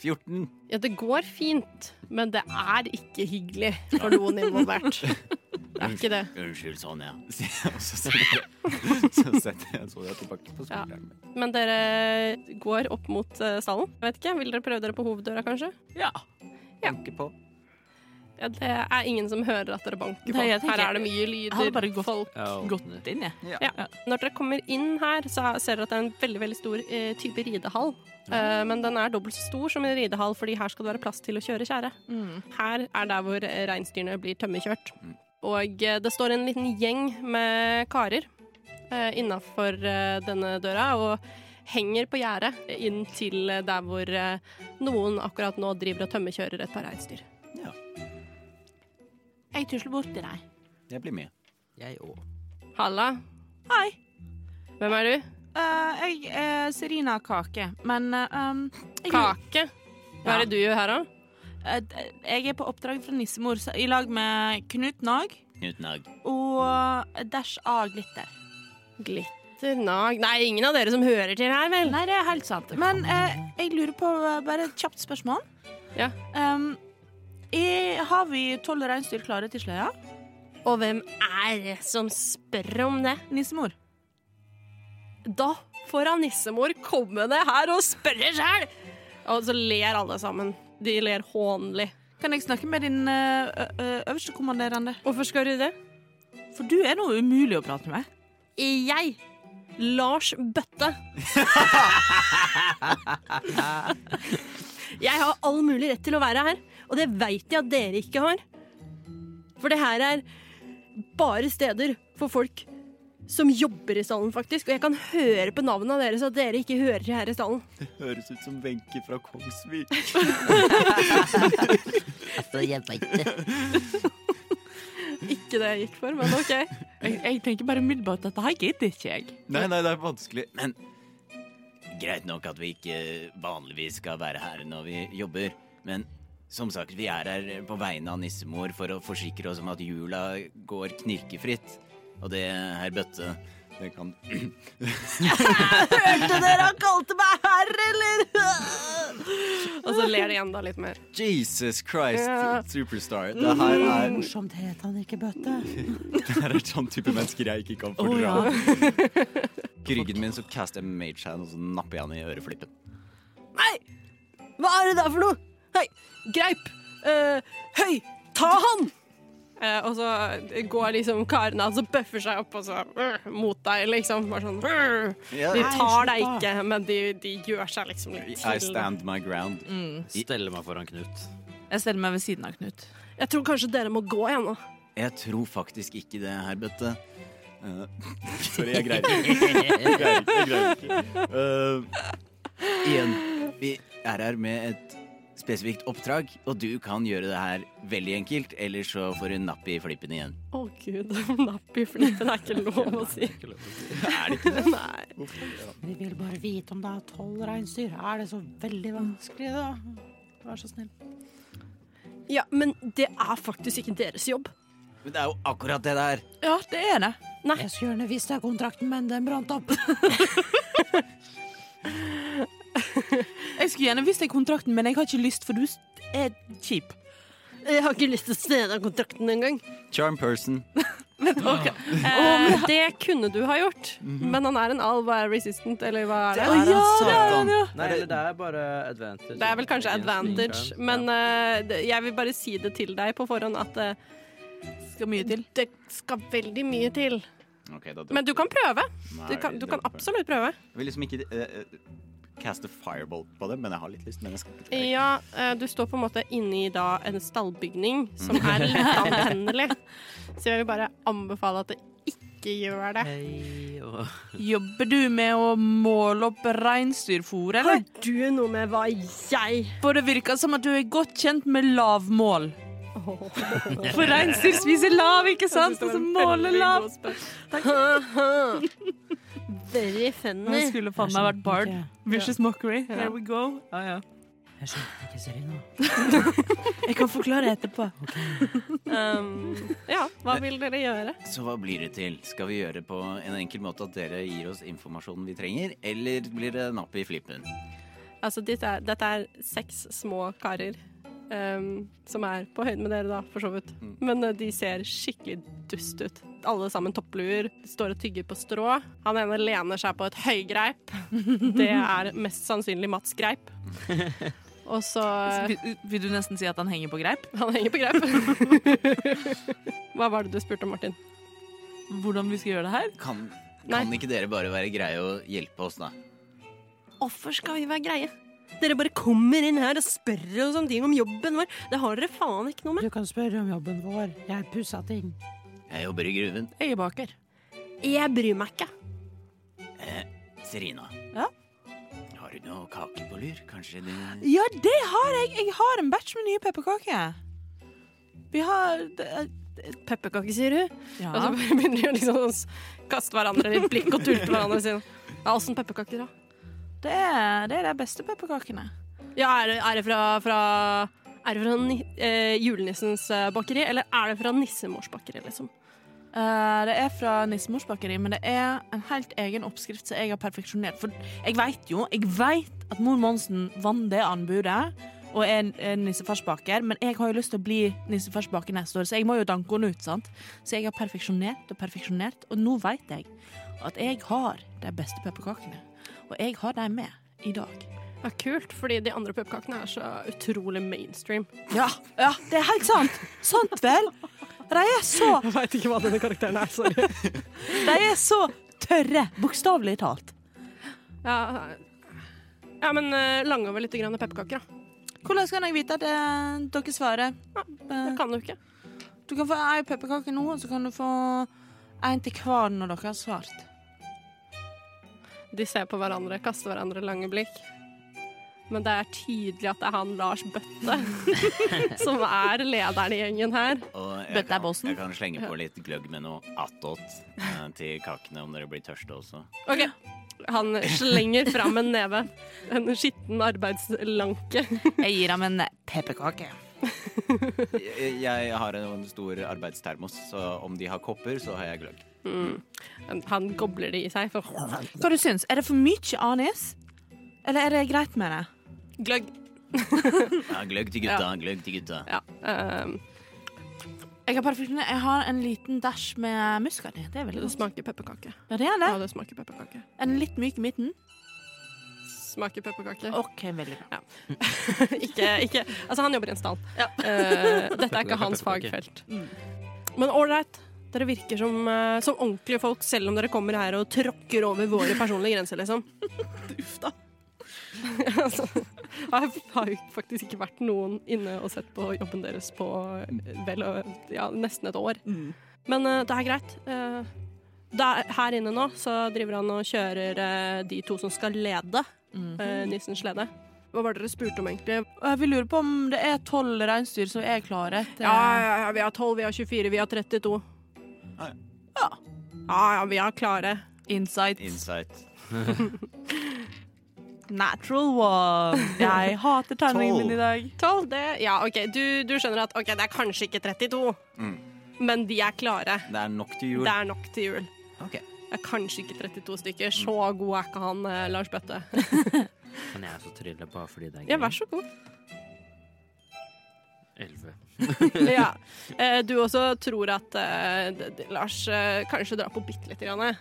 14.
ja, det går fint, men det er ikke hyggelig for noen involvert. Det er ikke det.
Unnskyld, Sonja.
sier jeg, og så setter jeg- så setter jeg Sonja tilbake på
Ja.
skulderen. min.
Men dere går opp mot eh, stallen. Jeg vet ikke, Vil dere prøve dere på hoveddøra, kanskje?
Ja.
Ja.
Banker på.
Ja, det er ingen som hører at dere banker på.
Nei, jeg tenker-
her er det mye
Jeg hadde
lyder.
bare gått,
Folk.
Jeg åpner.
gått inn, jeg.
Når dere kommer inn her, så ser dere at det er en veldig veldig stor eh, type ridehall. Eh, men den er dobbelt så stor som en ridehall, fordi her skal det være plass til å kjøre kjære. Her er der hvor eh, reinsdyrene blir tømmerkjørt. Og eh, det står en liten gjeng med karer eh, innafor eh, denne døra og henger på gjerdet inn til eh, der hvor eh, noen akkurat nå driver og tømmerkjører et par reinsdyr.
Jeg tusler bort til deg.
[laughs] Jeg blir med.
Jeg òg.
Halla,
Hei.
hvem er du?
Eh, jeg er Serina Kake, men eh, um, jeg,
Kake. Hva er det du gjør her, da?
eh, d- Jeg er på oppdrag fra nissemor så- i lag med Knut Nag
Knut Nag.
og eh, Dash A. Glitter.
Glitter, nag Nei, ingen av dere som hører til her, vel?
Nei, det er helt sant. Men eh, jeg lurer på eh, bare et kjapt spørsmål.
Ja.
Um, er, har vi tolv reinsdyr klare til sløya?
Og hvem er det som spør om det?
Nissemor.
Da får han nissemor komme ned her og spørre sjæl! Og så ler alle sammen. De ler hånlig.
Kan jeg snakke med din eh, ø- ø- øverstekommanderende?
Hvorfor skal du det?
For du er noe umulig å prate med.
Jeg, Lars Bøtte. jeg har all mulig rett til å være her, og det veit jeg at dere ikke har. For det her er bare steder for folk som jobber i stallen, faktisk. Og jeg kan høre på navnene deres at dere ikke hører til her i stallen.
Høres ut som Wenche fra Kongsvik.
Altså, jeg veit det.
Ikke det jeg gikk for, men OK.
Jeg, jeg tenker bare umiddelbart at dette her gidder ikke jeg.
Nei, nei, det er vanskelig.
Men greit nok at vi ikke vanligvis skal være her når vi jobber. Men som sagt, vi er her på vegne av nissemor for å forsikre oss om at jula går knirkefritt. Og det, herr Bøtte, det kan
Og så ler de igjen da litt mer.
Jesus Christ,
Ja.
superstar. Det her er,
Morsomt het han ikke Bøtte.
det her er sånn type mennesker jeg ikke kan fordra. På ryggen min så caster jeg mage hand, og så napper jeg han i øreflippen.
Hva er det der for noe? Hei, greip! Eh, høy, ta han! Eh, og så går liksom karene hans og bøffer seg opp og så øh, mot deg, liksom. Bare sånn øh. De tar deg ikke, men de, de gjør seg liksom litt
I stand my ground.
Stelle meg foran Knut.
Jeg steller meg ved siden av Knut.
Jeg tror kanskje dere må gå igjen nå.
Jeg tror faktisk ikke det, herr Bøtte. Eh,
[laughs] Sorry, jeg greier ikke. Jeg greier ikke, jeg greier ikke. Eh,
igjen, vi er her med et spesifikt oppdrag, og du kan gjøre det her veldig enkelt, ellers så får du napp i flippen igjen.
Å gud, [laughs] napp i flippen er ikke
[laughs]
lov å si. Nei.
Vi vil bare vite om det er tolv reinsdyr. Er det så veldig vanskelig, da? Vær så snill.
Ja, men det er faktisk ikke deres jobb.
Men det er jo akkurat det der.
Ja, det er det.
Jeg skulle gjerne visst deg kontrakten, men den brant opp.
Jeg skulle gjerne visst deg kontrakten, men jeg har ikke lyst, for du er kjip.
Jeg har ikke lyst til å se den kontrakten engang.
Charm person.
Eh, men det kunne du ha gjort,
Mhm.
men han er en alv og er resistant, eller hva er det?
Å ja,
Nei, eller det er bare advantage.
Det er vel kanskje
Against
advantage,
nature.
men
Ja.
eh, det- jeg vil bare si det til deg på forhånd at eh,
Skal mye til.
det skal veldig mye til.
Okay, da dropper
Men du kan prøve. Du
Nei,
kan, du
det
kan
dropper.
absolutt prøve.
Jeg vil liksom ikke eh, eh, caste fireball på det, men jeg har litt lyst. Men jeg skal ikke
Ja, eh, du står på en måte inni da en stallbygning [laughs] som er lettanvendelig, så jeg vil bare anbefale at det ikke gjør det.
Hei, og
Jobber du med å måle opp reinsdyrfôr, eller?
du noe med hva jeg
For det virker som at du er godt kjent med lavmål. For reinsdyr spiser lav, ikke sant? Og så måler lav.
[laughs] Very
Jeg
funny.
skulle faen meg vært bard. Vicious mockery. There we go. Ja, ja.
Jeg skjønte ikke Serena.
Jeg kan forklare etterpå.
Um, ja, hva vil dere gjøre?
Så hva blir det til? Skal vi gjøre det på en enkel måte at dere gir oss informasjonen vi trenger, eller blir det napp i flippen?
Altså, dette er, dette er seks små karer ehm, som er på høyde med dere, da, for så vidt. Men eh, de ser skikkelig dust ut. Alle sammen toppluer, står og tygger på strå. Han ene lener seg på et høygreip. Det er mest sannsynlig Mats [laughs] Greip. Og så
Vil, vil du nesten si at han henger på greip?
Han henger på [laughs] greip. Hva var det du spurte om, Martin?
Hvordan vi skal gjøre det her?
Kan,
Nei.
kan ikke dere bare være greie og hjelpe oss, da?
Hvorfor skal vi være greie? Dere bare kommer inn her og spør oss om ting om jobben vår. Det har dere faen ikke noe med.
Du kan spørre om jobben vår. Jeg pussa ting.
Jeg jobber i gruven.
Jeg er baker.
Jeg bryr meg ikke.
Serina.
Ja?
Har du noe kake på lur? Kanskje det
Ja, det har jeg! Jeg har en batch med nye pepperkaker. Vi har
Pepperkake, sier du?
Ja.
[laughs] Og så begynner de å liksom å s- kaste hverandre litt blikk og tulte hverandre og si Ja, åssen pepperkaker, da?
Det er, det er de beste pepperkakene.
Ja, er det, er det fra, fra Er det fra ni eh, julenissens eh, bakeri, eller er det fra nissemors bakeri, liksom?
Eh, det er fra Nissemors bakeri, men det er en helt egen oppskrift som jeg har perfeksjonert. For jeg veit jo jeg vet at mor Monsen vant det anbudet og er en- en nissefarsbaker, men jeg har jo lyst til å bli nissefarsbaker neste år, så jeg må jo danke henne ut, sant. Så jeg har perfeksjonert og perfeksjonert, og nå veit jeg at jeg har de beste pepperkakene. Og jeg har dem med i dag.
Ja, kult, fordi de andre pepperkakene er så utrolig mainstream.
Ja, ja, det er helt sant. Sant vel? De er så
Jeg veit ikke hva denne karakteren er, sorry.
De er så tørre, bokstavelig talt.
Ja, eh, ja men eh, lang over litt grann pepperkaker, da.
Hvordan kan jeg vite at eh, dere svarer? Eh,
Det kan du ikke.
Du kan få ei pepperkake nå, og så kan du få en til hver når dere har svart.
De ser på hverandre, kaster hverandre lange blikk. Men det er tydelig at det er han Lars Bøtte [laughs] som er lederen i gjengen her.
Og jeg,
Bøtte er
kan,
bossen.
jeg kan slenge på litt gløgg med noe attåt
[laughs]
eh, til kakene om dere blir tørste også.
OK. Han slenger fram en neve. En skitten arbeidslanke.
Jeg gir ham en pepperkake.
Jeg, jeg har en en stor arbeidstermos, så om de har kopper, så har jeg gløgg.
Mm. Han gobler det i seg. For
Hva du syns? Er det for mye anis? Eller er det greit med det?
gløgg.
Ja, gløgg til gutta, gløgg til gutta.
Ja. ehm,
Jeg har, perfeksjonert- jeg har en liten dæsj med muskat i. Det er veldig
det
godt.
smaker pepperkake.
Ja, det er det.
Ja, det smaker pepperkake.
En litt myk i midten.
Smaker pepperkake.
OK, veldig bra.
[laughs] ikke, ikke Altså, han jobber i en stall. Eh, dette er ikke hans fagfelt.
Mm.
Men ålreit. Dere virker som, eh, som ordentlige folk, selv om dere kommer her og tråkker over våre personlige grenser, liksom. [laughs] Uff, da. [laughs] altså, jeg har jo faktisk ikke vært noen inne og sett på jobben deres på eh, vel og- ja, nesten et år.
Mm.
Men eh, det er greit. Eh, det er, her inne nå så driver han og kjører eh, de to som skal lede
Mm.
eh, Nissens lede. Hva var det dere spurte om, egentlig?
Og jeg vil lure Eh, på om det er tolv reinsdyr som er klare til
Ja, ja, ja, vi har 12, vi har 24, vi har 32.
Ja.
Ja, ja, ja vi er klare.
insight.
Insight.
Natural one. Jeg hater terningen min i dag.
12, det Ja, OK, du, du skjønner at OK, det er kanskje ikke 32, men de er klare.
Det er nok til jul.
Det er nok til jul. Det er kanskje ikke 32 stykker. Så god er ikke han eh, Lars Bøtte.
Kan jeg også trylle på fordi det er
Ja, vær så god.
Elleve.
[laughs] Ja. Eh, Du også tror at eh, d- d- Lars eh, kanskje drar på bitte lite grann. eh.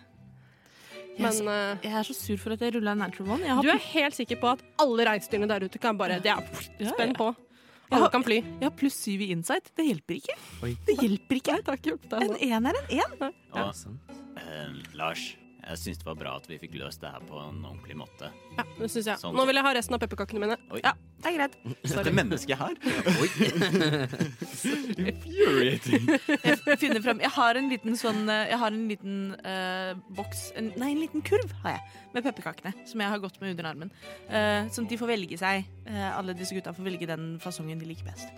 Yes.
Men eh,
Jeg er så sur for at jeg ruller en natural one. Jeg har,
du er helt sikker på at alle reinsdyrene der ute kan bare Det er
Ja,
spenn
ja.
på.
Jeg
Alle
har-
kan fly.
jeg har pluss syv i insight. Det hjelper ikke. Det hjelper ikke.
Det har ikke hjulpet deg
En
nå.
én er en én.
Og
[laughs] sant.
eh, Lars, jeg syns det var bra at vi fikk løst det her på en ordentlig måte.
Ja, det synes jeg.
Sånn.
Nå vil jeg ha resten av pepperkakene mine.
Oi.
Ja,
Det er
[laughs]
greit.
Dette mennesket her.
[laughs]
Jeg finner frem. Jeg har en liten sånn eh, Jeg har en liten eh, boks en, Nei, en liten kurv har jeg med pepperkakene. Som jeg har gått med under armen. Eh, sånn at de får velge seg. eh, alle disse gutta får velge den fasongen de liker best.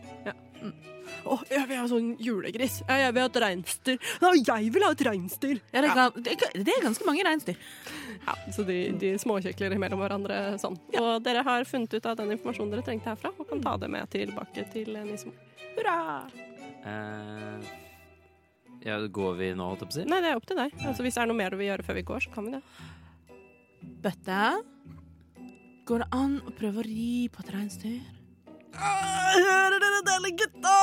Åh, jeg vil ha sånn julegris. Ja, jeg vil ha et reinsdyr. Nei, jeg vil ha et reinsdyr!
Ja, det, er, gan- det er- det er ganske mange reinsdyr.
Ja, så de, de småkjekler mellom hverandre sånn. Og dere har funnet ut av den informasjonen dere trengte herfra, og kan ta det med tilbake til Nismo. Hurra!
Eh, ja, går vi nå, holdt jeg på å si?
Nei, det er opp til deg. Altså, hvis det er noe mer du vil gjøre før vi går, så kan vi det.
Bøtte. Går det an å prøve å ri på et reinsdyr?
Hører dere det, eller gutta?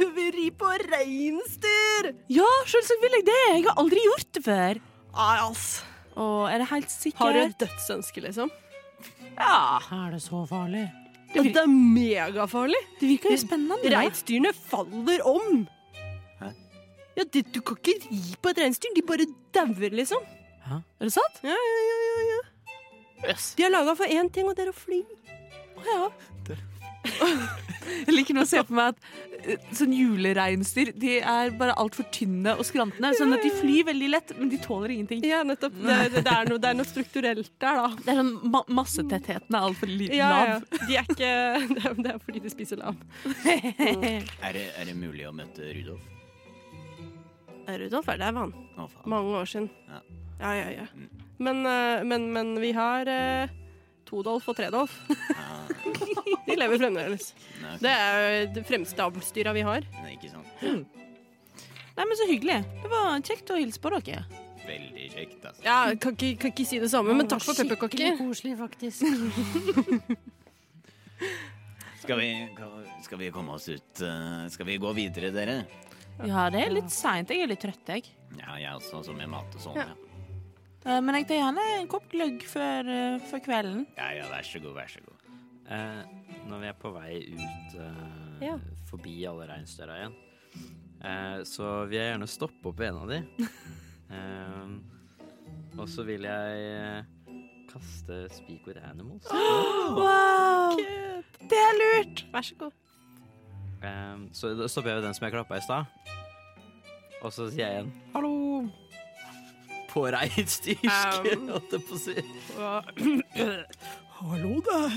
Hun vil ri på reinsdyr!
Ja, selvsagt vil jeg det. Jeg har aldri gjort det før.
Nei, ass.
Og er det helt sikkert?
Har du et dødsønske, liksom?
Ja.
Er det så farlig?
Ja, det er megafarlig!
Det virker jo spennende.
Reinsdyrene faller om! Ja, det, du kan ikke ri på et reinsdyr. De bare dauer, liksom.
Er det sant?
Ja, ja, ja, ja, ja.
Yes.
De er laga for én ting, og det er å fly.
Jeg liker nå å se på meg at eh, sånn julereinsdyr de er bare altfor tynne og skrantende. Sånn at de flyr veldig lett, men de tåler ingenting.
Ja, nettopp. Det, det, det, er, noe, det er noe strukturelt der, da.
Det er sånn ma Massetettheten er altfor liten
Ja, ja.
av.
De er ikke [laughs] Det er, det er fordi de spiser lav.
Er det, er det mulig å møte Rudolf?
Rudolf er der, han.
Å, faen.
Mange år siden.
Ja. Mm.
Ja, ja, ja. Men, eh, men, men vi har eh, Todolf og Tredolf.
Ja.
[laughs] De lever fremdeles.
Nei,
Det er jo det fremste avlsdyra vi har.
nei, ikke sant.
Nei, men så hyggelig. Det var kjekt å hilse på dere.
Veldig kjekt, altså.
Ja, kan ikke, kan ikke si det samme, men takk for
Skikkelig
pepperkaker.
koselig, faktisk.
Skal vi, ka- skal vi komme oss ut eh, Skal vi gå videre, dere?
Ja, det er litt seint. Jeg er litt trøtt, jeg.
Ja, jeg også, som med mat og sånn.
Ja.
Ja.
Eh, Men jeg tar gjerne en kopp gløgg før, eh, før kvelden.
ja ja, vær så god, vær så god.
Eh, når vi er på vei ut eh,
Ja.
forbi alle reinsdyra igjen, eh, så vil jeg gjerne stoppe opp ved en av
[laughs]
de. Eh, og så vil jeg eh, kaste Speak with
[gasps]
Animals.
Wow! Det er lurt!
Vær så god.
Eh, så da stopper jeg ved den som jeg klappa i stad. Og så sier jeg igjen hallo. På reinsdyrsk,
Um.
[laughs] holdt jeg på å si.
[clears throat] Hallo der.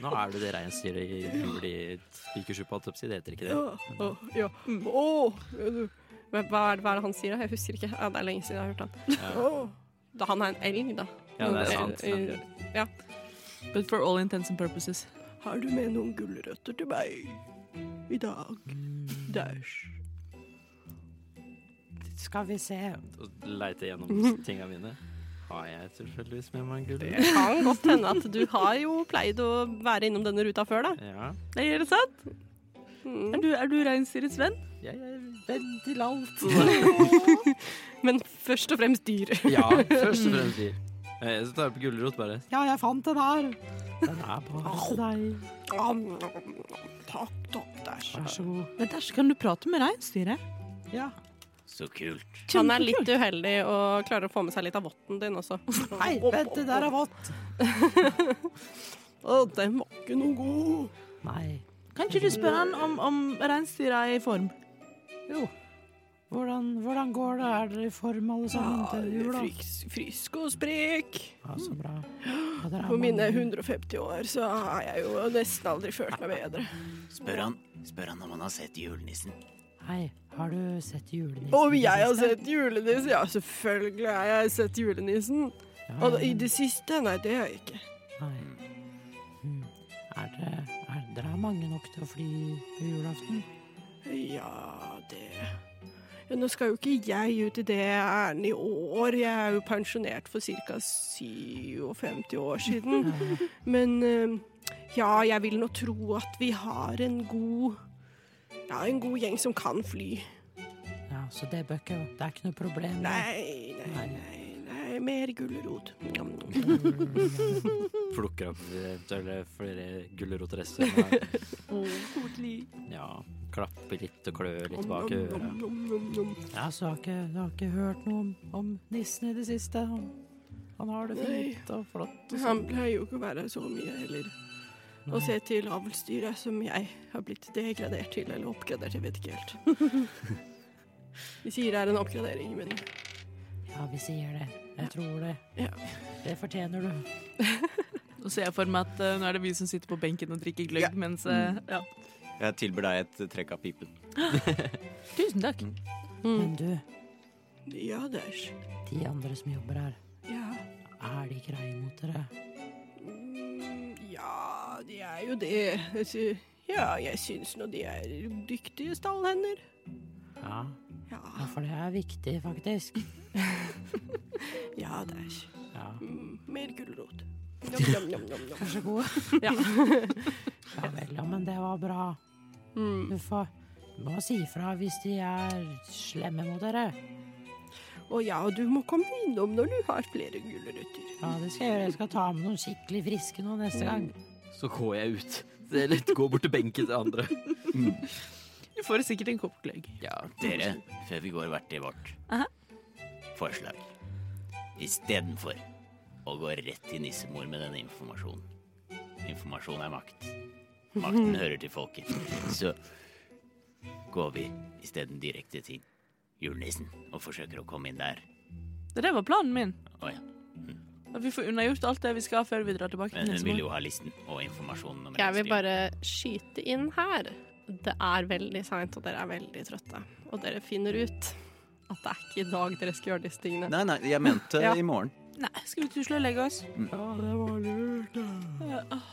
Nå er du det reinsdyret i juli spikersuppa, holdt jeg på å si. Det heter ikke det.
Å, ja.
Mm.
Å, ja, du. Men hva, er det, hva er det han sier? da? Jeg husker ikke. Ja, det er lenge siden jeg har hørt han. Å. Da han er en elg, da.
Ja, det er
Eh,
sant.
eh, Ja.
But for all intents and purposes.
Har du med noen gulrøtter til meg i dag? Dash.
Skal vi se.
og
[laughs]
leite gjennom tinga mine. Har jeg tilfeldigvis med meg en gull?
Det kan godt hende at du har jo pleid å være innom denne ruta før, da.
Ja.
Nei, er det sant?
Mm.
Er du, er du reinsdyrets venn?
Jeg er venn til alt.
Men først og fremst dyr.
ja, først og fremst dyr. Eh, Så tar jeg opp gulrot, bare.
Ja, jeg fant den her.
Den er
[laughs]
på.
Til deg.
Takk, takk, dash.
Vær så god.
Men der kan du prate med reinsdyret.
Ja.
Så kult.
Han er litt uheldig og klarer å få med seg litt av votten din også.
Hei, vent, det der er vått.
Å, den var ikke noe god.
Nei.
Kan ikke du spørre han om, om reinsdyret er i form?
Jo. Hvordan, hvordan går det? Er dere i form, alle sammen, til jul? da?
Frisk, frisk og sprek.
Ja, så bra.
Ja, dere er
På mine
mange.
150 år så har jeg jo nesten aldri følt meg bedre.
Spør han, spør han om han har sett julenissen.
Hei, har du sett julenissen?
Om jeg har sett julenissen? Ja, selvfølgelig har jeg sett julenissen. Og da- i det siste? Nei, det har jeg ikke.
Nei. Hm. Er dere, er dere er mange nok til å fly på julaften?
Ja, det ja, Nå skal jo ikke jeg ut i det ærendet i år. Jeg er jo pensjonert for ca. 57 år siden. Men eh, ja, jeg vil nå tro at vi har en god Ja, en god gjeng som kan fly.
Ja, så det bør ikke Det er ikke noe problem.
Nei, nei, nei. nei mer gulrot.
Plukker opp eventuelle flere gulrotrester.
[laughs]
Koselig. Ja. Klapper litt og klør litt bak øret.
Ja, så har ikke, du har ikke hørt noe om, om nissen i det siste? Han, han har det fint og sånn. flott.
Han pleier jo ikke å være her så mye heller. Å se til avlsdyret som jeg har blitt degradert til, eller oppgradert, jeg vet ikke helt. De sier det er en oppgradering, men
Ja, vi sier det. Jeg tror det.
Ja.
Det fortjener du.
Nå ser jeg for meg at eh, nå er det vi som sitter på benken og drikker gløgg, mens eh,
Mm.
ja.
Jeg tilbyr deg et trekk av pipen.
Tusen takk.
Mm.
Men du,
ja, dæsj.
de andre som jobber her,
Ja.
er de greie mot dere?
Mm, ja, de er jo det. Altså, Ja, jeg syns nå de er dyktige stallhender.
Ja.
Ja,
ja, for det er viktig, faktisk.
ja dæsj.
Ja.
Mm, mer gulrot. Nom, nom, nom, nom, nom.
Vær så god.
Ja.
Ja vel, ja, men det var bra.
Mm.
Du får du må si ifra hvis de er slemme mot dere.
Og ja, du må komme innom når du har flere gulrøtter.
Ja, det skal jeg gjøre. Jeg skal ta med noen skikkelig friske nå neste gang.
Så går jeg ut. Det er lett å gå bort til benken til andre.
Du får sikkert en kopp gløgg.
Ja, dere, før vi går hvert til vårt
Aha.
forslag. Istedenfor å gå rett til nissemor med denne informasjonen. Informasjon er makt. Makten
[laughs]
hører til folket. Så går vi isteden direkte til julenissen og forsøker å komme inn der.
Det der var planen min.
Å ja. Mm.
At vi får unnagjort alt det vi skal før vi drar tilbake til
Men hun
neste
vil
måned.
jo ha listen og informasjonen. om
Jeg vil
reinsdyr.
bare skyte inn her. Det er veldig seint, og dere er veldig trøtte. Og dere finner ut at det er ikke i dag dere skal gjøre disse tingene.
Nei, nei, jeg mente
Ja.
i morgen.
Nei, skal vi tusle og legge oss? ah.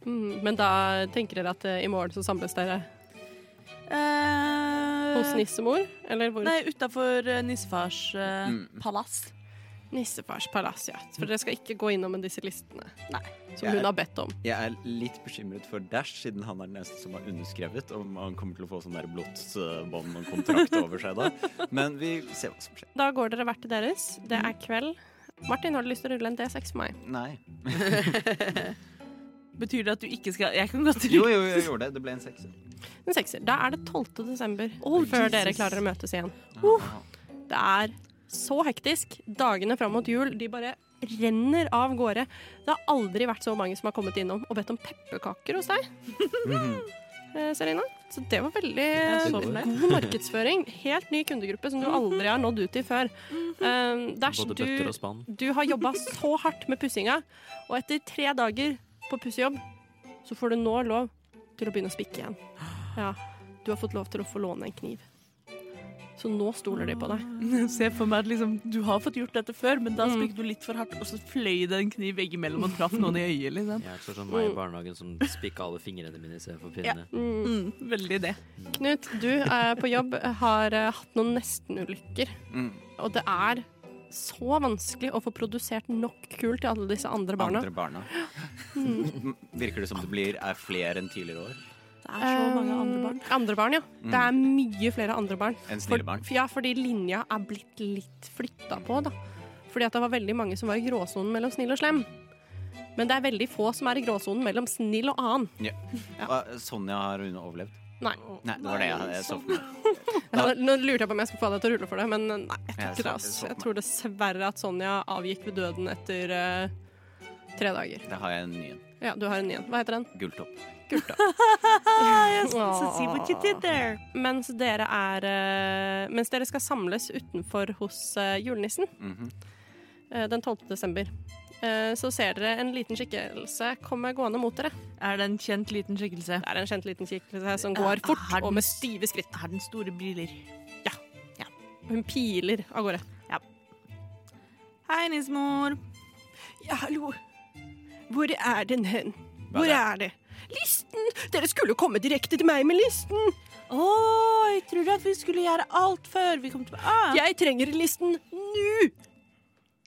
Mm, men da tenker dere at eh, i morgen så samles dere
Eh,
hos nissemor? Eller hvor?
Nei, utafor nissefars eh,
Mm.
palass.
Nissefars palass, ja. For dere skal ikke gå innom med disse listene
Nei.
som
Jeg-
hun har bedt om.
Jeg er litt bekymret for Dash, siden han er den eneste som har underskrevet. Om han kommer til å få sånn der blodsbånd og kontrakt over seg da.
[laughs]
Men vi ser hva som skjer.
Da går dere hvert til deres. Det er kveld. Martin, har du lyst til å rulle en D6 for meg?
Nei.
Betyr det at du ikke skal Jeg kan godt
Jo, jo, jeg gjorde det. Det ble en sekser.
En sekser. Da er det 12. desember før dere klarer å møtes igjen. Det er så hektisk. Dagene fram mot jul de bare renner av gårde. Det har aldri vært så mange som har kommet innom og bedt om pepperkaker hos deg. Eh, Serena. Så det var veldig eh,
så fornøyd.
god markedsføring. Helt ny kundegruppe som du aldri har nådd ut til før. Eh, Dash,
Både
du,
bøtter og spann.
du har jobba så hardt med pussinga, og etter tre dager på pussejobb, så får du nå lov til å begynne å spikke igjen. Ja, du har fått lov til å få låne en kniv. Så nå stoler de på deg.
Se for meg at liksom, du har fått gjort dette før, men da spikket du litt for hardt, og så fløy det en kniv veggimellom og traff noen i øyet. Liksom.
Jeg er ikke sånn meg i barnehagen som spikka alle fingrene mine istedenfor pinnene.
Mm.
Mm, veldig det.
Knut, du er på jobb, har eh, hatt noen nestenulykker.
Mm.
Og det er så vanskelig å få produsert nok kull til alle disse andre barna.
Andre barna. [laughs] Virker det som det blir er flere enn tidligere år?
Det er så mange andre barn.
Eh, Andre barn, ja. Det er mye flere andre barn.
Enn
For-
snille barn?
Ja, fordi linja er blitt litt flytta på, da. Fordi at det var veldig mange som var i gråsonen mellom snill og slem. Men det er veldig få som er i gråsonen mellom snill og annen.
Hva, Sonja har hun overlevd?
Nei.
Nei, det var det jeg, jeg så for meg.
Ja, Nå lurte jeg på om jeg skulle få deg til å rulle for det, men nei, jeg tror
Jeg
ikke det.
så-
ass.
jeg så på
Jeg tror dessverre at Sonja avgikk ved døden etter eh, tre dager.
Da har jeg en ny en.
Ja, du har en igjen. Hva heter den?
Gulltopp.
Mens dere er eh, Mens dere skal samles utenfor hos eh, julenissen
[laughs] Mhm.
eh, den 12. desember, eh, så ser dere en liten skikkelse komme gående mot dere.
Er det en kjent liten skikkelse?
Det er en kjent liten skikkelse som går fort
Er den-
og med stive skritt.
Har den store briller?
Hun piler av gårde.
Hei, nissemor.
Ja, hallo. Hvor er den hen? Hvor
det?
er det? Listen! Dere skulle jo komme direkte til meg med listen.
Å, jeg trodde at vi skulle gjøre alt før vi kom til ah,
Jeg trenger listen nå!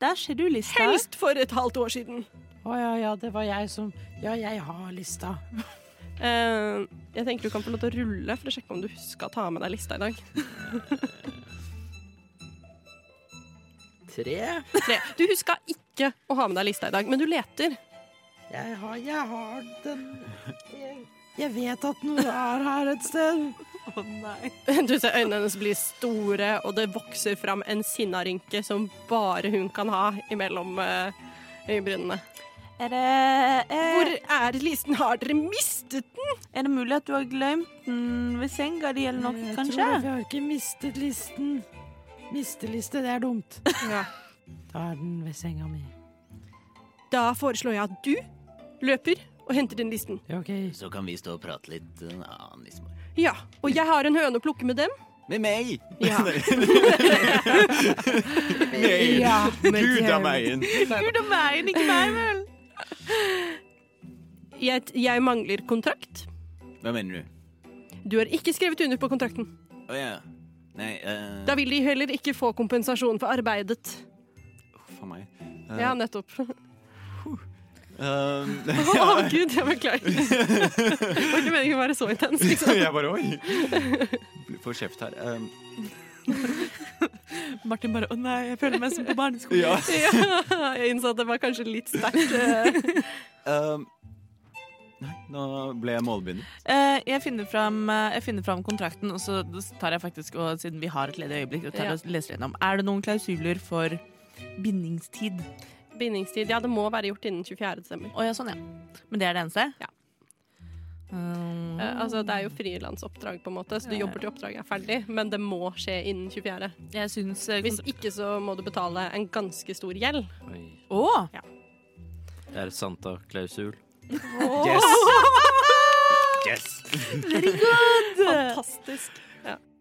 Der ser du lista.
Helst for et halvt år siden.
Å ja, ja, det var jeg som Ja, jeg har lista.
Eh, jeg tenker du kan få lov til å rulle for å sjekke om du husker å ta med deg lista i dag.
Tre?
Tre. Du huska ikke å ha med deg lista i dag, men du leter.
Jeg har, jeg har den jeg, jeg vet at noe er her et sted.
Du ser øynene hennes bli store, og det vokser fram en sinnarynke som bare hun kan ha imellom eh, øyebrynene.
Er det,
Hvor er listen? Har dere mistet den?
er det mulig at du har glemt den ved senga di eller noe,
Jeg
kanskje?
tror at vi har ikke mistet listen. Misteliste, det er
[laughs]
dumt.
Ja.
Da er den ved senga mi.
Da foreslår jeg at du løper og henter den listen.
Ja, OK.
Eh.
Så kan vi stå og prate litt en annen nissemor.
Ja, og jeg har en høne å plukke med dem.
Med meg! [laughs]
Ja.
Meg!
Ja,
Gud av meg!
Gud og meg, ikke meg, vel?
Jeg, jeg mangler kontrakt.
Hva mener du?
Du har ikke skrevet under på kontrakten.
Å ja. Nei, eh,
Da vil de heller ikke få kompensasjon for arbeidet.
for meg. Eh,
Ja, nettopp. Å,
[laughs] eh,
gud, jeg beklager. Det var ikke meningen å være så intens. Liksom.
jeg bare oi. Får kjeft her. Um,
Martin bare 'Å nei, jeg føler meg som på barneskolen'.
ja.
Ja, jeg innså at det var kanskje litt sterkt. eh,
Um, nei, nå ble jeg målbegynner.
Eh, jeg, finner fram, eh, jeg finner fram kontrakten, og så tar jeg faktisk, og siden vi har et ledig øyeblikk, og tar
Ja.
og leser gjennom. Er det noen klausuler for bindingstid?
Bindingstid. Ja, det må være gjort innen 24. desember.
Å ja, sånn, ja. Men det er det eneste?
Ja.
Um,
Eh, altså, det er jo frilansoppdrag, på en måte, så du jobber til oppdraget er ferdig, men det må skje innen 24.
jeg syns eh,
Hvis
kontra-
ikke så må du betale en ganske stor gjeld.
Oi.
Å!
Det er et Santa-klausul.
[laughs]
Yes!
Fantastisk.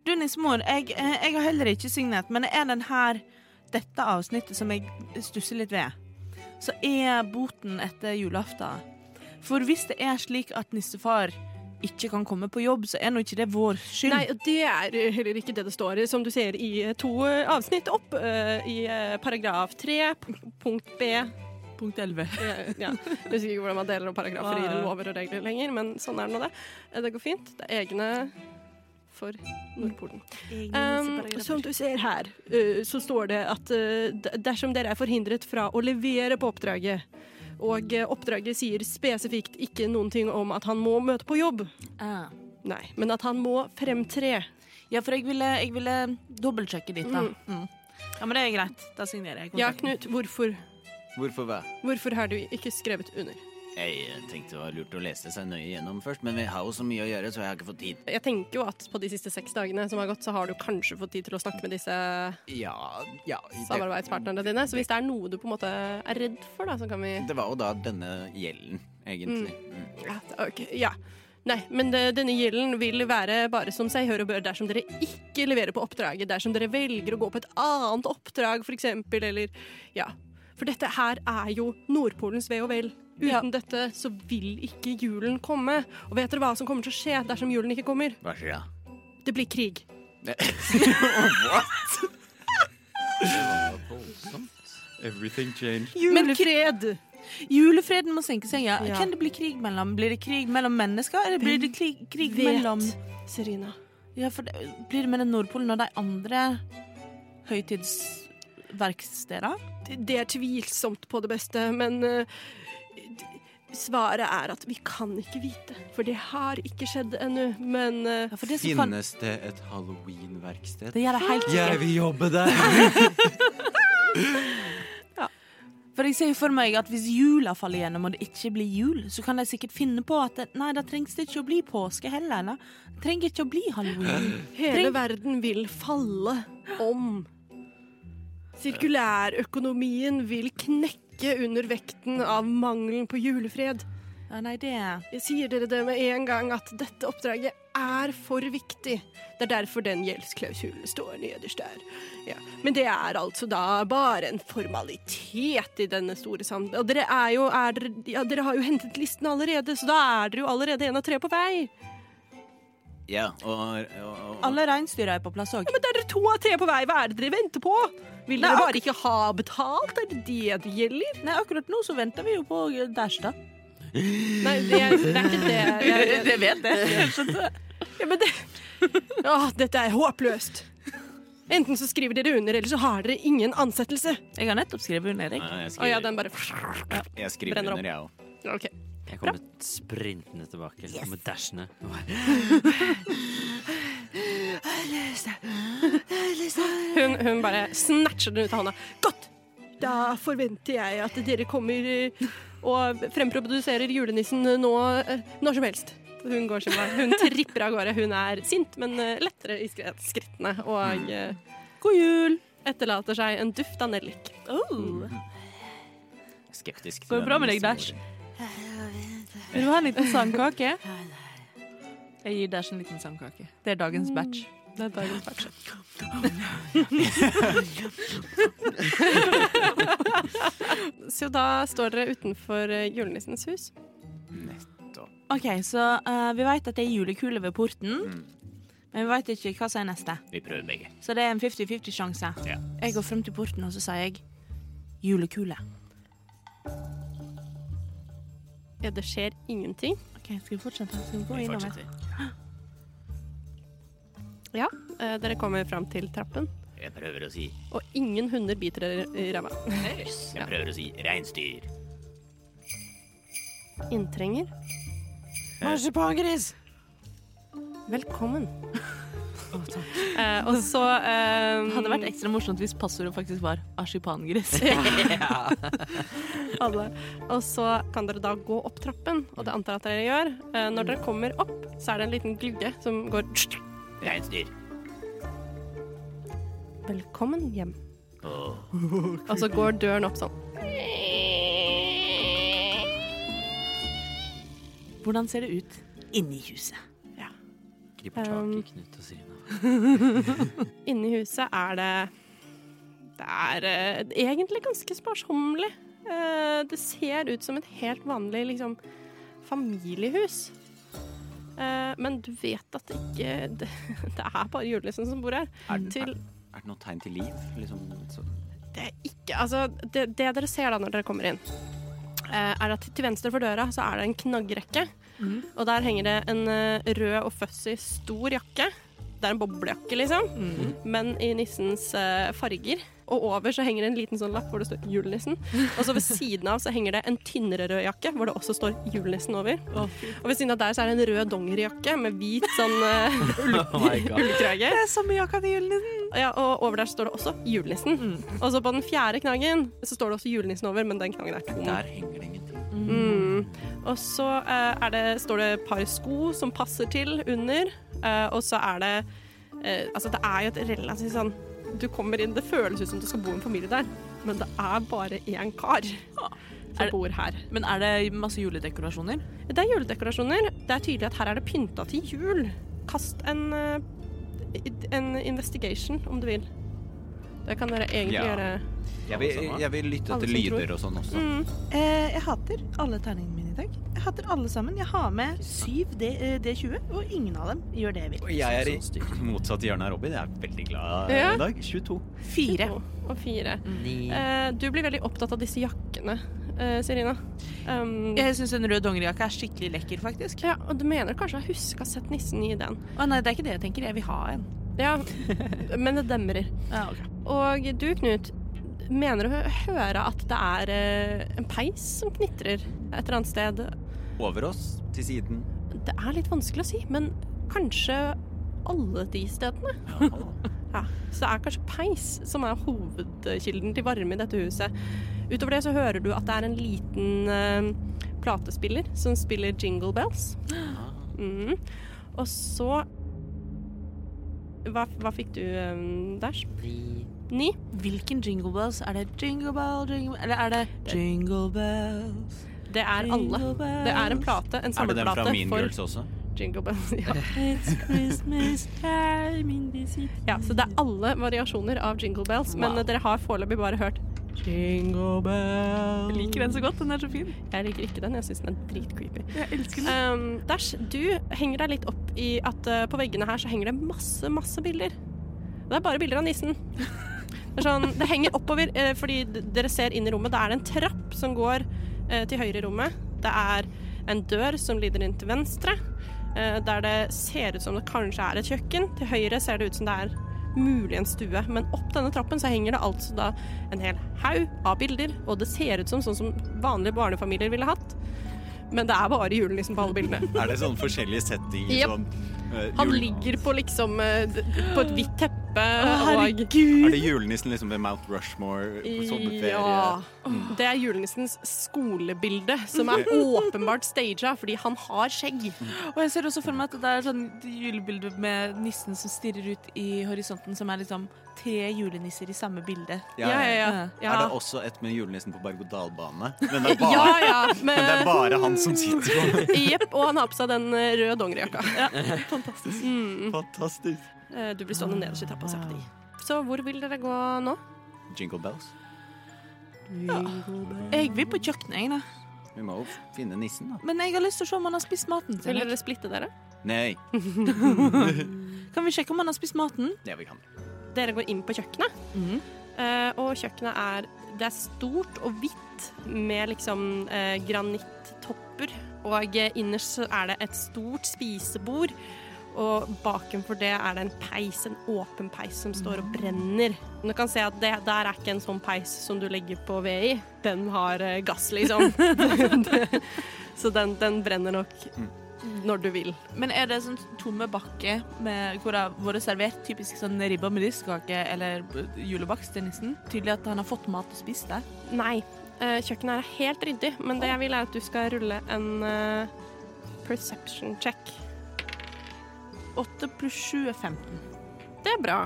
Du, nissemor, jeg, eh, jeg har heller ikke signert, men er den her dette avsnittet som jeg stusser litt ved, så er boten etter julaften. For hvis det er slik at nissefar ikke kan komme på jobb, så er nå ikke det vår skyld.
Nei, og det er heller ikke det det står i, som du ser i eh, to eh, avsnitt opp. eh, I eh, paragraf 3, p- punkt B. Eh,
Punkt 11.
Ja. Jeg husker ikke hvordan man deler opp paragrafer i lover og regler lenger, men sånn er det nå, det. Eh, Det går fint. Det er egne for Nordpolen. Um, som du ser her, eh, så står det at eh, d- dersom dere er forhindret fra å levere på oppdraget, og eh, oppdraget sier spesifikt ikke noen ting om at han må møte på jobb,
Ah.
nei, men at han må fremtre.
Ja, for jeg ville, jeg ville dobbeltsjekke ditt, da. Mm. Ja, men det er greit. Da signerer jeg.
Ja,
kontrakten.
Knut, hvorfor,
Hvorfor hva?
hvorfor har du ikke skrevet under?
Jeg eh, tenkte det var lurt å lese seg nøye gjennom først, men vi har jo så mye å gjøre, så jeg har ikke fått tid.
Jeg tenker jo at på de siste seks dagene som har gått, så har du kanskje fått tid til å snakke med disse
Ja, ja det,
samarbeidspartnerne dine. Så hvis det er noe du på en måte er redd for, da, så kan vi
det var jo da denne gjelden, egentlig. Mm.
Ja, ok, ja. Nei, men det, denne gjelden vil være bare som seg hør og bør dersom dere ikke leverer på oppdraget, dersom dere velger å gå på et annet oppdrag, for eksempel, eller Ja. For dette her er jo Nordpolens ve og vel. Uten dette så vil ikke julen komme. Og vet dere hva som kommer til å skje dersom julen ikke kommer?
Hva skjer da?
Det blir krig.
Everything changed.
Julefred!
Julefreden må senke seg, ja.
Ja.
Kan det bli krig mellom? Blir det krig mellom mennesker, eller blir det krig, krig
vet?
mellom
Serena.
Ja, for det, blir det mellom Nordpolen og de andre høytidsverkstedene?
Det, det er tvilsomt på det beste, men eh, d- svaret er at vi kan ikke vite. For det har ikke skjedd ennå. Men eh,
Ja, for det som kan
Finnes det et halloween-verksted?
Det gjør det helt
Jeg
sikkert.
vil jobbe
[laughs]
der!
For jeg ser jo for meg at hvis jula faller gjennom og det ikke blir jul, så kan de sikkert finne på at det, nei, da trengs det ikke å bli påske heller. Eller? Det trenger ikke å bli halloween.
hele
Treng-
verden vil falle om. Sirkulærøkonomien vil knekke under vekten av mangelen på julefred.
Ja, nei, det
Jeg sier dere det med en gang at dette oppdraget er for viktig. Det er derfor den gjeldsklausulen står nederst der. Ja. Men det er altså da bare en formalitet i denne store sammenhengen. Og dere er jo er dere, ja, dere har jo hentet listen allerede, så da er dere jo allerede en av tre på vei.
Ja, og, og, og, og
Alle reinsdyra er på plass òg.
Men det er dere to av tre på vei. Hva er det dere venter på? Vil dere bare ikke ha betalt? Er det det det gjelder?
Nei, akkurat nå så venter vi jo på Dash, da.
Nei, det, det er ikke det. Jeg, [laughs] jeg,
Det vet jeg.
Ja, men det... Åh, dette er håpløst. Enten så skriver dere under, eller så har dere ingen ansettelse.
Jeg har nettopp skrevet under, jeg.
Nei, jeg
Å ja,
skriver,
den bare
jeg skriver
brenner opp.
under, jeg òg.
Ja, OK.
Jeg kommer sprintende tilbake med dashene.
Hun, hun bare snatcher den ut av hånda. Godt! Da forventer jeg at dere kommer eh, og fremproduserer julenissen nå eh, når som helst. Hun går sin vei. Hun tripper av gårde. Hun er sint, men eh, lettere i skre- skrittene. Og eh, god jul! Etterlater seg en duft av nellik.
Oh.
Skeptisk.
Går det bra med deg, Dash? Vil du ha en liten sandkake? Jeg gir Dash en liten sandkake. Det er dagens
Mm.
batch. Det er dagens batch.
[laughs] Så da står dere utenfor eh, julenissens hus.
OK, så eh, vi vet at det er julekule ved porten.
Mm.
Men vi vet ikke hva som er neste.
Vi prøver begge.
Så det er en 50-50-sjanse.
Ja.
Jeg går frem til porten, og så sier jeg julekule.
Ja, det skjer ingenting.
OK, skal vi fortsette? Skal vi gå
Vi
innover?
fortsetter.
Ja, eh, dere kommer fram til trappen,
Jeg prøver å si
og ingen hunder biter dere i ræva.
Jeg prøver å si reinsdyr.
Inntrenger,
Marsipangris!
velkommen. Eh, og så eh,
Det hadde vært ekstra morsomt hvis passordet faktisk var arsipangris.
[laughs]
alle. Og så kan dere da gå opp trappen, og det antar jeg at dere gjør. Eh, når dere kommer opp, så er det en liten glugge som går
Reinsdyr.
Velkommen hjem.
Åh.
Og så går døren opp sånn.
Hvordan ser det ut inni huset?
Um,
[laughs]
Griper tak i Knut og Sirina.
Inni huset er det Det er eh, egentlig ganske sparsommelig. Eh, det ser ut som et helt vanlig liksom, familiehus. Eh, men du vet at det ikke [laughs] Det, det er bare julenissen som bor her.
Er, den-
Til-
er, er det noe tegn til liv? Liksom, så,
Det er ikke Altså, det, det dere ser da når dere kommer inn, eh, er at til venstre for døra så er det en knaggrekke. Og der henger det en eh, rød og fuzzy stor jakke. Det er en boblejakke, liksom, men i nissens eh, farger. Og over så henger det en liten sånn lapp hvor det står 'Julenissen'. Og så ved siden av så henger det en tynnere rød jakke hvor det også står 'Julenissen' over. Og ved siden av der så er det en rød dongerijakke med hvit sånn uh,
Oh my god.
ullkrage.
Det er samme jakka til julenissen.
Ja, og over der står det også julenissen.
Mm.
Og så på den fjerde knaggen så står det også julenissen over, men den knaggen er tom.
der henger det ingenting.
Mm. Og så eh, er det, står det et par sko som passer til under, eh, og så er det eh, Altså, det er jo et relativt sånn Du kommer inn, det føles ut som det skal bo en familie der, men det er bare én kar
Er
Ah.
som
det-
bor her.
Men er det masse juledekorasjoner?
Det er juledekorasjoner. Det er tydelig at her er det pynta til jul. Kast en eh, en investigation, om du vil. Det kan dere egentlig
Ja.
gjøre.
Jeg vil, jeg vil lytte
Alle
etter
som
lyder og sånn også.
Mm.
Eh, jeg hater alle terningene mine i dag. Jeg hater alle sammen. Jeg har med 7 D, eh, D20, og ingen av dem gjør det jeg vil.
Og jeg er i
Sånn
[clears throat]
stygt.
motsatt hjørne av Robin. Jeg er veldig glad
Ja.
i dag. 22.
Fire.
To og fire. Eh, du blir veldig opptatt av disse jakkene, eh, Serina. Um,
Jeg syns en rød dongerijakke er skikkelig lekker, faktisk.
ja, og du mener kanskje jeg husker å ha sett nissen i den.
Å nei, det er ikke det jeg tenker. Jeg vil ha en.
Ja, men det demrer.
Ja, ok.
Og du, Knut, mener å hø- høre at det er eh, en peis som knitrer et eller annet sted.
Over oss, til siden.
Det er litt vanskelig å si, men kanskje alle de stedene. [laughs] Ja, så det er kanskje peis som er hovedkilden til varme i dette huset. Utover det så hører du at det er en liten eh, platespiller som spiller Jingle Bells.
Ah.
Mm. Og så hva, hva fikk du, eh, Dash? Ni.
Hvilken jingle bells? Er det jingle bell, jingle Eller er det jingle bells?
Det er alle.
Jingle bells.
Det er en plate, en
Er det den fra
samleplate
Mean
for
Girls også?
Jingle Bells. [laughs] Ja.
It's Christmas time in the city.
ja, så det er alle variasjoner av Jingle Bells, men eh, dere har foreløpig bare hørt
Jingle bells. Jeg liker den så godt. Den er så fin.
Jeg liker ikke den, jeg syns den er dritcreepy.
Jeg elsker den.
Um, Dash, du henger deg litt opp i at eh, på veggene her så henger det masse, masse bilder. Det er bare bilder av nissen. Det, er sånn, det henger oppover, eh, fordi d- dere ser inn i rommet. Da er det en trapp som går eh, til høyre i rommet. Det er en dør som lider inn til venstre, eh, der det ser ut som det kanskje er et kjøkken. Til høyre ser det ut som det er mulig en stue, men opp denne trappen så henger det altså da en hel haug av bilder, og det ser ut som sånn som vanlige barnefamilier ville hatt. Men det er bare julenissen på alle bildene.
Er det sånn forskjellige settinger?
Jep.
Sånn, eh,
Han
jul-
ligger på liksom eh, d- på et hvitt teppe og
Er det julenissen liksom ved Mount Rushmore på sommerferie? Mm.
ja. Det er julenissens skolebilde, som
[laughs]
er åpenbart staged fordi han har skjegg.
Og jeg ser også for meg at det er sånn julebilde med nissen som stirrer ut i horisonten, som er liksom tre julenisser i samme bilde.
Ja, ja, ja.
ja.
Er det også et med julenissen på berg-og-dal-bane? Men,
[laughs]
det er bare-
Ja, ja.
[laughs] men det er
Med,
bare han som sitter
[laughs]
på
jepp, og han har på seg den eh, røde dongerijakka.
Fantastisk.
Fantastisk.
Eh, Du blir stående nederst i trappa og se på de. Så hvor vil dere gå nå?
Jingle bells.
Jeg vil på kjøkkenet, jeg, da.
Vi må jo finne nissen, da.
Men jeg har lyst til å se om han har spist maten
Vil
sin.
dere splitte dere?
Nei,
Kan vi sjekke om han har spist maten?
det vi kan.
Dere går inn på kjøkkenet, eh, og kjøkkenet er Det er stort og hvitt med liksom eh, granittopper. Og eh, innerst så er det et stort spisebord, og bakenfor det er det en peis, en åpen peis, som står og brenner. Men Du kan se at det der er ikke en sånn peis som du legger på ved i. Den har eh, gass, liksom. [laughs] så den, den brenner nok når du vil.
Men er det sånn tomme bakke med, hvor det har vært servert typisk sånn ribba med ristkake eller b- julebakst til nissen? Tydelig at han har fått mat og spist det.
Nei. eh, Kjøkkenet er helt ryddig, men det jeg vil er at du skal rulle en eh, perception check.
8 pluss 7 er 15.
Det er bra.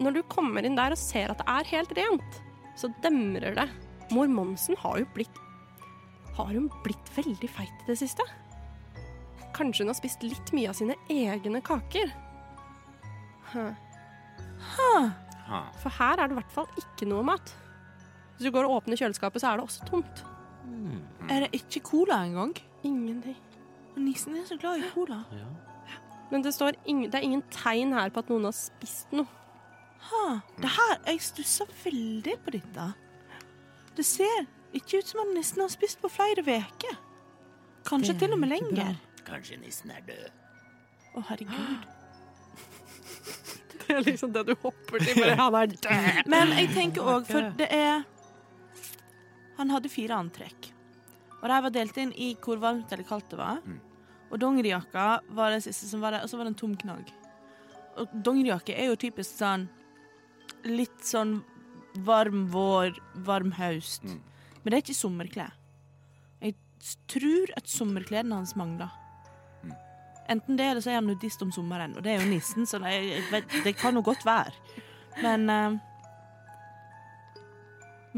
Når du kommer inn der og ser at det er helt rent, så demrer det. Mor Monsen har jo blitt Har hun blitt veldig feit i det siste? Kanskje hun har spist litt mye av sine egne kaker? Huh.
Ha.
For her er det i hvert fall ikke noe mat. Hvis du går og åpner kjøleskapet, så er det også tomt.
Er det ikke cola engang?
Ingenting.
Og Nissen er så glad i cola.
Ja.
Men det, står ingen, det er ingen tegn her på at noen har spist noe.
Ha, det her, Jeg stusser veldig på dette. Det ser ikke ut som om nissen har spist på flere uker. Kanskje
Det er
til og med
ikke bra.
lenger.
Kanskje nissen er død.
Å, herregud.
Det er liksom det du hopper til. Bare, han er død.
[laughs] Men jeg tenker òg, for det er Han hadde fire antrekk. Og de var delt inn i hvor varmt eller kaldt det var.
Mm.
Og dongerijakka var det siste som var der, og så var det en tom knagg. Og dongerijakke er jo typisk sånn litt sånn varm vår, varm høst.
Mm.
Men det er ikke sommerklær. Jeg s- tror at sommerklærne hans mangler.
Mm.
Enten det, eller så er han nudist om sommeren, og det er jo nissen, så det, jeg vet, det kan jo godt være. Men eh,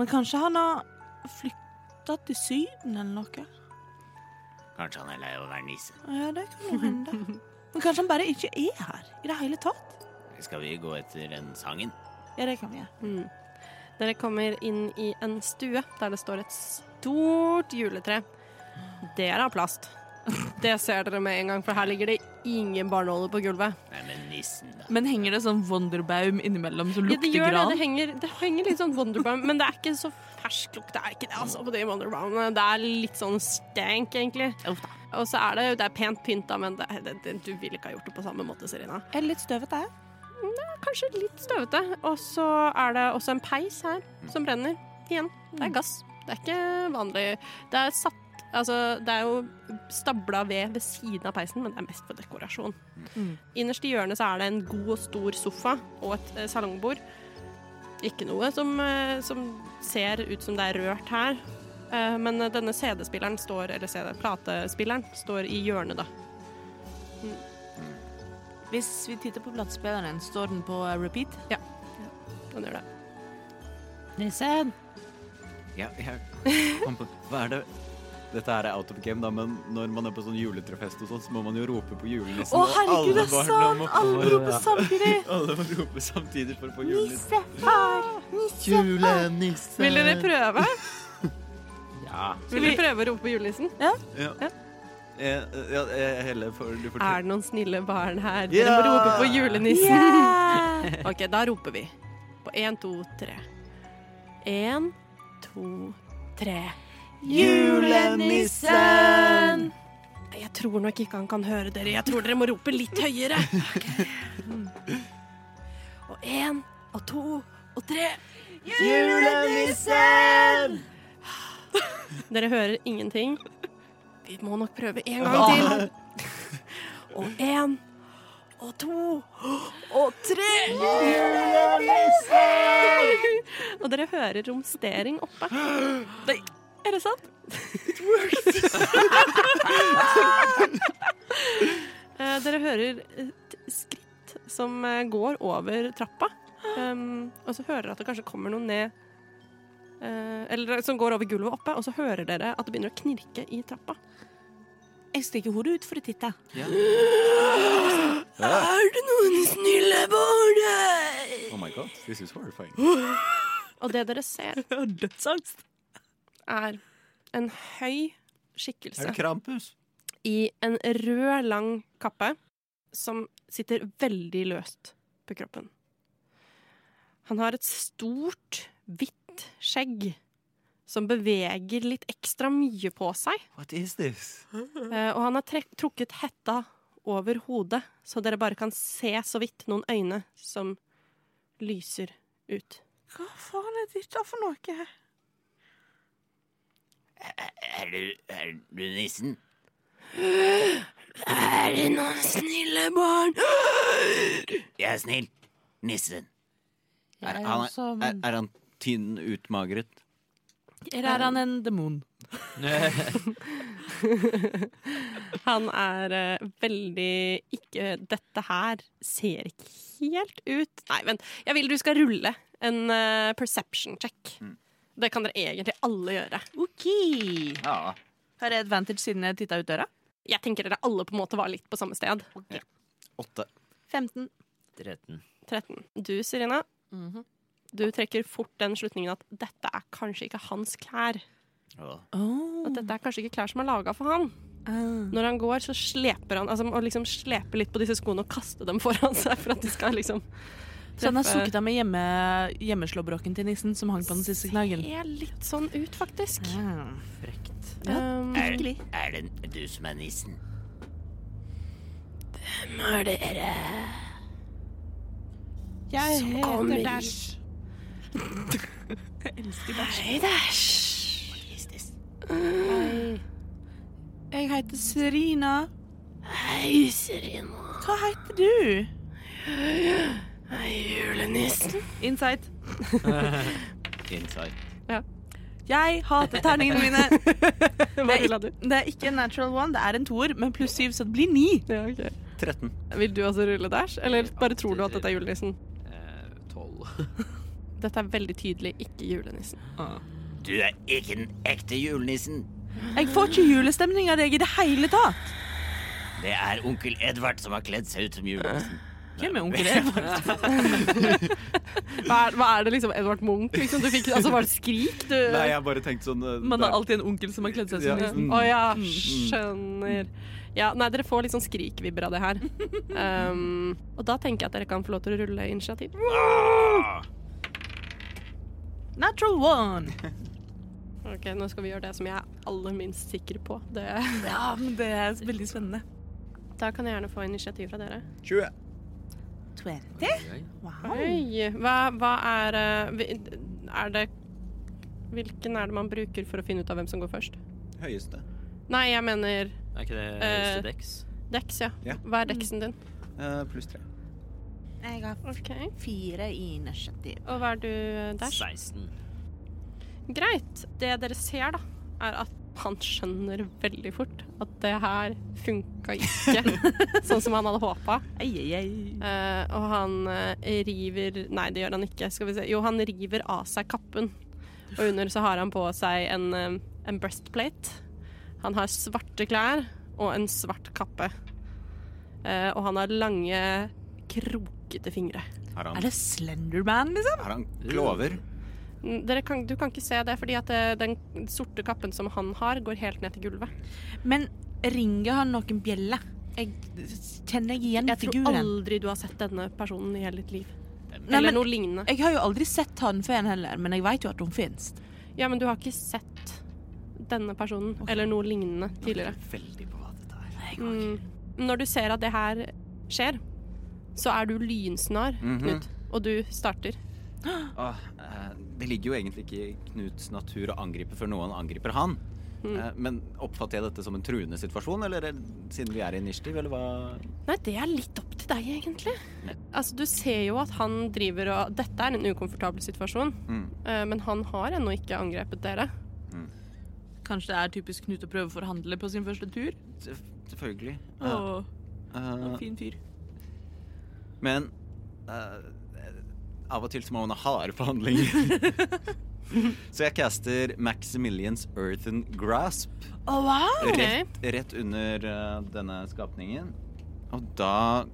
Men kanskje han har flytta til Syden eller noe?
Kanskje han er lei av å være nisse.
Ja, det kan jo hende. Men kanskje han bare ikke er her i det hele tatt?
Skal vi gå etter den sangen?
Ja, det kan vi gjøre.
Mm. Dere kommer inn i en stue der det står et stort juletre. Det er av plast. Det ser dere med en gang, for her ligger det ingen barnåler på gulvet.
Nei, men nissen, da.
Men henger det sånn Wonderbaum innimellom som
Ja, det gjør det. Det henger, det henger litt sånn Wonderbaum, men det er ikke så fersk lukt. Det er ikke det, altså, på de Wonderbaumene. Det er litt sånn stank, egentlig.
Uff da.
Og så er det, det er pent pynta, men det, det, det, du ville ikke ha gjort det på samme måte, Serena.
Er det litt støvete?
Kanskje litt støvete. Og så er det også en peis her som brenner. Igjen. Det er gass. Det er ikke vanlig. Det er satt Altså, det er jo stabla ved ved siden av peisen, men det er mest for dekorasjon.
Mm.
Innerst i hjørnet så er det en god og stor sofa og et eh, salongbord. Ikke noe som, eh, som ser ut som det er rørt her. Eh, men eh, denne CD-spilleren står, eller CD, platespilleren står i hjørnet, da.
Hvis vi titter på platespilleren, står den på eh, repeat?
Den gjør det.
Nissen!
Ja, jeg kom på Hva er det Dette her er out of game, da, men når man er på sånn juletrefest og sånn, så må man jo rope på
Å,
julenissen. og
herregud, det er
alle barna
sant!
må-
Alle roper samtidig.
[laughs] Alle må rope samtidig for å få julenissen.
Nissefar!
Julenisse!
Vil dere prøve?
ja.
Vil dere prøve å rope på julenissen?
Ja. Eh, Ja, eh, Helle, får du
Er
fortelle.
det noen snille barn her? Dere
Ja!
må rope på julenissen.
Yeah!
[laughs] OK, da roper vi. På én, to, tre. Én, to, tre.
Julenissen!
Jeg tror nok ikke han kan høre dere. Jeg tror dere må rope litt høyere. Mm. Og én og to og tre.
Julenissen!
Dere hører ingenting. Vi må nok prøve en gang til. Og én og to og tre. Og dere hører romstering oppe. Nei, er det sant? Eh, dere hører et skritt som eh, går over trappa. Um, og så hører dere at det kanskje kommer noen ned eh, Eller som går over gulvet oppe, og så hører dere at det begynner å knirke i trappa.
Jeg stikker hodet ut for å titte. [gasps]
Oh my god, this is horrifying.
Og det dere ser,
Dødsangst.
er en høy
Er
skikkelse
det Krampus?
i en rød, lang kappe som sitter veldig løst på kroppen. Han har et stort, hvitt skjegg som beveger litt ekstra mye på seg.
What is this?
Eh, og han har trek- trukket hetta over hodet, så dere bare kan se så vidt noen øyne som lyser ut.
Hva faen er dette for noe?
Er du, er du nissen?
Er det noen snille barn?
Jeg er snill. Nissen.
Jeg
Er
er
han-
eh,
også
Er, er han tynn, utmagret?
Eller er han en demon?
Han er eh, veldig ikke Dette her ser ikke helt ut Nei, vent. Jeg vil du skal rulle en eh, perception check. Det kan dere egentlig alle gjøre.
OK.
Ja.
Har jeg advantage siden jeg titta ut døra?
Jeg tenker dere alle på en måte var litt på samme sted.
Åtte.
15.
13.
13. Du, Serena, Du trekker fort den slutningen at dette er kanskje ikke hans klær. At dette er kanskje ikke klær som er laga for han. Når han går, så sleper han altså, og liksom sleper litt på disse skoene og kaster dem foran seg for at de skal liksom
Så han har
treffe-
sukket av med hjemme, hjemmeslåbroken til nissen som hang på den siste knaggen.
Ser litt sånn ut, faktisk.
Frekt.
Um,
Er, er det du som er nissen?
Jeg heter
kommer.
Dash.
[laughs]
Jeg heter Serina.
Hei, Serena.
Hva heter du?
Hei, julenissen.
Insight.
Inside.
Jeg hater terningene mine.
[laughs] hva rulla du?
Det er ikke en natural one, det er en toer, men pluss syv, så det blir ni.
Ja, ok.
13.
Vil du også rulle dæsj, eller bare tror du at dette er julenissen?
Eh, Tolv.
Dette er veldig tydelig ikke julenissen.
Du er ikke den ekte julenissen.
Jeg får ikke julestemning av deg i det hele tatt.
Det er onkel Edvard som har kledd seg ut som julenissen.
Hvem er onkel Edvard?
[laughs] Hva er, hva er det liksom Edvard Munch? Liksom, du fikk, altså, var det skrik? Du,
Nei, jeg bare tenkte sånn eh,
Man
det-
har alltid en onkel som har kledd seg
Ja.
som nissen.
Mm.
Å ja, skjønner. Ja, nei, dere får litt sånn skrikvibber av det her. Um, og da tenker jeg at dere kan få lov til å rulle initiativ.
Natural one.
Ok, Nå skal vi gjøre det som jeg er aller minst sikker på. Det,
Ja, men det er veldig spennende.
da kan jeg gjerne få initiativ fra dere.
20.
20?
Oi! Hva, hva er eh, vi- Er det Hvilken er det man bruker for å finne ut av hvem som går først?
Høyeste.
Nei, jeg mener
Er ikke det
Eh,
høyeste deks?
Dex, ja.
Ja.
Hva er deksen din?
Eh, pluss 3.
Jeg har
Ok.
fire i initiativ.
Og hva er du, eh, Dash?
16.
Greit. Det dere ser, da, er at han skjønner veldig fort at det her funka [laughs] ikke sånn som han hadde håpa.
Ei, ei, ei.
og han eh, river Nei, det gjør han ikke. Skal vi se. Jo, han river av seg kappen. Og under så har han på seg en, eh, en breastplate. Han har svarte klær og en svart kappe. Eh, og han har lange, krokete fingre.
Har han,
Er det Slenderman, liksom?
har han klover?
Mm, Dere kan, du kan ikke se det, fordi at eh, den sorte kappen som han har, går helt ned til gulvet.
Men ringer han noen bjeller? Jeg kjenner jeg igjen
Jeg tror
figuren.
aldri du har sett denne personen i hele ditt liv.
Nei,
Eller
men,
noe lignende.
jeg har jo aldri sett han før heller, men jeg vet jo at hun finnes.
Ja, men du har ikke sett denne personen eller noe lignende tidligere.
Veldig på hva dette er.
Mm. Når du ser at det her skjer, så er du lynsnar,
Mhm.
Knut, og du starter.
Åh, eh, det ligger jo egentlig ikke i Knuts natur å angripe før noen angriper han.
Hmm.
Eh, Men oppfatter jeg dette som en truende situasjon, eller er- siden vi er i initiativ, eller hva?
Nei, det er litt opp til deg, egentlig. Altså, du ser jo at han driver og Dette er en ukomfortabel situasjon,
Mm.
eh, men han har ennå ikke angrepet dere.
Kanskje det er typisk Knut å prøve å forhandle på sin første tur?
Sef- Selvfølgelig.
Å,
Eh, eh,
fin fyr.
men eh, av og til så må man ha harde
[laughs]
forhandlinger. så jeg caster Maximilians Earthen Grasp
Å, wow!
Ok.
rett, rett under eh, denne skapningen. Og da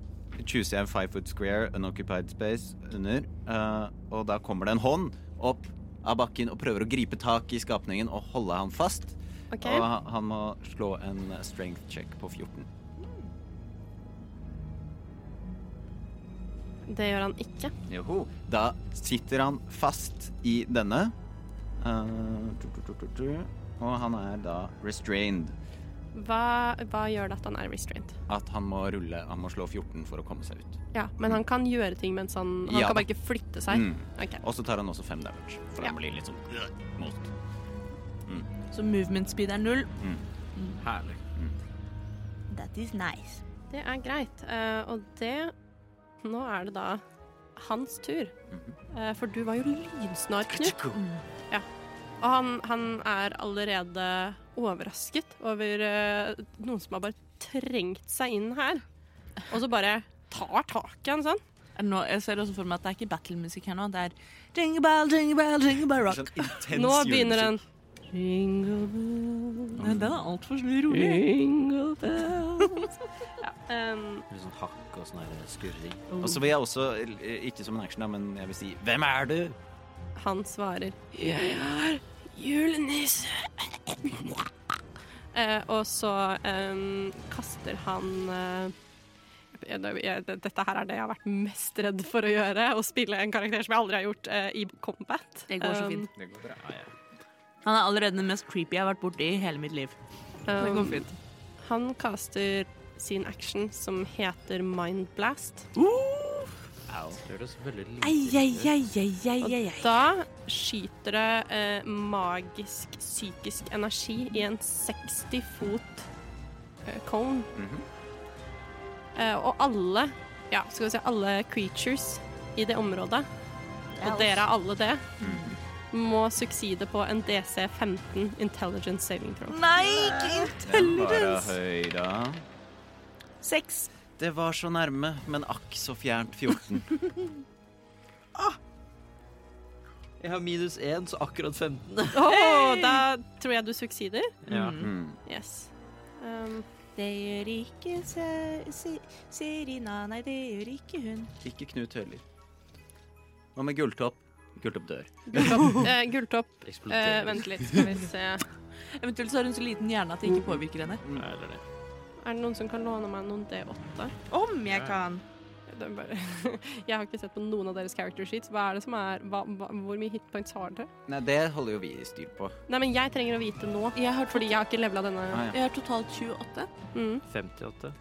choser jeg en five foot square, unoccupied space, under. eh, og da kommer det en hånd opp av bakken og prøver å gripe tak i skapningen og holde han fast.
Ok.
Og ha- han må slå en eh, strength check på 14.
Det gjør han ikke.
Joho. Da sitter han fast i denne. Eh, tu, tu, tu, tu, tu. Og han er da restrained.
Hva, hva gjør det at han er restrained?
At han må rulle, han må slå 14 for å komme seg ut.
Ja, men han kan gjøre ting mens han Han
Ja.
kan bare ikke flytte seg.
Mm.
Ok.
Og så tar han også fem damage. For han blir litt sånn øh, most.
Så movement speed er null. Mm.
Herlig.
That is nice.
Det er greit. Eh, og det Nå er det da hans tur. Eh, for du var jo lynsnar, Knut. Mm. Ja. Og han, han er allerede overrasket over eh, noen som har bare trengt seg inn her. Og så bare tar tak i han sånn.
Er det Nå, jeg ser også for meg at det er ikke battlemusikk her nå. Det er jingle bell, jingle bell, jingle bell rock.
Sånn intens
Nå begynner den.
Jingle bells,
Nei, den er altfor rolig.
jingle bells.
Um,
Litt sånn hakk og sånn her skurring.
Og så vil jeg også, eh, ikke som en action, da, men jeg vil si Hvem er du?
han svarer
Jeg er
Julenisse! Eh, og så em, kaster han eh, jeg- jeg- Dette her er det jeg har vært mest redd for å gjøre. Å spille en karakter som jeg aldri har gjort eh, i combat.
Det går så
Um,
fint.
Det går bra.
Han er allerede den mest creepy jeg har vært borti i hele mitt liv. Det går
um,
fint.
han kaster sin action som heter Mind Blast.
Gjør det så veldig lite.
Ei, ei, ei, ei, ei, ei, ei.
Da skyter det eh, magisk psykisk energi i en 60 fot eh, cone. eh, og alle, ja, skal vi si alle creatures i det området, og dere er alle det, må sukside på en DC 15 Intelligence Saving Throw.
Nei!
Den var høy, da.
Seks.
Det var så nærme, men akk så fjernt 14.
Jeg har minus én, så akkurat 15.
Åh, da tror jeg du suksider.
Ja.
Mm.
Yes. Um,
Det gjør ikke Serina, nei, det gjør ikke hun.
Ikke Knut heller. Hva med Gulltopp? Gulltopp dør.
gulltopp, eh, gulltopp eh,
Eksploderer.
vent litt, skal vi se. Er
Eventuelt så har hun så liten hjerne at det ikke påvirker henne.
Ja, eller det.
det noen som kan låne meg noen D8?
Om jeg kan.
Det er bare, [laughs] jeg har ikke sett på noen av deres character sheets. Hva er det som er, hva, hva, hvor mye hitpoints har dere?
Nei, det holder jo vi styr på.
Nei, men jeg trenger å vite nå,
Jeg har,
fordi jeg har ikke
Ah,
levela denne.
ja.
jeg har totalt 28.
Mm.
58.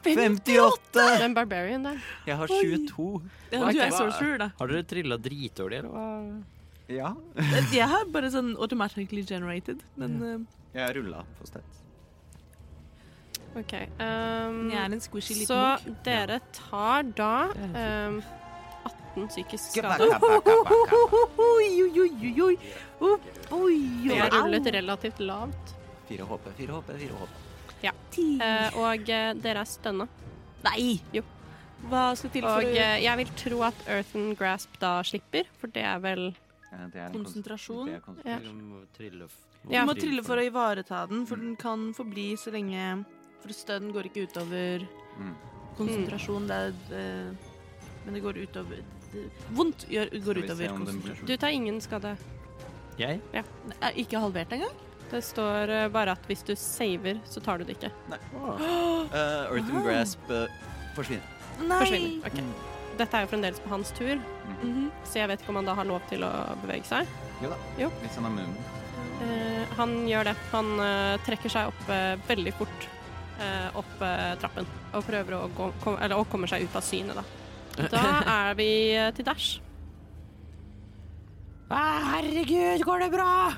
58!
Den barbarian der.
Jeg har 22.
Ja,
Ok,
du er
hva-
sorcerer, [laughs] da.
Har dere trilla dritdårlig, eller hva?
Ja.
Jeg har bare sånn automatically generated, men eh,
Jeg rulla på sted.
OK. Um,
jeg er en squishy liten
så
bok.
dere tar da um, 18 psykisk skade. Det er rullet relativt lavt.
4 HP, 4 HP, 4 HP.
Eh, og eh, dere er stønna.
Nei!
Jo.
Hva skal til for
Og
å
eh, jeg vil tro at Earthen Grasp da slipper, for det er vel
Ja, Eh, det er en kons-
Konsentrasjon.
det er kons-
Ja.
Eller Liksom, må trille f-
Ja.
Du må trille for å ivareta den, for den kan forbli så lenge For stønn går ikke utover
Mm.
konsentrasjon. Det er eh, Men det går utover det- Vondt gjør,
Skal
går
vi se
utover
om den blir-
konsentrasjon.
Du tar ingen skade.
Jeg?
Er Ikke halvert engang?
Det står eh, bare at hvis du saver, så tar du det ikke.
Nei. Eh, Earth and Grasp eh, forsvinner.
Forsvinner. Ok. Dette er jo fremdeles på hans tur,
Mhm.
så jeg vet ikke om han da har lov til å bevege seg.
Jo da.
Jo.
Litt sånn av munnen.
Eh, han gjør det. Han eh, trekker seg opp eh, veldig fort eh, opp eh, trappen og prøver å gå, kom, eller, og kommer seg ut av synet, da. Da [laughs] er vi eh, til dash.
Herregud, går det bra?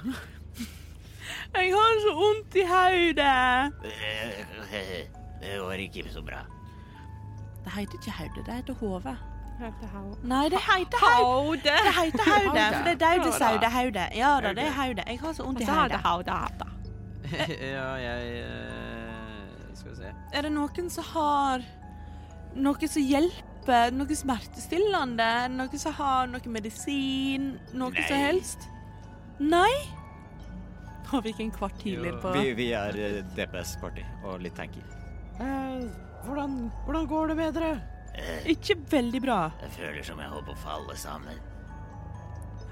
Jeg har så vondt i hodet!
Det går ikke så bra.
Det heter ikke hodet, det heter hodet.
Haude.
Nei, det heter hodet. Det heter hodet, for det er der du
Ja,
sier det er hodet. Ja da, det er hodet. Jeg har så vondt i hodet.
[laughs] ja, jeg eh, Skal vi se.
Er det noen som har noe som hjelper? Noe smertestillende? Noe som har noe medisin? Noe
Nei.
som helst? Nei? Har vi ikke en kvart healer
Jo.
på
Vi, vi er eh, DPS-party og litt tanky.
Eh, hvordan, hvordan går det med dere?
Ikke veldig bra.
Jeg føler som jeg holder på å falle sammen.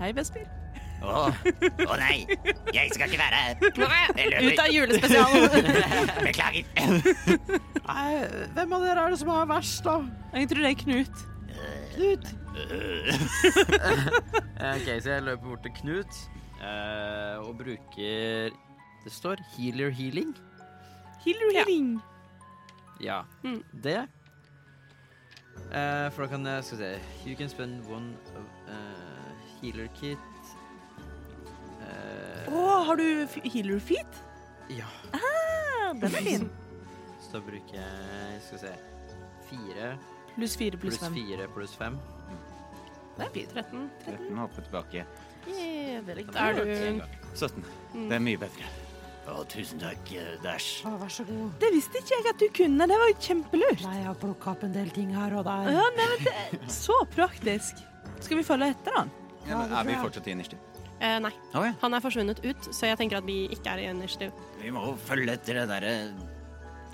Hei, Vesper.
Å, å nei! Jeg skal ikke være her. Jeg løper.
Ut av [laughs] julespesialen!
Beklager.
Nei, hvem av dere er det som har verst, da?
Jeg tror det er Knut.
Knut?
Eh, OK, så jeg løper bort til Knut eh, og bruker Det står healer healing.
Healer, healing.
Ja,
Mm.
det. Eh, for da kan jeg Skal vi se You can spend one of, eh, healer kit. Eh,
Å, har du f- healer feet?
Ja.
Ah, den er fin.
Så da bruker jeg Skal vi se Fire
Pluss fire pluss
pluss
fem.
fire pluss fem.
Det er fint.
13.
13 HP tilbake.
Da er du
17. Det er mye bedre.
Å, tusen takk, eh, Dash.
Å, vær så god.
Det visste ikke jeg at du kunne. Det var jo kjempelurt.
Nei, jeg har plukka opp en del ting her og der.
Ja, nei, men det er så praktisk. Skal vi følge etter han?
Ja, men er vi fortsatt i innerste?
Eh, nei.
Ok.
Han er forsvunnet ut, så jeg tenker at vi ikke er i initiativ.
Vi må følge etter det derre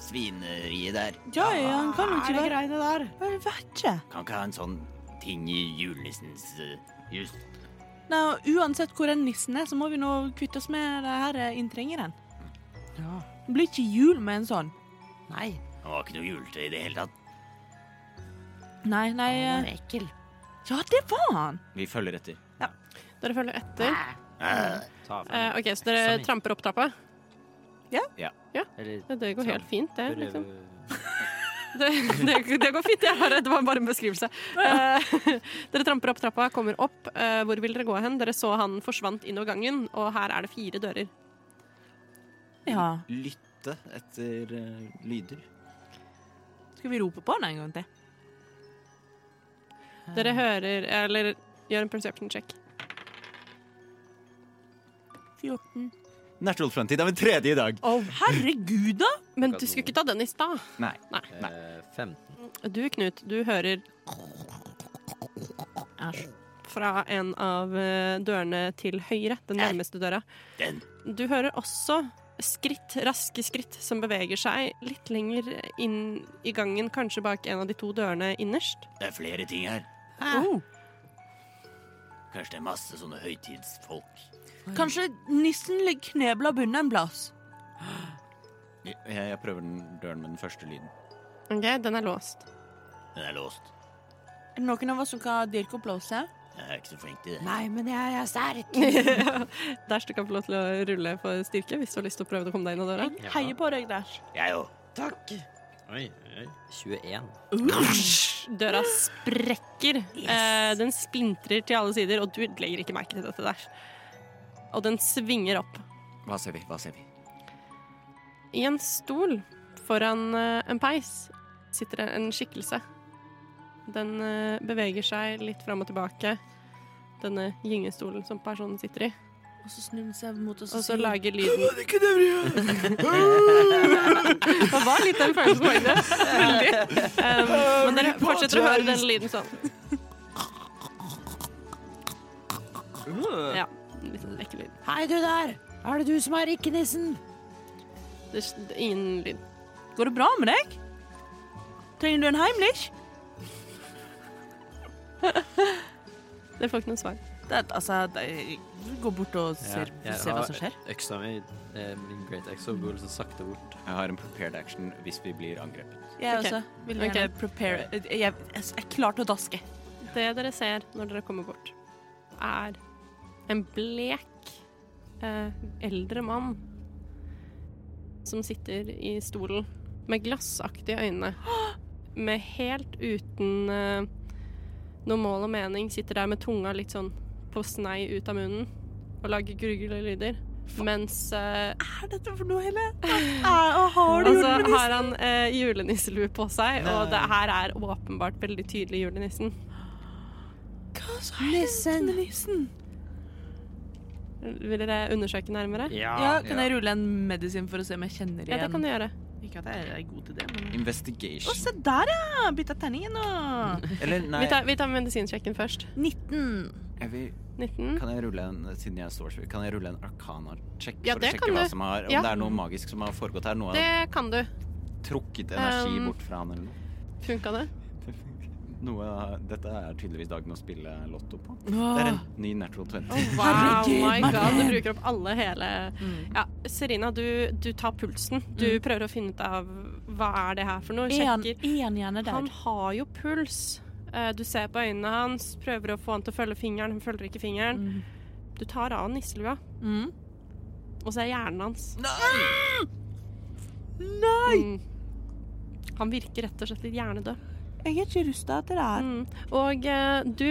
svineriet der.
Ja, ja, ja, han kan jo
Hva er
ikke
det
være
greiene der?
Jeg vet ikke.
Kan ikke ha en sånn ting i julenissens eh, hus.
Nei, og uansett hvor den nissen er, så må vi nå kvitte oss med det her eh, inntrenget i den.
Ja.
Det blir ikke jul med en sånn.
Nei,
Han var ikke noe julete i det hele tatt.
Nei, nei
han
eh,
var ekkel.
Ja, det var han!
Vi følger etter.
Dere følger etter.
Eh,
Ta av
Eh, OK, så dere
Samir.
tramper opp trappa?
Eller
Det går helt fint, det.
prøve
Liksom. Det, det, det går fint. Jeg bare, det var bare en beskrivelse. Eh, [laughs] dere tramper opp trappa, kommer opp. Eh, hvor vil dere gå hen? Dere så han forsvant innover gangen, og her er det fire dører.
Ja.
Lytte etter eh, lyder.
Skal vi rope på han en gang til?
Dere hører Eller gjør en perception check.
14.
Natural Fronty. Det er min tredje i dag.
Herregud, da!
Men du skulle ikke ta den i stad.
Nei.
Eh, 15.
Du, Knut, du hører fra en av eh, dørene til høyre, den nærmeste døra.
Den.
Du hører også skritt, raske skritt som beveger seg litt lenger inn i gangen, kanskje bak en av de to dørene innerst.
Det er flere ting her.
Oh.
Kanskje det er masse sånne høytidsfolk.
Kanskje nissen ligger knebla bundet en plass.
Jeg, jeg prøver den døren med den første lyden.
Ok, Den er låst.
Den er låst.
Er det noen av oss som kan dirke opp låset?
Jeg er ikke så flink til det.
Nei, men jeg er sterk.
Dæsj, du kan få lov til å rulle for styrke hvis du har lyst til å prøve å komme deg inn av døra.
Ja.
Heier på deg, Dash.
Jeg òg.
Takk.
Oi, oi. 21.
Døra sprekker. Eh, den splintrer til alle sider, og du legger ikke merke til dette der. Og den svinger opp.
Hva ser vi? Hva ser vi?
I en stol foran eh, en peis sitter det en skikkelse. Den eh, beveger seg litt fram og tilbake. Denne gyngestolen som personen sitter i.
Og så snur han seg mot oss
Og
og
så
sier
lager lyden [laughs] Det var litt den følelsen bak det. Veldig. Um, men dere fortsetter å høre den lyden sånn. Ja. Litt sånn ekkel lyd.
Hei, du der. Er det du som er ikke-nissen?
Det er det er ingen lyd.
Går det bra med deg? Trenger du en Heimlich?
Dere får ikke noe svar.
Det, altså, det, gå bort og ser,
jeg
se hva
har
som skjer.
Øksa mi, eh, min great axe, og går liksom sakte bort.
Jeg har en prepared action hvis vi blir angrepet.
Jeg
Ok.
også. Vil
Ok.
gjerne prepare jeg, jeg, jeg er klar til å daske.
Det dere ser når dere kommer bort, er en blek eh, eldre mann som sitter i stolen med glassaktige øyne. Med helt uten eh, noe mål og mening. Sitter der med tunga litt sånn på snei ut av munnen og lager gruglelyder. Mens eh,
Hva er dette for noe, Helle? Ah, har du gjort
Altså,
Og
det
så
med nissen?
har han eh, julenisselue på seg, og det her er åpenbart veldig tydelig julenissen.
Hva så har hendt med nissen?
Vil dere undersøke nærmere?
Ja, kan jeg rulle en medisin for å se om jeg kjenner
Ja,
igjen?
det kan du gjøre.
Ikke at jeg er god til det, men... Å,
Investigation.
se der, ja! Bytta terning igjen nå. [laughs]
Eller nei,
Vi tar, vi tar medisinsjekken først.
19.
jeg vil,
19.
kan jeg rulle en siden jeg står så- Kan jeg rulle en arcana-check
Ja,
for å
det
sjekke
kan
hva
du.
som har, om
Ja.
det er noe magisk som har foregått her? Noe
Det
har
kan du.
trukket energi
Um,
bort fra han eller noe? [laughs]
Funka det?
Noe, av- dette er tydeligvis dagen å spille lotto på. Det er en ny natural 20.
Wow, my god, du bruker opp alle hele Ja, Serina, du, du tar pulsen. Du prøver å finne ut av hva er det her for noe.
Er han-
Sjekker.
er han gjerne
Han
der?
har jo puls. Eh, Du ser på øynene hans, prøver å få han til å følge fingeren, han følger ikke fingeren. Du tar av nisselua,
Mm.
og så er hjernen hans.
Nei!
Mm. Han virker rett og slett litt hjernedød.
Jeg er ikke rusta til det her.
Mm. Og eh, du,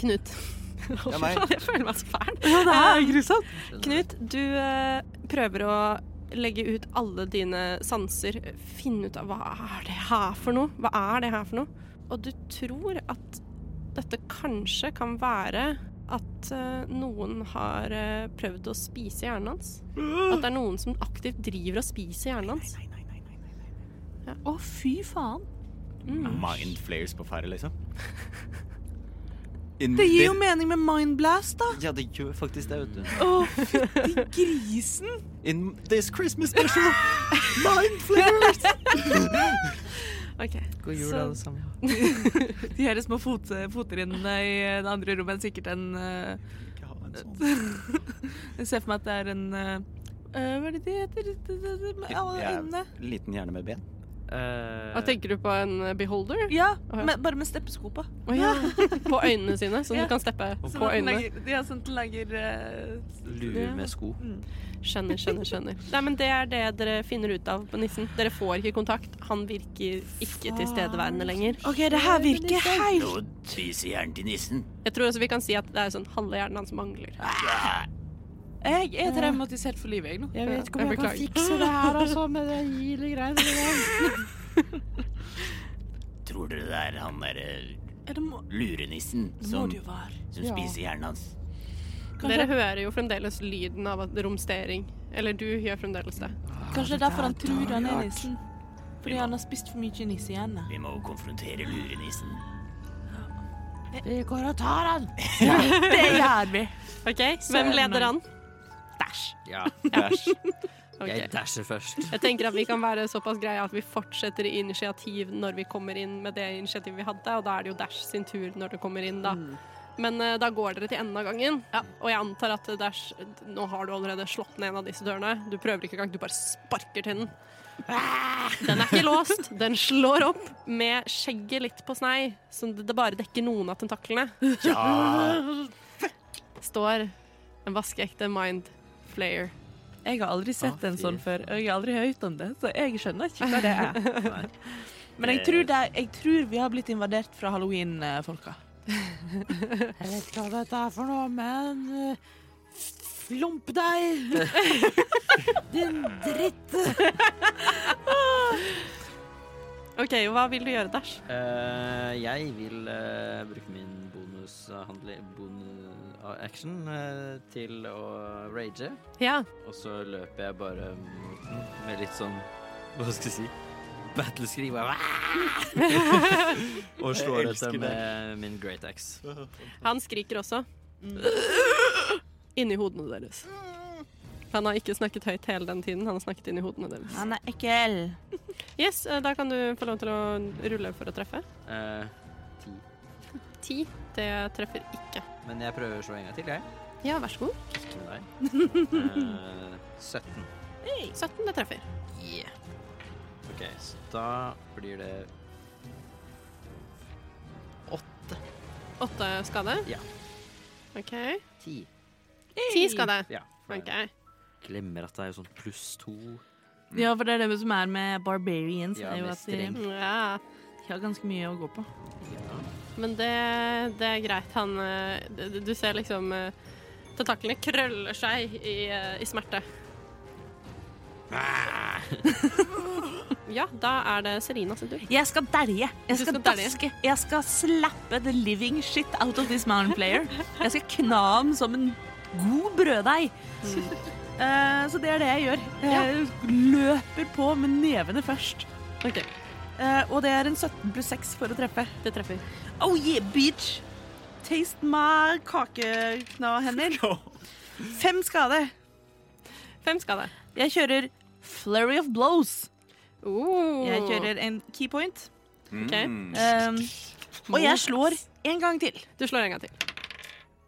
Knut
er meg.
[laughs] Jeg føler meg så fæl.
Det her er grusomt.
Knut, du eh, prøver å legge ut alle dine sanser. Finne ut av hva er det her for noe? Hva er det her for noe? Og du tror at dette kanskje kan være at eh, noen har eh, prøvd å spise hjernen hans. At det er noen som aktivt driver og spiser hjernen hans.
Å, fy faen.
Mind flares på ferde, liksom. In
Det gir jo
the-
mening med mindblast, da.
Ja, det gjør faktisk det, vet du.
Å, fytti grisen.
In this Christmas special, mind flares!
OK.
God jul,
Så-
alle sammen.
De her små fot, fottrinnene i det andre rommet er sikkert en eh,
Ikke ha en sånn.
Jeg ser for meg at det er en eh, eh, Hva er det de heter? Det- det- det- det- Med alle
Jeg-
øynene.
Liten hjerne med ben.
Eh,
Hva tenker du på en beholder?
Ja,
Å, ja.
men bare med steppesko på.
Å ja. [laughs] På øynene sine, så
Ja.
du kan steppe
Sånn
på
at den
øynene.
lager, ja, sånn at den lager eh,
Lue med sko.
Skjønner, skjønner, skjønner. Nei, men Det er det dere finner ut av på nissen. Dere får ikke kontakt. Han virker ikke tilstedeværende lenger.
OK, det her virker helt
Nå spiser hjernen til nissen.
Jeg tror også vi kan si at det er sånn halve hjernen hans mangler.
Jeg er traumatisert for livet, jeg nå.
Jeg vet ikke om
Jeg
jeg, kan
beklager.
fikse det her, altså, med det gile greiene der.
Tror dere det er han eh, derre
Ja, det må,
lurenissen
det må
som,
det jo være.
som
Ja.
spiser hjernen hans?
Dere hører jo fremdeles lyden av at- romstering. Eller du gjør fremdeles det.
Kanskje det er derfor han tror han er nissen. Fordi han har spist for mye nisse igjen.
Vi må konfrontere lurenissen.
Vi går og tar han.
[laughs] Det gjør vi.
OK, Hvem leder an?
Ja,
Dash.
jeg
Ok.
dasher først.
Jeg tenker at vi kan være såpass greie at vi fortsetter i initiativ når vi kommer inn med det initiativet vi hadde, og da er det jo Dash sin tur når det kommer inn, da. Men eh, da går dere til enden av gangen, og jeg antar at eh, Dash Nå har du allerede slått ned en av disse dørene. Du prøver ikke engang, du bare sparker til den. Den er ikke låst. Den slår opp med skjegget litt på snei, så det det bare dekker noen av tentaklene. Står en vaskeekte mind flayer.
Jeg har aldri sett
Ah,
en sånn
fy
før, og jeg har aldri hørt om det, så jeg skjønner ikke hva det er. [laughs]
Nei.
Men jeg tror, det, jeg tror vi har blitt invadert fra eh, halloween-folka.
Jeg vet ikke hva dette er for noe, men eh, f- Flump deg! Din dritt!
OK, hva vil du gjøre, Dash?
Eh, jeg vil eh, bruke min bonushandling Action eh, til å rage.
Ja.
Og så løper jeg bare mot den med litt sånn Hva skal jeg si? Battleskrik. Bare, [laughs] og slår
Jeg elsker
etter med min great axe.
Han skriker også. Inni hodene deres. Han har ikke snakket høyt hele den tiden. Han har snakket inni hodene deres.
Han er ekkel.
Yes, eh, Da kan du få lov til å rulle for å treffe.
Eh, ti.
Ti. Det treffer ikke.
Men jeg prøver å slå en gang til, jeg.
Ja, vær så god.
Ikke [laughs] med deg. Eh, 17.
17, det treffer.
OK, så da blir det åtte.
Åtte skade.
Ja.
OK.
Ti.
Ti skade.
Ja. for jeg
OK.
Glemmer at det er jo sånn pluss to.
Ja, for det er det som er med barbarians,
Ja,
er jo
med
at de
streng.
Ja.
de har ganske mye å gå på.
Men det, det er greit. Han eh, d- Du ser liksom eh, Tentaklene krøller seg i, eh, i smerte. Ah. [laughs] ja, da er det Serina sin tur.
Jeg skal dælje. Jeg skal,
skal dælje.
daske. Jeg skal slappe the living shit out of this mountain player. Jeg skal kna ham som en god brøddeig. Mm. Eh, så det er det jeg gjør. Jeg løper på med nevene først.
Ok,
Eh, og det er en 17 pluss 6 for å treffe.
Det treffer.
Oh yeah, bitch! Taste my
[laughs]
kakeknahender. Fem skade.
Fem skade.
Jeg kjører flurry of blows.
Oh.
Jeg kjører en key point.
Ok.
Um, og jeg slår en gang til.
Du slår en gang til.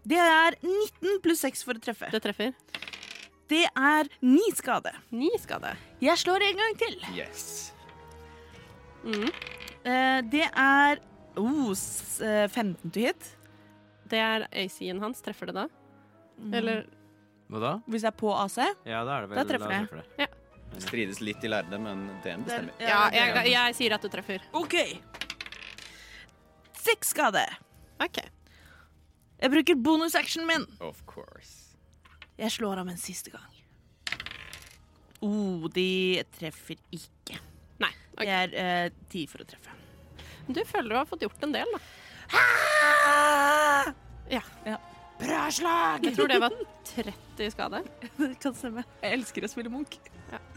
Det er 19 pluss 6 for å treffe.
Det treffer.
Det er 9 skade.
Ni skade.
Jeg slår en gang til.
Yes.
Mm.
Eh, det er oh, s- eh, 15 to hit.
Det er AC-en hans. Treffer det da? Eller
Hva da?
Hvis jeg er på AC.
Ja, da er det
Da
vel
treffer jeg.
Strides litt i lærde, men DM bestemmer.
Ja, jeg, jeg sier at du treffer.
OK. Seks skade.
OK.
Jeg bruker bonusactionen min.
Of course.
Jeg slår ham en siste gang. Oh, de treffer ikke.
Nei. ok.
Det er eh, ti for å treffe.
Du føler du har fått gjort en del, da. Ja.
Bra slag!
Jeg tror [laughs] det var 30 skade.
Det kan stemme. Jeg elsker å spille Munch.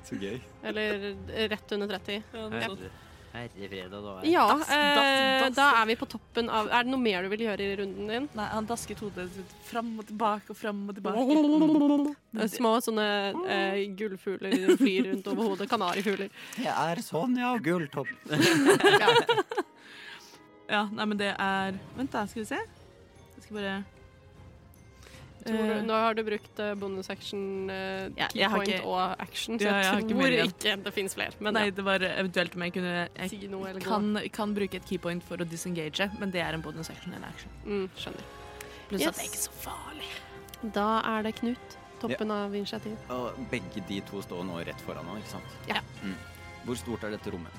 Så gøy.
Eller rett under 30.
Herre. Herre freda, da er
Ja,
Dass-
eh,
dass- dass-
da er vi på toppen av Er det noe mer du vil gjøre i runden din?
Nei, han dasket hodet sitt fram og tilbake og fram og tilbake.
Eh,
[laughs]
Små sånne eh, gullfugler flyr rundt over hodet. Kanarifugler.
Det er sånn, ja, gulltopp.
Ja, nei, men det er Vent, da, skal vi se. Jeg skal bare
Tror du,
Eh,
nå har du brukt eh, bonus action, eh,
Ja,
key
jeg har
point
ikke-
og action, så
Ja, jeg har
jeg,
ikke
tror
mer igjen.
ikke det fins flere. Men
Nei,
ja,
det var eventuelt om jeg kunne Jeg
si noe eller
kan, kan bruke et keypoint for å disengage, men det er en bonus action eller action.
gå. Mm, skjønner.
Pluss
Yes.
at det er ikke så farlig.
Da er det Knut. Toppen av initiativ.
Og begge de to står nå rett foran han, ikke sant?
Ja.
Mm. Hvor stort er dette rommet?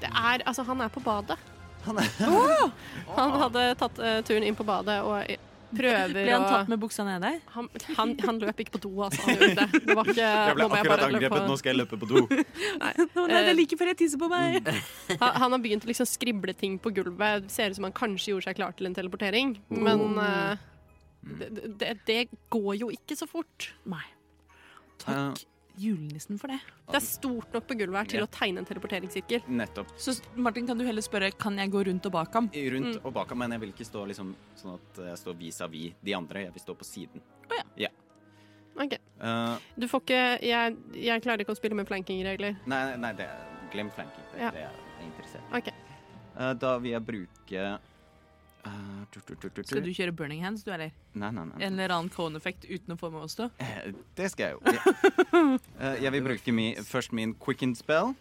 Det er, altså, han er på badet.
Han er
[laughs] Han hadde tatt eh, turen inn på badet og eh, prøver
Ble han
å-
tatt med buksa nede?
han, han, han løp ikke på do, altså. Han gjorde det. Det var ikke nå må jeg bare løpe på-
skal jeg løpe på do.
Å nei, det er like før jeg tisser på meg!
Han, han har begynt å liksom skrible ting på gulvet. Ser ut som han kanskje gjorde seg klar til en teleportering, men
Oh.
eh, det, det, det går jo ikke så fort.
Nei.
Eh,
Takk julenissen for det.
Det er stort nok på gulvet her til å tegne en teleporteringssirkel.
nettopp.
Så Martin, kan du heller spørre kan jeg gå rundt og bak ham?
Rundt
Mm.
og bak ham, men jeg vil ikke stå liksom sånn at jeg står vis-à-vis de andre. Jeg vil stå på siden.
Ok.
Eh,
Du får ikke Jeg, jeg klarer ikke å spille med flankingregler.
nei, nei, nei, det glem flanking. Det
Ja.
er det jeg er interessert i.
Ok.
Eh, da vil jeg bruke eh, tut, tut, tut, tut,
Skal
tut.
du kjøre burning hands, du, eller?
Nei, nei, nei.
En eller annen cone-effekt uten å få med oss to?
Eh, Det skal jeg jo. Eh, Jeg vil bruke mi, først min quicken spell.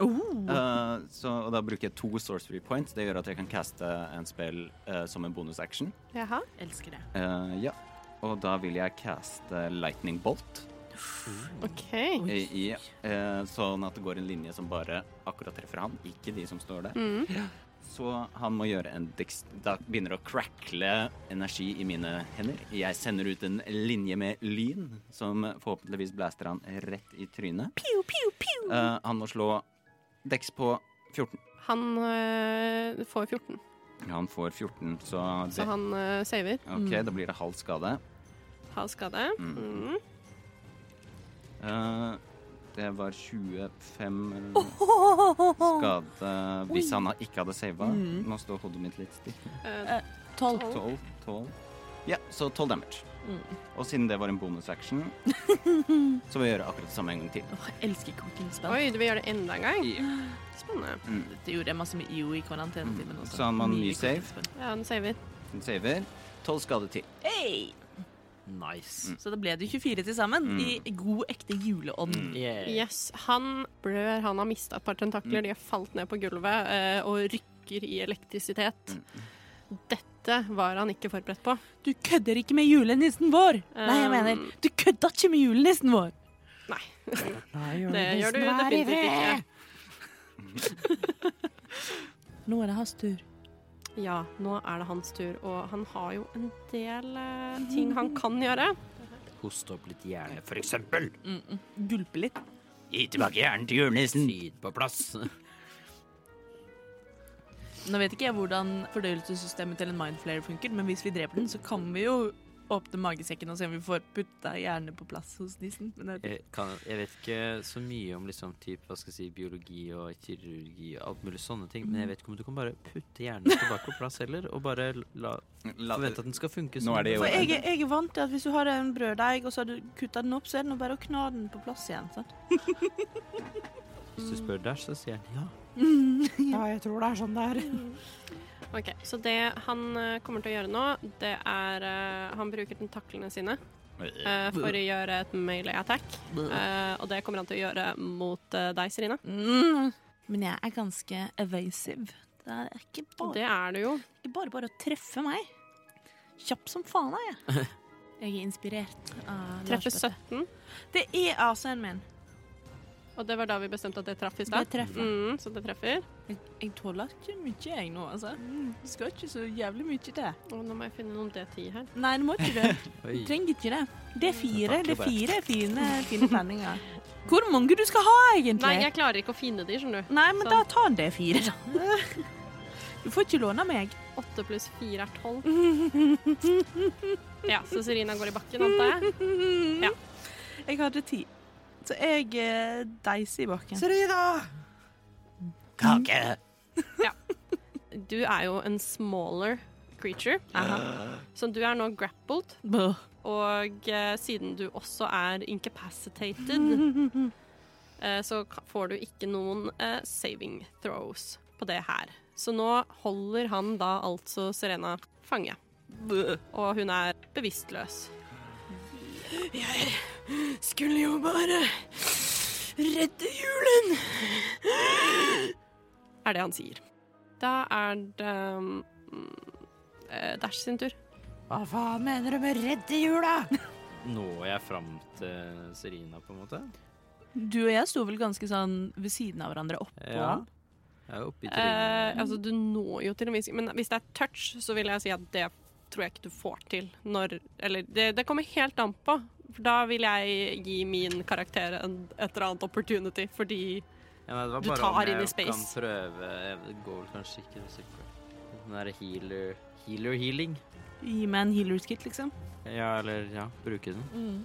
Eh, så, og da bruker jeg to sorcery points. Det gjør at jeg kan caste en spell eh, som en bonusaction.
Jaha.
Elsker det.
Eh, ja. Og da vil jeg caste lightning bolt.
OK.
eh, i, eh, sånn at det går en linje som bare akkurat treffer han, ikke de som står der.
Mm.
Så han må gjøre en dex... Da begynner det å crackle energi i mine hender. Jeg sender ut en linje med lyn, som forhåpentligvis blaster han rett i trynet. Eh, han må slå dex på 14.
Han øh, får 14,
Han får 14, så,
så
det,
han øh, saver.
OK, da blir det halv skade.
Har skade. Mm.
Eh, det var 25 eller noe skade hvis han ikke hadde sava. Nå står hodet mitt litt stille.
Eh,
Tolv.
12, 12. Ja, så 12 damage. Og siden det var en bonusaction, så vil jeg gjøre akkurat det samme en gang til.
Åh, jeg elsker cooking spell.
oi, du vil gjøre det enda en gang?
Ja.
Spennende.
Det gjorde jeg masse med IO i karantenetimen også.
Så har man
Mye
ny save.
cooking spell.
Ja, den saver.
Den saver. 12 skade til.
Hey!
nice.
Så da ble det 24 til sammen, i god ekte juleånd.
Yeah.
Yes, han blør, han har mista et par tentakler, de har falt ned på gulvet eh, og rykker i elektrisitet. Dette var han ikke forberedt på.
Du kødder ikke med julenissen vår! Nei, jeg
Um,
mener, du kødda ikke med julenissen vår!
Nei. det gjør du definitivt ikke.
Nå er det hans tur.
Eh, Ja, nå er det hans tur, og han har jo en del
Mhm.
eh, ting han kan gjøre.
Hoste opp litt hjerne, for eksempel.
Gulpe litt.
Gi tilbake hjernen til julenissen.
Tid på plass.
Nå vet ikke jeg hvordan fordøyelsessystemet til en mindflayer funker, men hvis vi dreper den, så kan vi jo åpne magesekken og se om vi får putta hjernen på plass hos nissen. Men det,
Jeg, kan, jeg vet ikke så mye om liksom, typ, hva skal jeg si, biologi og kirurgi og alt mulig sånne ting, men jeg vet ikke om du kan bare putte hjernen tilbake på plass heller, og bare la,
La,
forvente at den skal funke.
Nå er det jo-
for jeg, er- jeg er vant til at hvis du har en brøddeig, og så har du kutta den opp, så er det nå bare å kna den på plass igjen. sant?
Hvis du spør der, så sier han ja.
Mm.
Ja, jeg tror det er sånn det er.
Ok, Så det han eh, kommer til å gjøre nå, det er eh, Han bruker tentaklene sine eh, for å gjøre et melee attack, eh, og det kommer han til å gjøre mot eh, deg, Serina.
Men jeg er ganske evasive. Det er ikke
Og
bare
det er du jo.
ikke bare, bare å treffe meg. Kjapp som faen er jeg. [laughs] Jeg er inspirert av
Treffer
Lars Bøtte.
17.
Det er AC-en min.
Og det var da vi bestemte at det traff i
Det
stad.
treffer.
Mm, så det treffer.
Jeg, jeg tåler ikke mye, jeg nå, altså. Det skal ikke så jævlig mye til.
Og nå må jeg finne noen D10 her.
Nei, du må ikke det.
Oi.
Du trenger ikke det. Det er fire,
Takk,
det er
Robert.
fire fine, fine terninger. [laughs] Hvor mange du skal ha, egentlig?
Nei, jeg klarer ikke å finne de, skjønner du.
Nei, men
Sånn.
da ta en D4, [laughs] da. Du får ikke låne meg.
8 pluss 4 er [laughs] 12. Ja, så Serina går i bakken, antar jeg. Ja.
Jeg hadde ti. Så jeg eh, deiser i bakken.
Serina!
Kake!
Du er jo en smaller creature, så du er nå grappled.
Bøh.
Og eh, siden du også er incapacitated, [laughs] eh, så ka- får du ikke noen eh, saving throws på det her. Så nå holder han da altså Serena fange. Og hun er bevisstløs. Jeg skulle jo bare redde julen! Er det han sier. Da er det um, eh, Dash sin tur.
Hva faen mener du med redde jula?
Når jeg fram til Serina, på en måte?
Du og jeg sto vel ganske sånn ved siden av hverandre oppå
Ja.
han.
Jeg er oppe i
Eh,
trynet.
altså, du når jo til og med Men hvis det er touch, så vil jeg si at det tror jeg ikke du får til når Eller det, det kommer helt an på. For da vil jeg gi min karakter en, et eller annet opportunity, fordi
Ja, nei, det var
du
bare om
tar inn i
jeg Kan
space.
prøve jeg, Det går vel kanskje ikke. jeg er sikker på. Den derre healer Healer healing?
Gi meg en healer's kit, liksom.
Ja, eller ja, bruke den.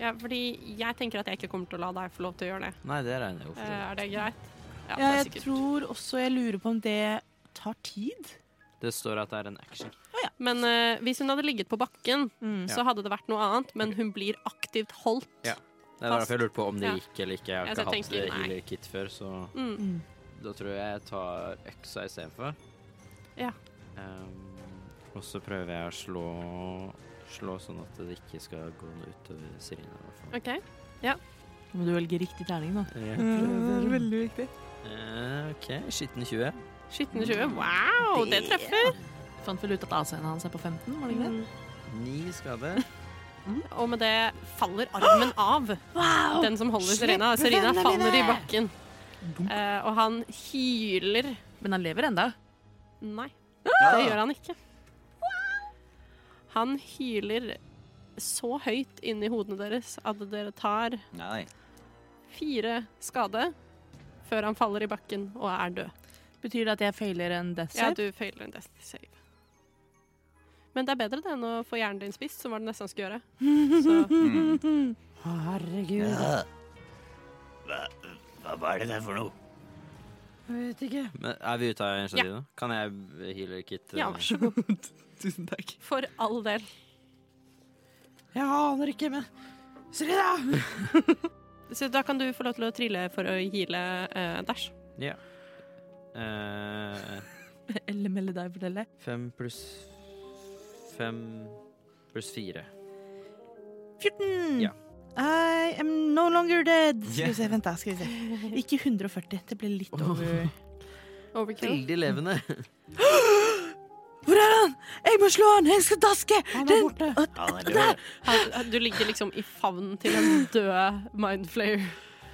Ja, fordi jeg tenker at jeg ikke kommer til å la deg få lov til å gjøre det.
Nei, det regner jeg jo for.
Eh,
så
er det greit? Ja,
Ja,
det er
jeg
sikkert.
tror også jeg lurer på om det tar tid.
vidt. Det står at det er en action.
Men eh, hvis hun hadde ligget på bakken,
Mm.
så hadde det vært noe annet, men hun blir aktivt holdt.
Det var
Fast.
derfor jeg lurte på om det
Ja.
gikk eller ikke. Jeg har
Ja, så
ikke
jeg
hatt
tenker,
eh,
nei.
healer kit før, så
Mm.
da tror jeg jeg tar øksa istedenfor.
Ja.
Ehm, og så prøver jeg å slå Slå sånn at det ikke skal gå noe utover Serina, i hvert fall.
OK.
Nå må du velge riktig terning, da.
Ja.
Det er veldig viktig.
Eh, OK, skitten 20.
Skitne 20. Wow, det treffer!
Fant vel ut at AC-en hans er på 15, var det ikke det?
Ni skade.
Og med det faller armen av. Den som holder Serena. Serena faller i bakken. Eh, og han hyler
Men han lever enda.
Nei, det gjør han ikke. Han hyler så høyt inni hodene deres at dere tar
Nei.
fire skade før han faller i bakken og er død.
Betyr det at jeg feiler en death
Ja,
save?
du feiler en death save. Men det er bedre det enn å få hjernen din spist, som var det neste han skulle gjøre. Så
Herregud,
Ja. Hva, hva var det der for noe?
jeg vet ikke.
Men er vi ute av initiativet? nå? Kan jeg healer kit? eh,
ja, vær så god.
Tusen takk.
For all del.
Jeg aner ikke, men Serena!
Så da kan du få lov til å trille for å heale eh, Dash.
Ja. Eh,
Eller melde deg fortelle.
fem pluss Fem pluss fire.
14.
Ja.
Mm. I am no longer dead. Skal vi se, vent da, skal vi
[laughs]
se. Ikke 140, det ble litt over.
Overkill.
Veldig levende.
Hvor er han? Jeg må slå han, jeg skal daske!
Han er borte.
Han er død.
Han- Du ligger liksom i favnen til [laughs] en død mindflayer.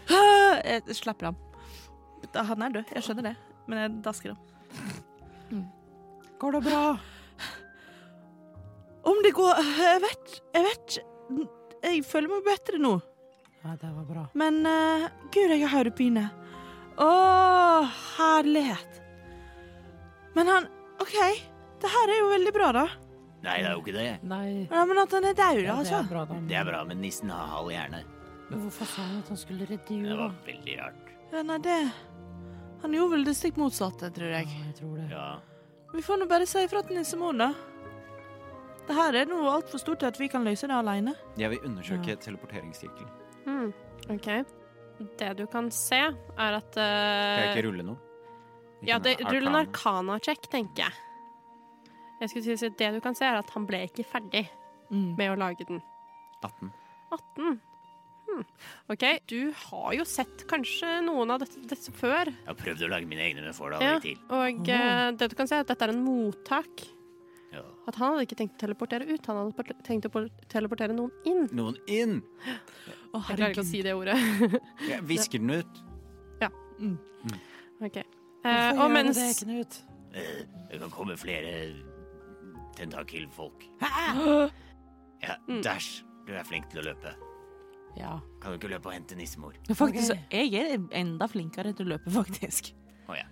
Ah, Jeg slapper ham. Han er død, jeg skjønner det. Men jeg dasker ham.
Går det bra?
Om det går Jeg vet, jeg vet Jeg føler meg bedre nå.
Ja, det var bra.
Men eh, gud, jeg har hodepine. Å, herlighet. Men han OK, det her er jo veldig bra, da.
Nei, det er jo ikke det.
Nei,
Ja, men at han er daud,
ja, det
altså.
er bra, da.
Det er bra, men nissen har halv hjerne.
Men hvorfor sa han at han skulle redde
Det
jula?
var veldig rart.
Ja, nei, det Han gjorde vel det stikk motsatte, tror
Ja,
jeg.
jeg tror det.
Ja.
Vi får nå bare si ifra til Nissemor, da. Det her er noe altfor stort til at vi kan løse det aleine.
Jeg vil undersøke teleporteringssirkelen.
Hmm, OK. Det du kan se, er at eh,
Kan jeg ikke rulle noe? Ikke
Ja, det,
noe
rull en
arcana?
arcana-check, tenker jeg. Jeg skulle si at Det du kan se, er at han ble ikke ferdig med å lage den.
18.
18. Hmm. OK, du har jo sett kanskje noen av dette, dette før.
Jeg har prøvd å lage mine egne, men får det aldri til.
Og eh, det du kan se, er at dette er en mottak.
Ja.
At han hadde ikke tenkt å teleportere ut, han hadde port- tenkt å pol- teleportere noen inn.
Noen inn!
Jeg klarer ikke å si det ordet.
Jeg visker den ut.
[laughs] Ok. Eh,
Hvorfor
og
gjør du
mens
det, Knut?
Eh, Det kan komme flere tentakelfolk.
[gasps]
Ja,
Mm.
Dash, du er flink til å løpe.
Ja.
Kan du ikke løpe og hente nissemor?
Faktisk,
Ok.
så jeg er enda flinkere til å løpe, faktisk.
Å ja.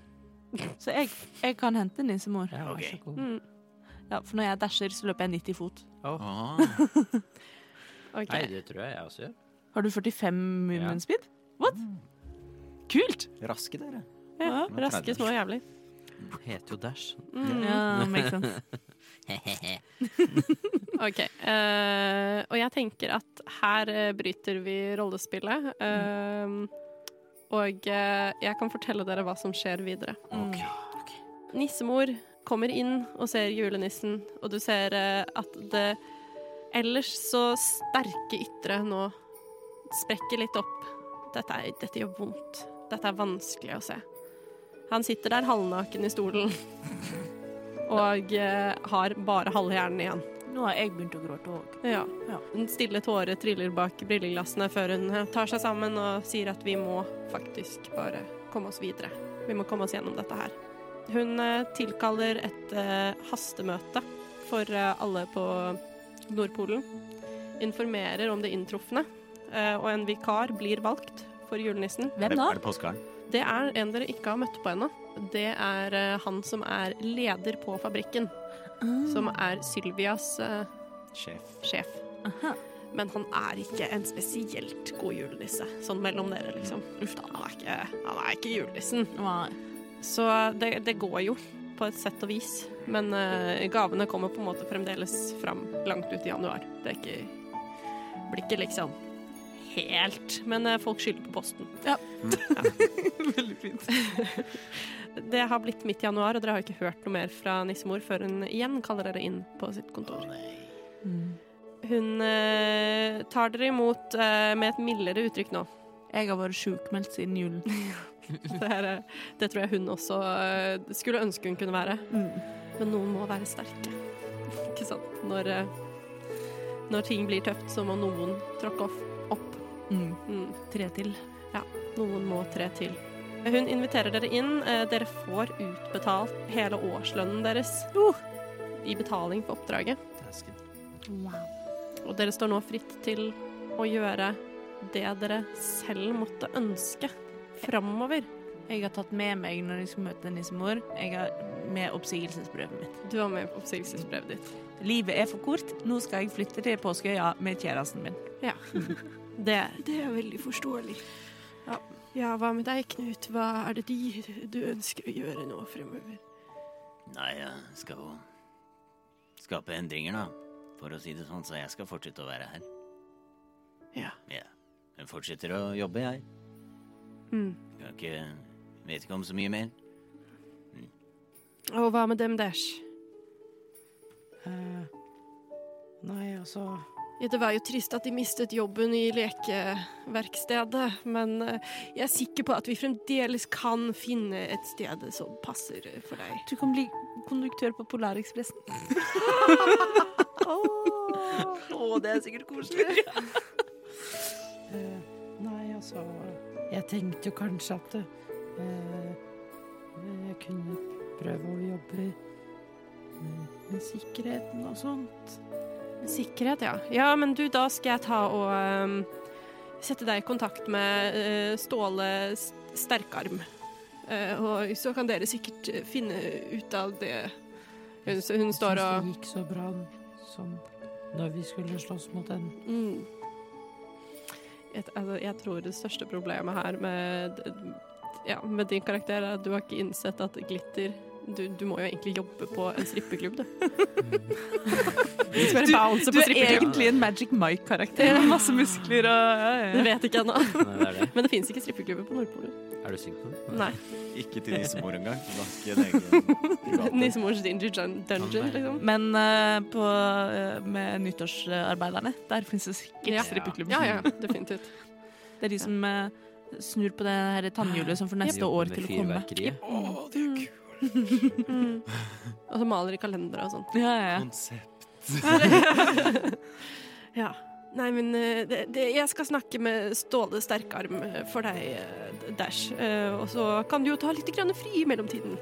Så jeg, jeg kan hente nissemor.
Ja,
Ok.
vær så god.
mm,
Ja, for når jeg dasher, så løper jeg 90 fot.
Åh.
ok.
Nei, det tror jeg jeg også gjør.
Har du 45 movement speed? What? Kult!
Raske dere.
Ja.
var
Raske
30.
små jævler.
Heter jo Dash.
Mm.
Mm.
Ja, makes sense.
[laughs] Ok. eh, og jeg tenker at her eh, bryter vi rollespillet. eh, og eh, jeg kan fortelle dere hva som skjer videre. Nissemor kommer inn og ser julenissen, og du ser eh, at det ellers så sterke ytre nå sprekker litt opp. Dette, er, dette gjør vondt. Dette er vanskelig å se. Han sitter der halvnaken i stolen og eh, har bare halve hjernen igjen.
Nå har jeg begynt å gråte òg.
Ja.
Ja.
En stille tåre triller bak brilleglassene før hun eh, tar seg sammen og sier at vi må faktisk bare komme oss videre. Vi må komme oss gjennom dette her. Hun eh, tilkaller et eh, hastemøte for eh, alle på Nordpolen. Informerer om det inntrufne, eh, og en vikar blir valgt for julenissen.
Hvem da?
Er det påskeharen?
Det er en dere ikke har møtt på ennå. Det er eh, han som er leder på fabrikken, som er Sylvias eh,
Sjef.
sjef. Men han er ikke en spesielt god julenisse, sånn mellom dere, liksom. Uff da, han er ikke, han er ikke julenissen. Så det, det går jo, på et sett og vis. Men eh, gavene kommer på en måte fremdeles fram langt ut i januar. Det er ikke, blir ikke liksom helt Men eh, folk skylder på posten.
Ja.
Veldig fint. det har blitt midt i januar, og dere har ikke hørt noe mer fra nissemor før hun igjen kaller dere inn på sitt kontor.
Mm.
Hun eh, tar dere imot eh, med et mildere uttrykk nå.
Jeg har vært sjukmeldt siden [laughs] julen.
Det, er, eh, det tror jeg hun også eh, skulle ønske hun kunne være.
Mm.
Men noen må være sterke. Ikke sant? Når, eh, når ting blir tøft, så må noen tråkke off, opp.
Mm.
Mm.
Tre til.
Noen må tre til. Hun inviterer dere inn. Eh, Dere får utbetalt hele årslønnen deres i betaling for oppdraget.
Tasken.
Og dere står nå fritt til å gjøre det dere selv måtte ønske framover.
Jeg har tatt med meg når jeg skal møte nissemor, jeg har med oppsigelsesbrevet mitt.
Du var med på oppsigelsesbrevet ditt.
Livet er for kort, nå skal jeg flytte til Påskeøya med kjæresten min.
Det
Det er veldig forståelig. Ja. hva med deg, Knut? Hva er det de du ønsker å gjøre nå fremover?
Nei, jeg skal jo skape endringer, da. For å si det sånn, så jeg skal fortsette å være her.
Ja.
Ja. Jeg fortsetter å jobbe, jeg.
Mm.
Kan ikke Vet ikke om så mye mer.
Og hva med dem deres?
Eh, nei, altså
Mm.
Ja, det var jo trist at de mistet jobben i lekeverkstedet, men eh, jeg er sikker på at vi fremdeles kan finne et sted som passer eh, for deg.
Du kan bli konduktør på [laughs] Polarekspressen.
eh, Nei, altså Jeg tenkte jo kanskje at eh, jeg kunne prøve å jobbe med- med sikkerheten og sånn. sånt.
Sikkerhet, ja. Ja, men du, da skal jeg ta og ehm, sette deg i kontakt med eh, Ståle S- Sterkarm. Eh, og så kan dere sikkert eh, finne ut av det. Hun, hun står og
Det gikk så bra som når vi skulle slåss mot den.
Mm. Et, altså, jeg tror det største problemet her med, ja, med din karakter er at du har ikke innsett at glitter du, du må jo egentlig jobbe på en strippeklubb, du. Du skal være bouncer
Du
på
er
strippeklubb.
egentlig en Magic Mike-karakter med masse muskler og ja, ja,
Det
ja.
vet ikke ennå.
Nei, det er det.
Men det fins ikke strippeklubber på Nordpolen.
Er du sikker på det?
Nei.
Ikke til nissemor engang. så da skal jeg legge-
Nissemors Dingy Dun- Dungeon, liksom.
Men eh, på, eh, med nyttårsarbeiderne, der fins det sikkert
Ja.
strippeklubber.
Ja, ja, definitivt.
Det er de som eh, snur på det her tannhjulet som får neste år til å komme.
Fyrverkeriet.
[laughs] Mm. Og så maler de kalendere og sånn. [laughs]
Ja, ja, ja.
Ja. Nei, men eh, det, det, jeg skal snakke med Ståle Sterkarm eh, for deg, eh, Dash. Eh, Og så kan du jo ta litt grann fri i mellomtiden.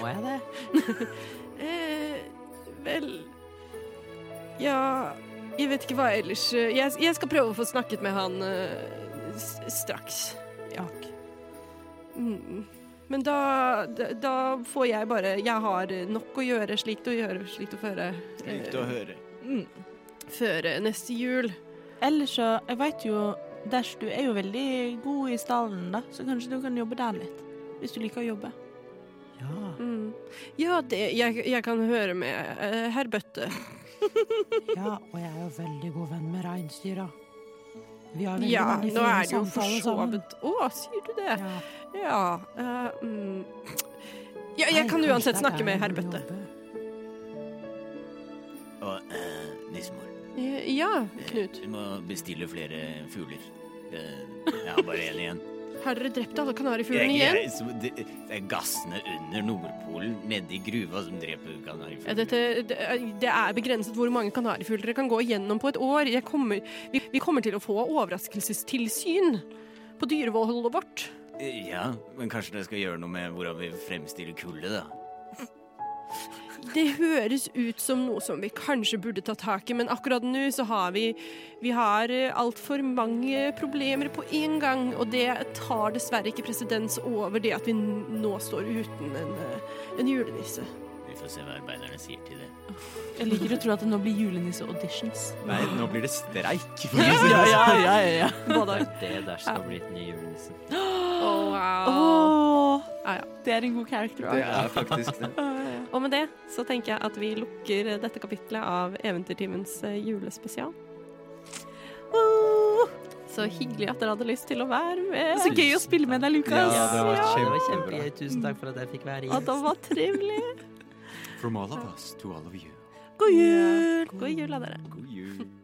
Må jeg det?
[laughs] Eh, vel Ja Jeg vet ikke hva ellers eh, jeg, jeg skal prøve å få snakket med han eh, s- straks. Ja. Mm. Men da, da, da får jeg bare Jeg har nok å gjøre, slikt å gjøre, slikt å føre.
Slikt å høre.
Før eh, neste jul.
Mm. Ellers så Jeg veit jo Dash, du er jo veldig god i stallen, da, så kanskje du kan jobbe der litt.
hvis du liker å jobbe.
Ja.
Mm. Ja, det, jeg, jeg kan høre med eh, herr Bøtte.
Ja, og jeg er jo veldig god venn med reinsdyra. Vi har veldig
Ja,
mange
nå
fine
er det jo for
samtaler
så
sammen.
vidt Å, sier du det?
Ja.
Ja. eh, mm. ja jeg
Nei,
kan
kanskje
uansett
det er
snakke
der
med herr
jeg må
Bøtte.
jobbe.
Og eh, nissemor,
Eh, Ja, Knut.
du må bestille flere fugler. Eh, jeg har bare én igjen.
[laughs] Har dere drept alle
Det er
kanarifuglene
ikke
igjen?
jeg som- det, det er gassene under Nordpolen, nedi gruva, som dreper
Ja,
kanarifugler.
Dette, det, eh, det er begrenset hvor mange kanarifugler dere kan gå igjennom på et år. Jeg kommer, vi, vi kommer til å få overraskelsestilsyn på dyreholdet vårt.
Eh, Ja, men kanskje det skal gjøre noe med hvordan vi fremstiller kullet, da.
Det høres ut som noe som vi kanskje burde ta tak i, men akkurat nå så har vi, vi har altfor mange problemer på én gang, og det tar dessverre ikke presedens over det at vi nå står uten en, eh, en julenisse.
Vi får se hva arbeiderne sier til det.
Jeg liker å tro at det nå blir julenisse-auditions.
Nei, nå blir det streik.
Ja, ja, ja, ja.
Det er det der skal bli et ny julenisse.
Åh,
Ja, ja.
det er en god character. arc.
Det er faktisk det.
Og med det så tenker jeg at vi lukker dette kapitlet av Eventyrtimens eh, julespesial. Åh, Så hyggelig at dere hadde lyst til å være med.
Så gøy å spille med deg, Lukas.
Ja, det var
det var
kjempebra.
kjempegøy. Tusen takk for at jeg fikk være
Og det
gjest.
var trivelig.
From all of us to all of you.
God jul! God jul av dere.
God jul.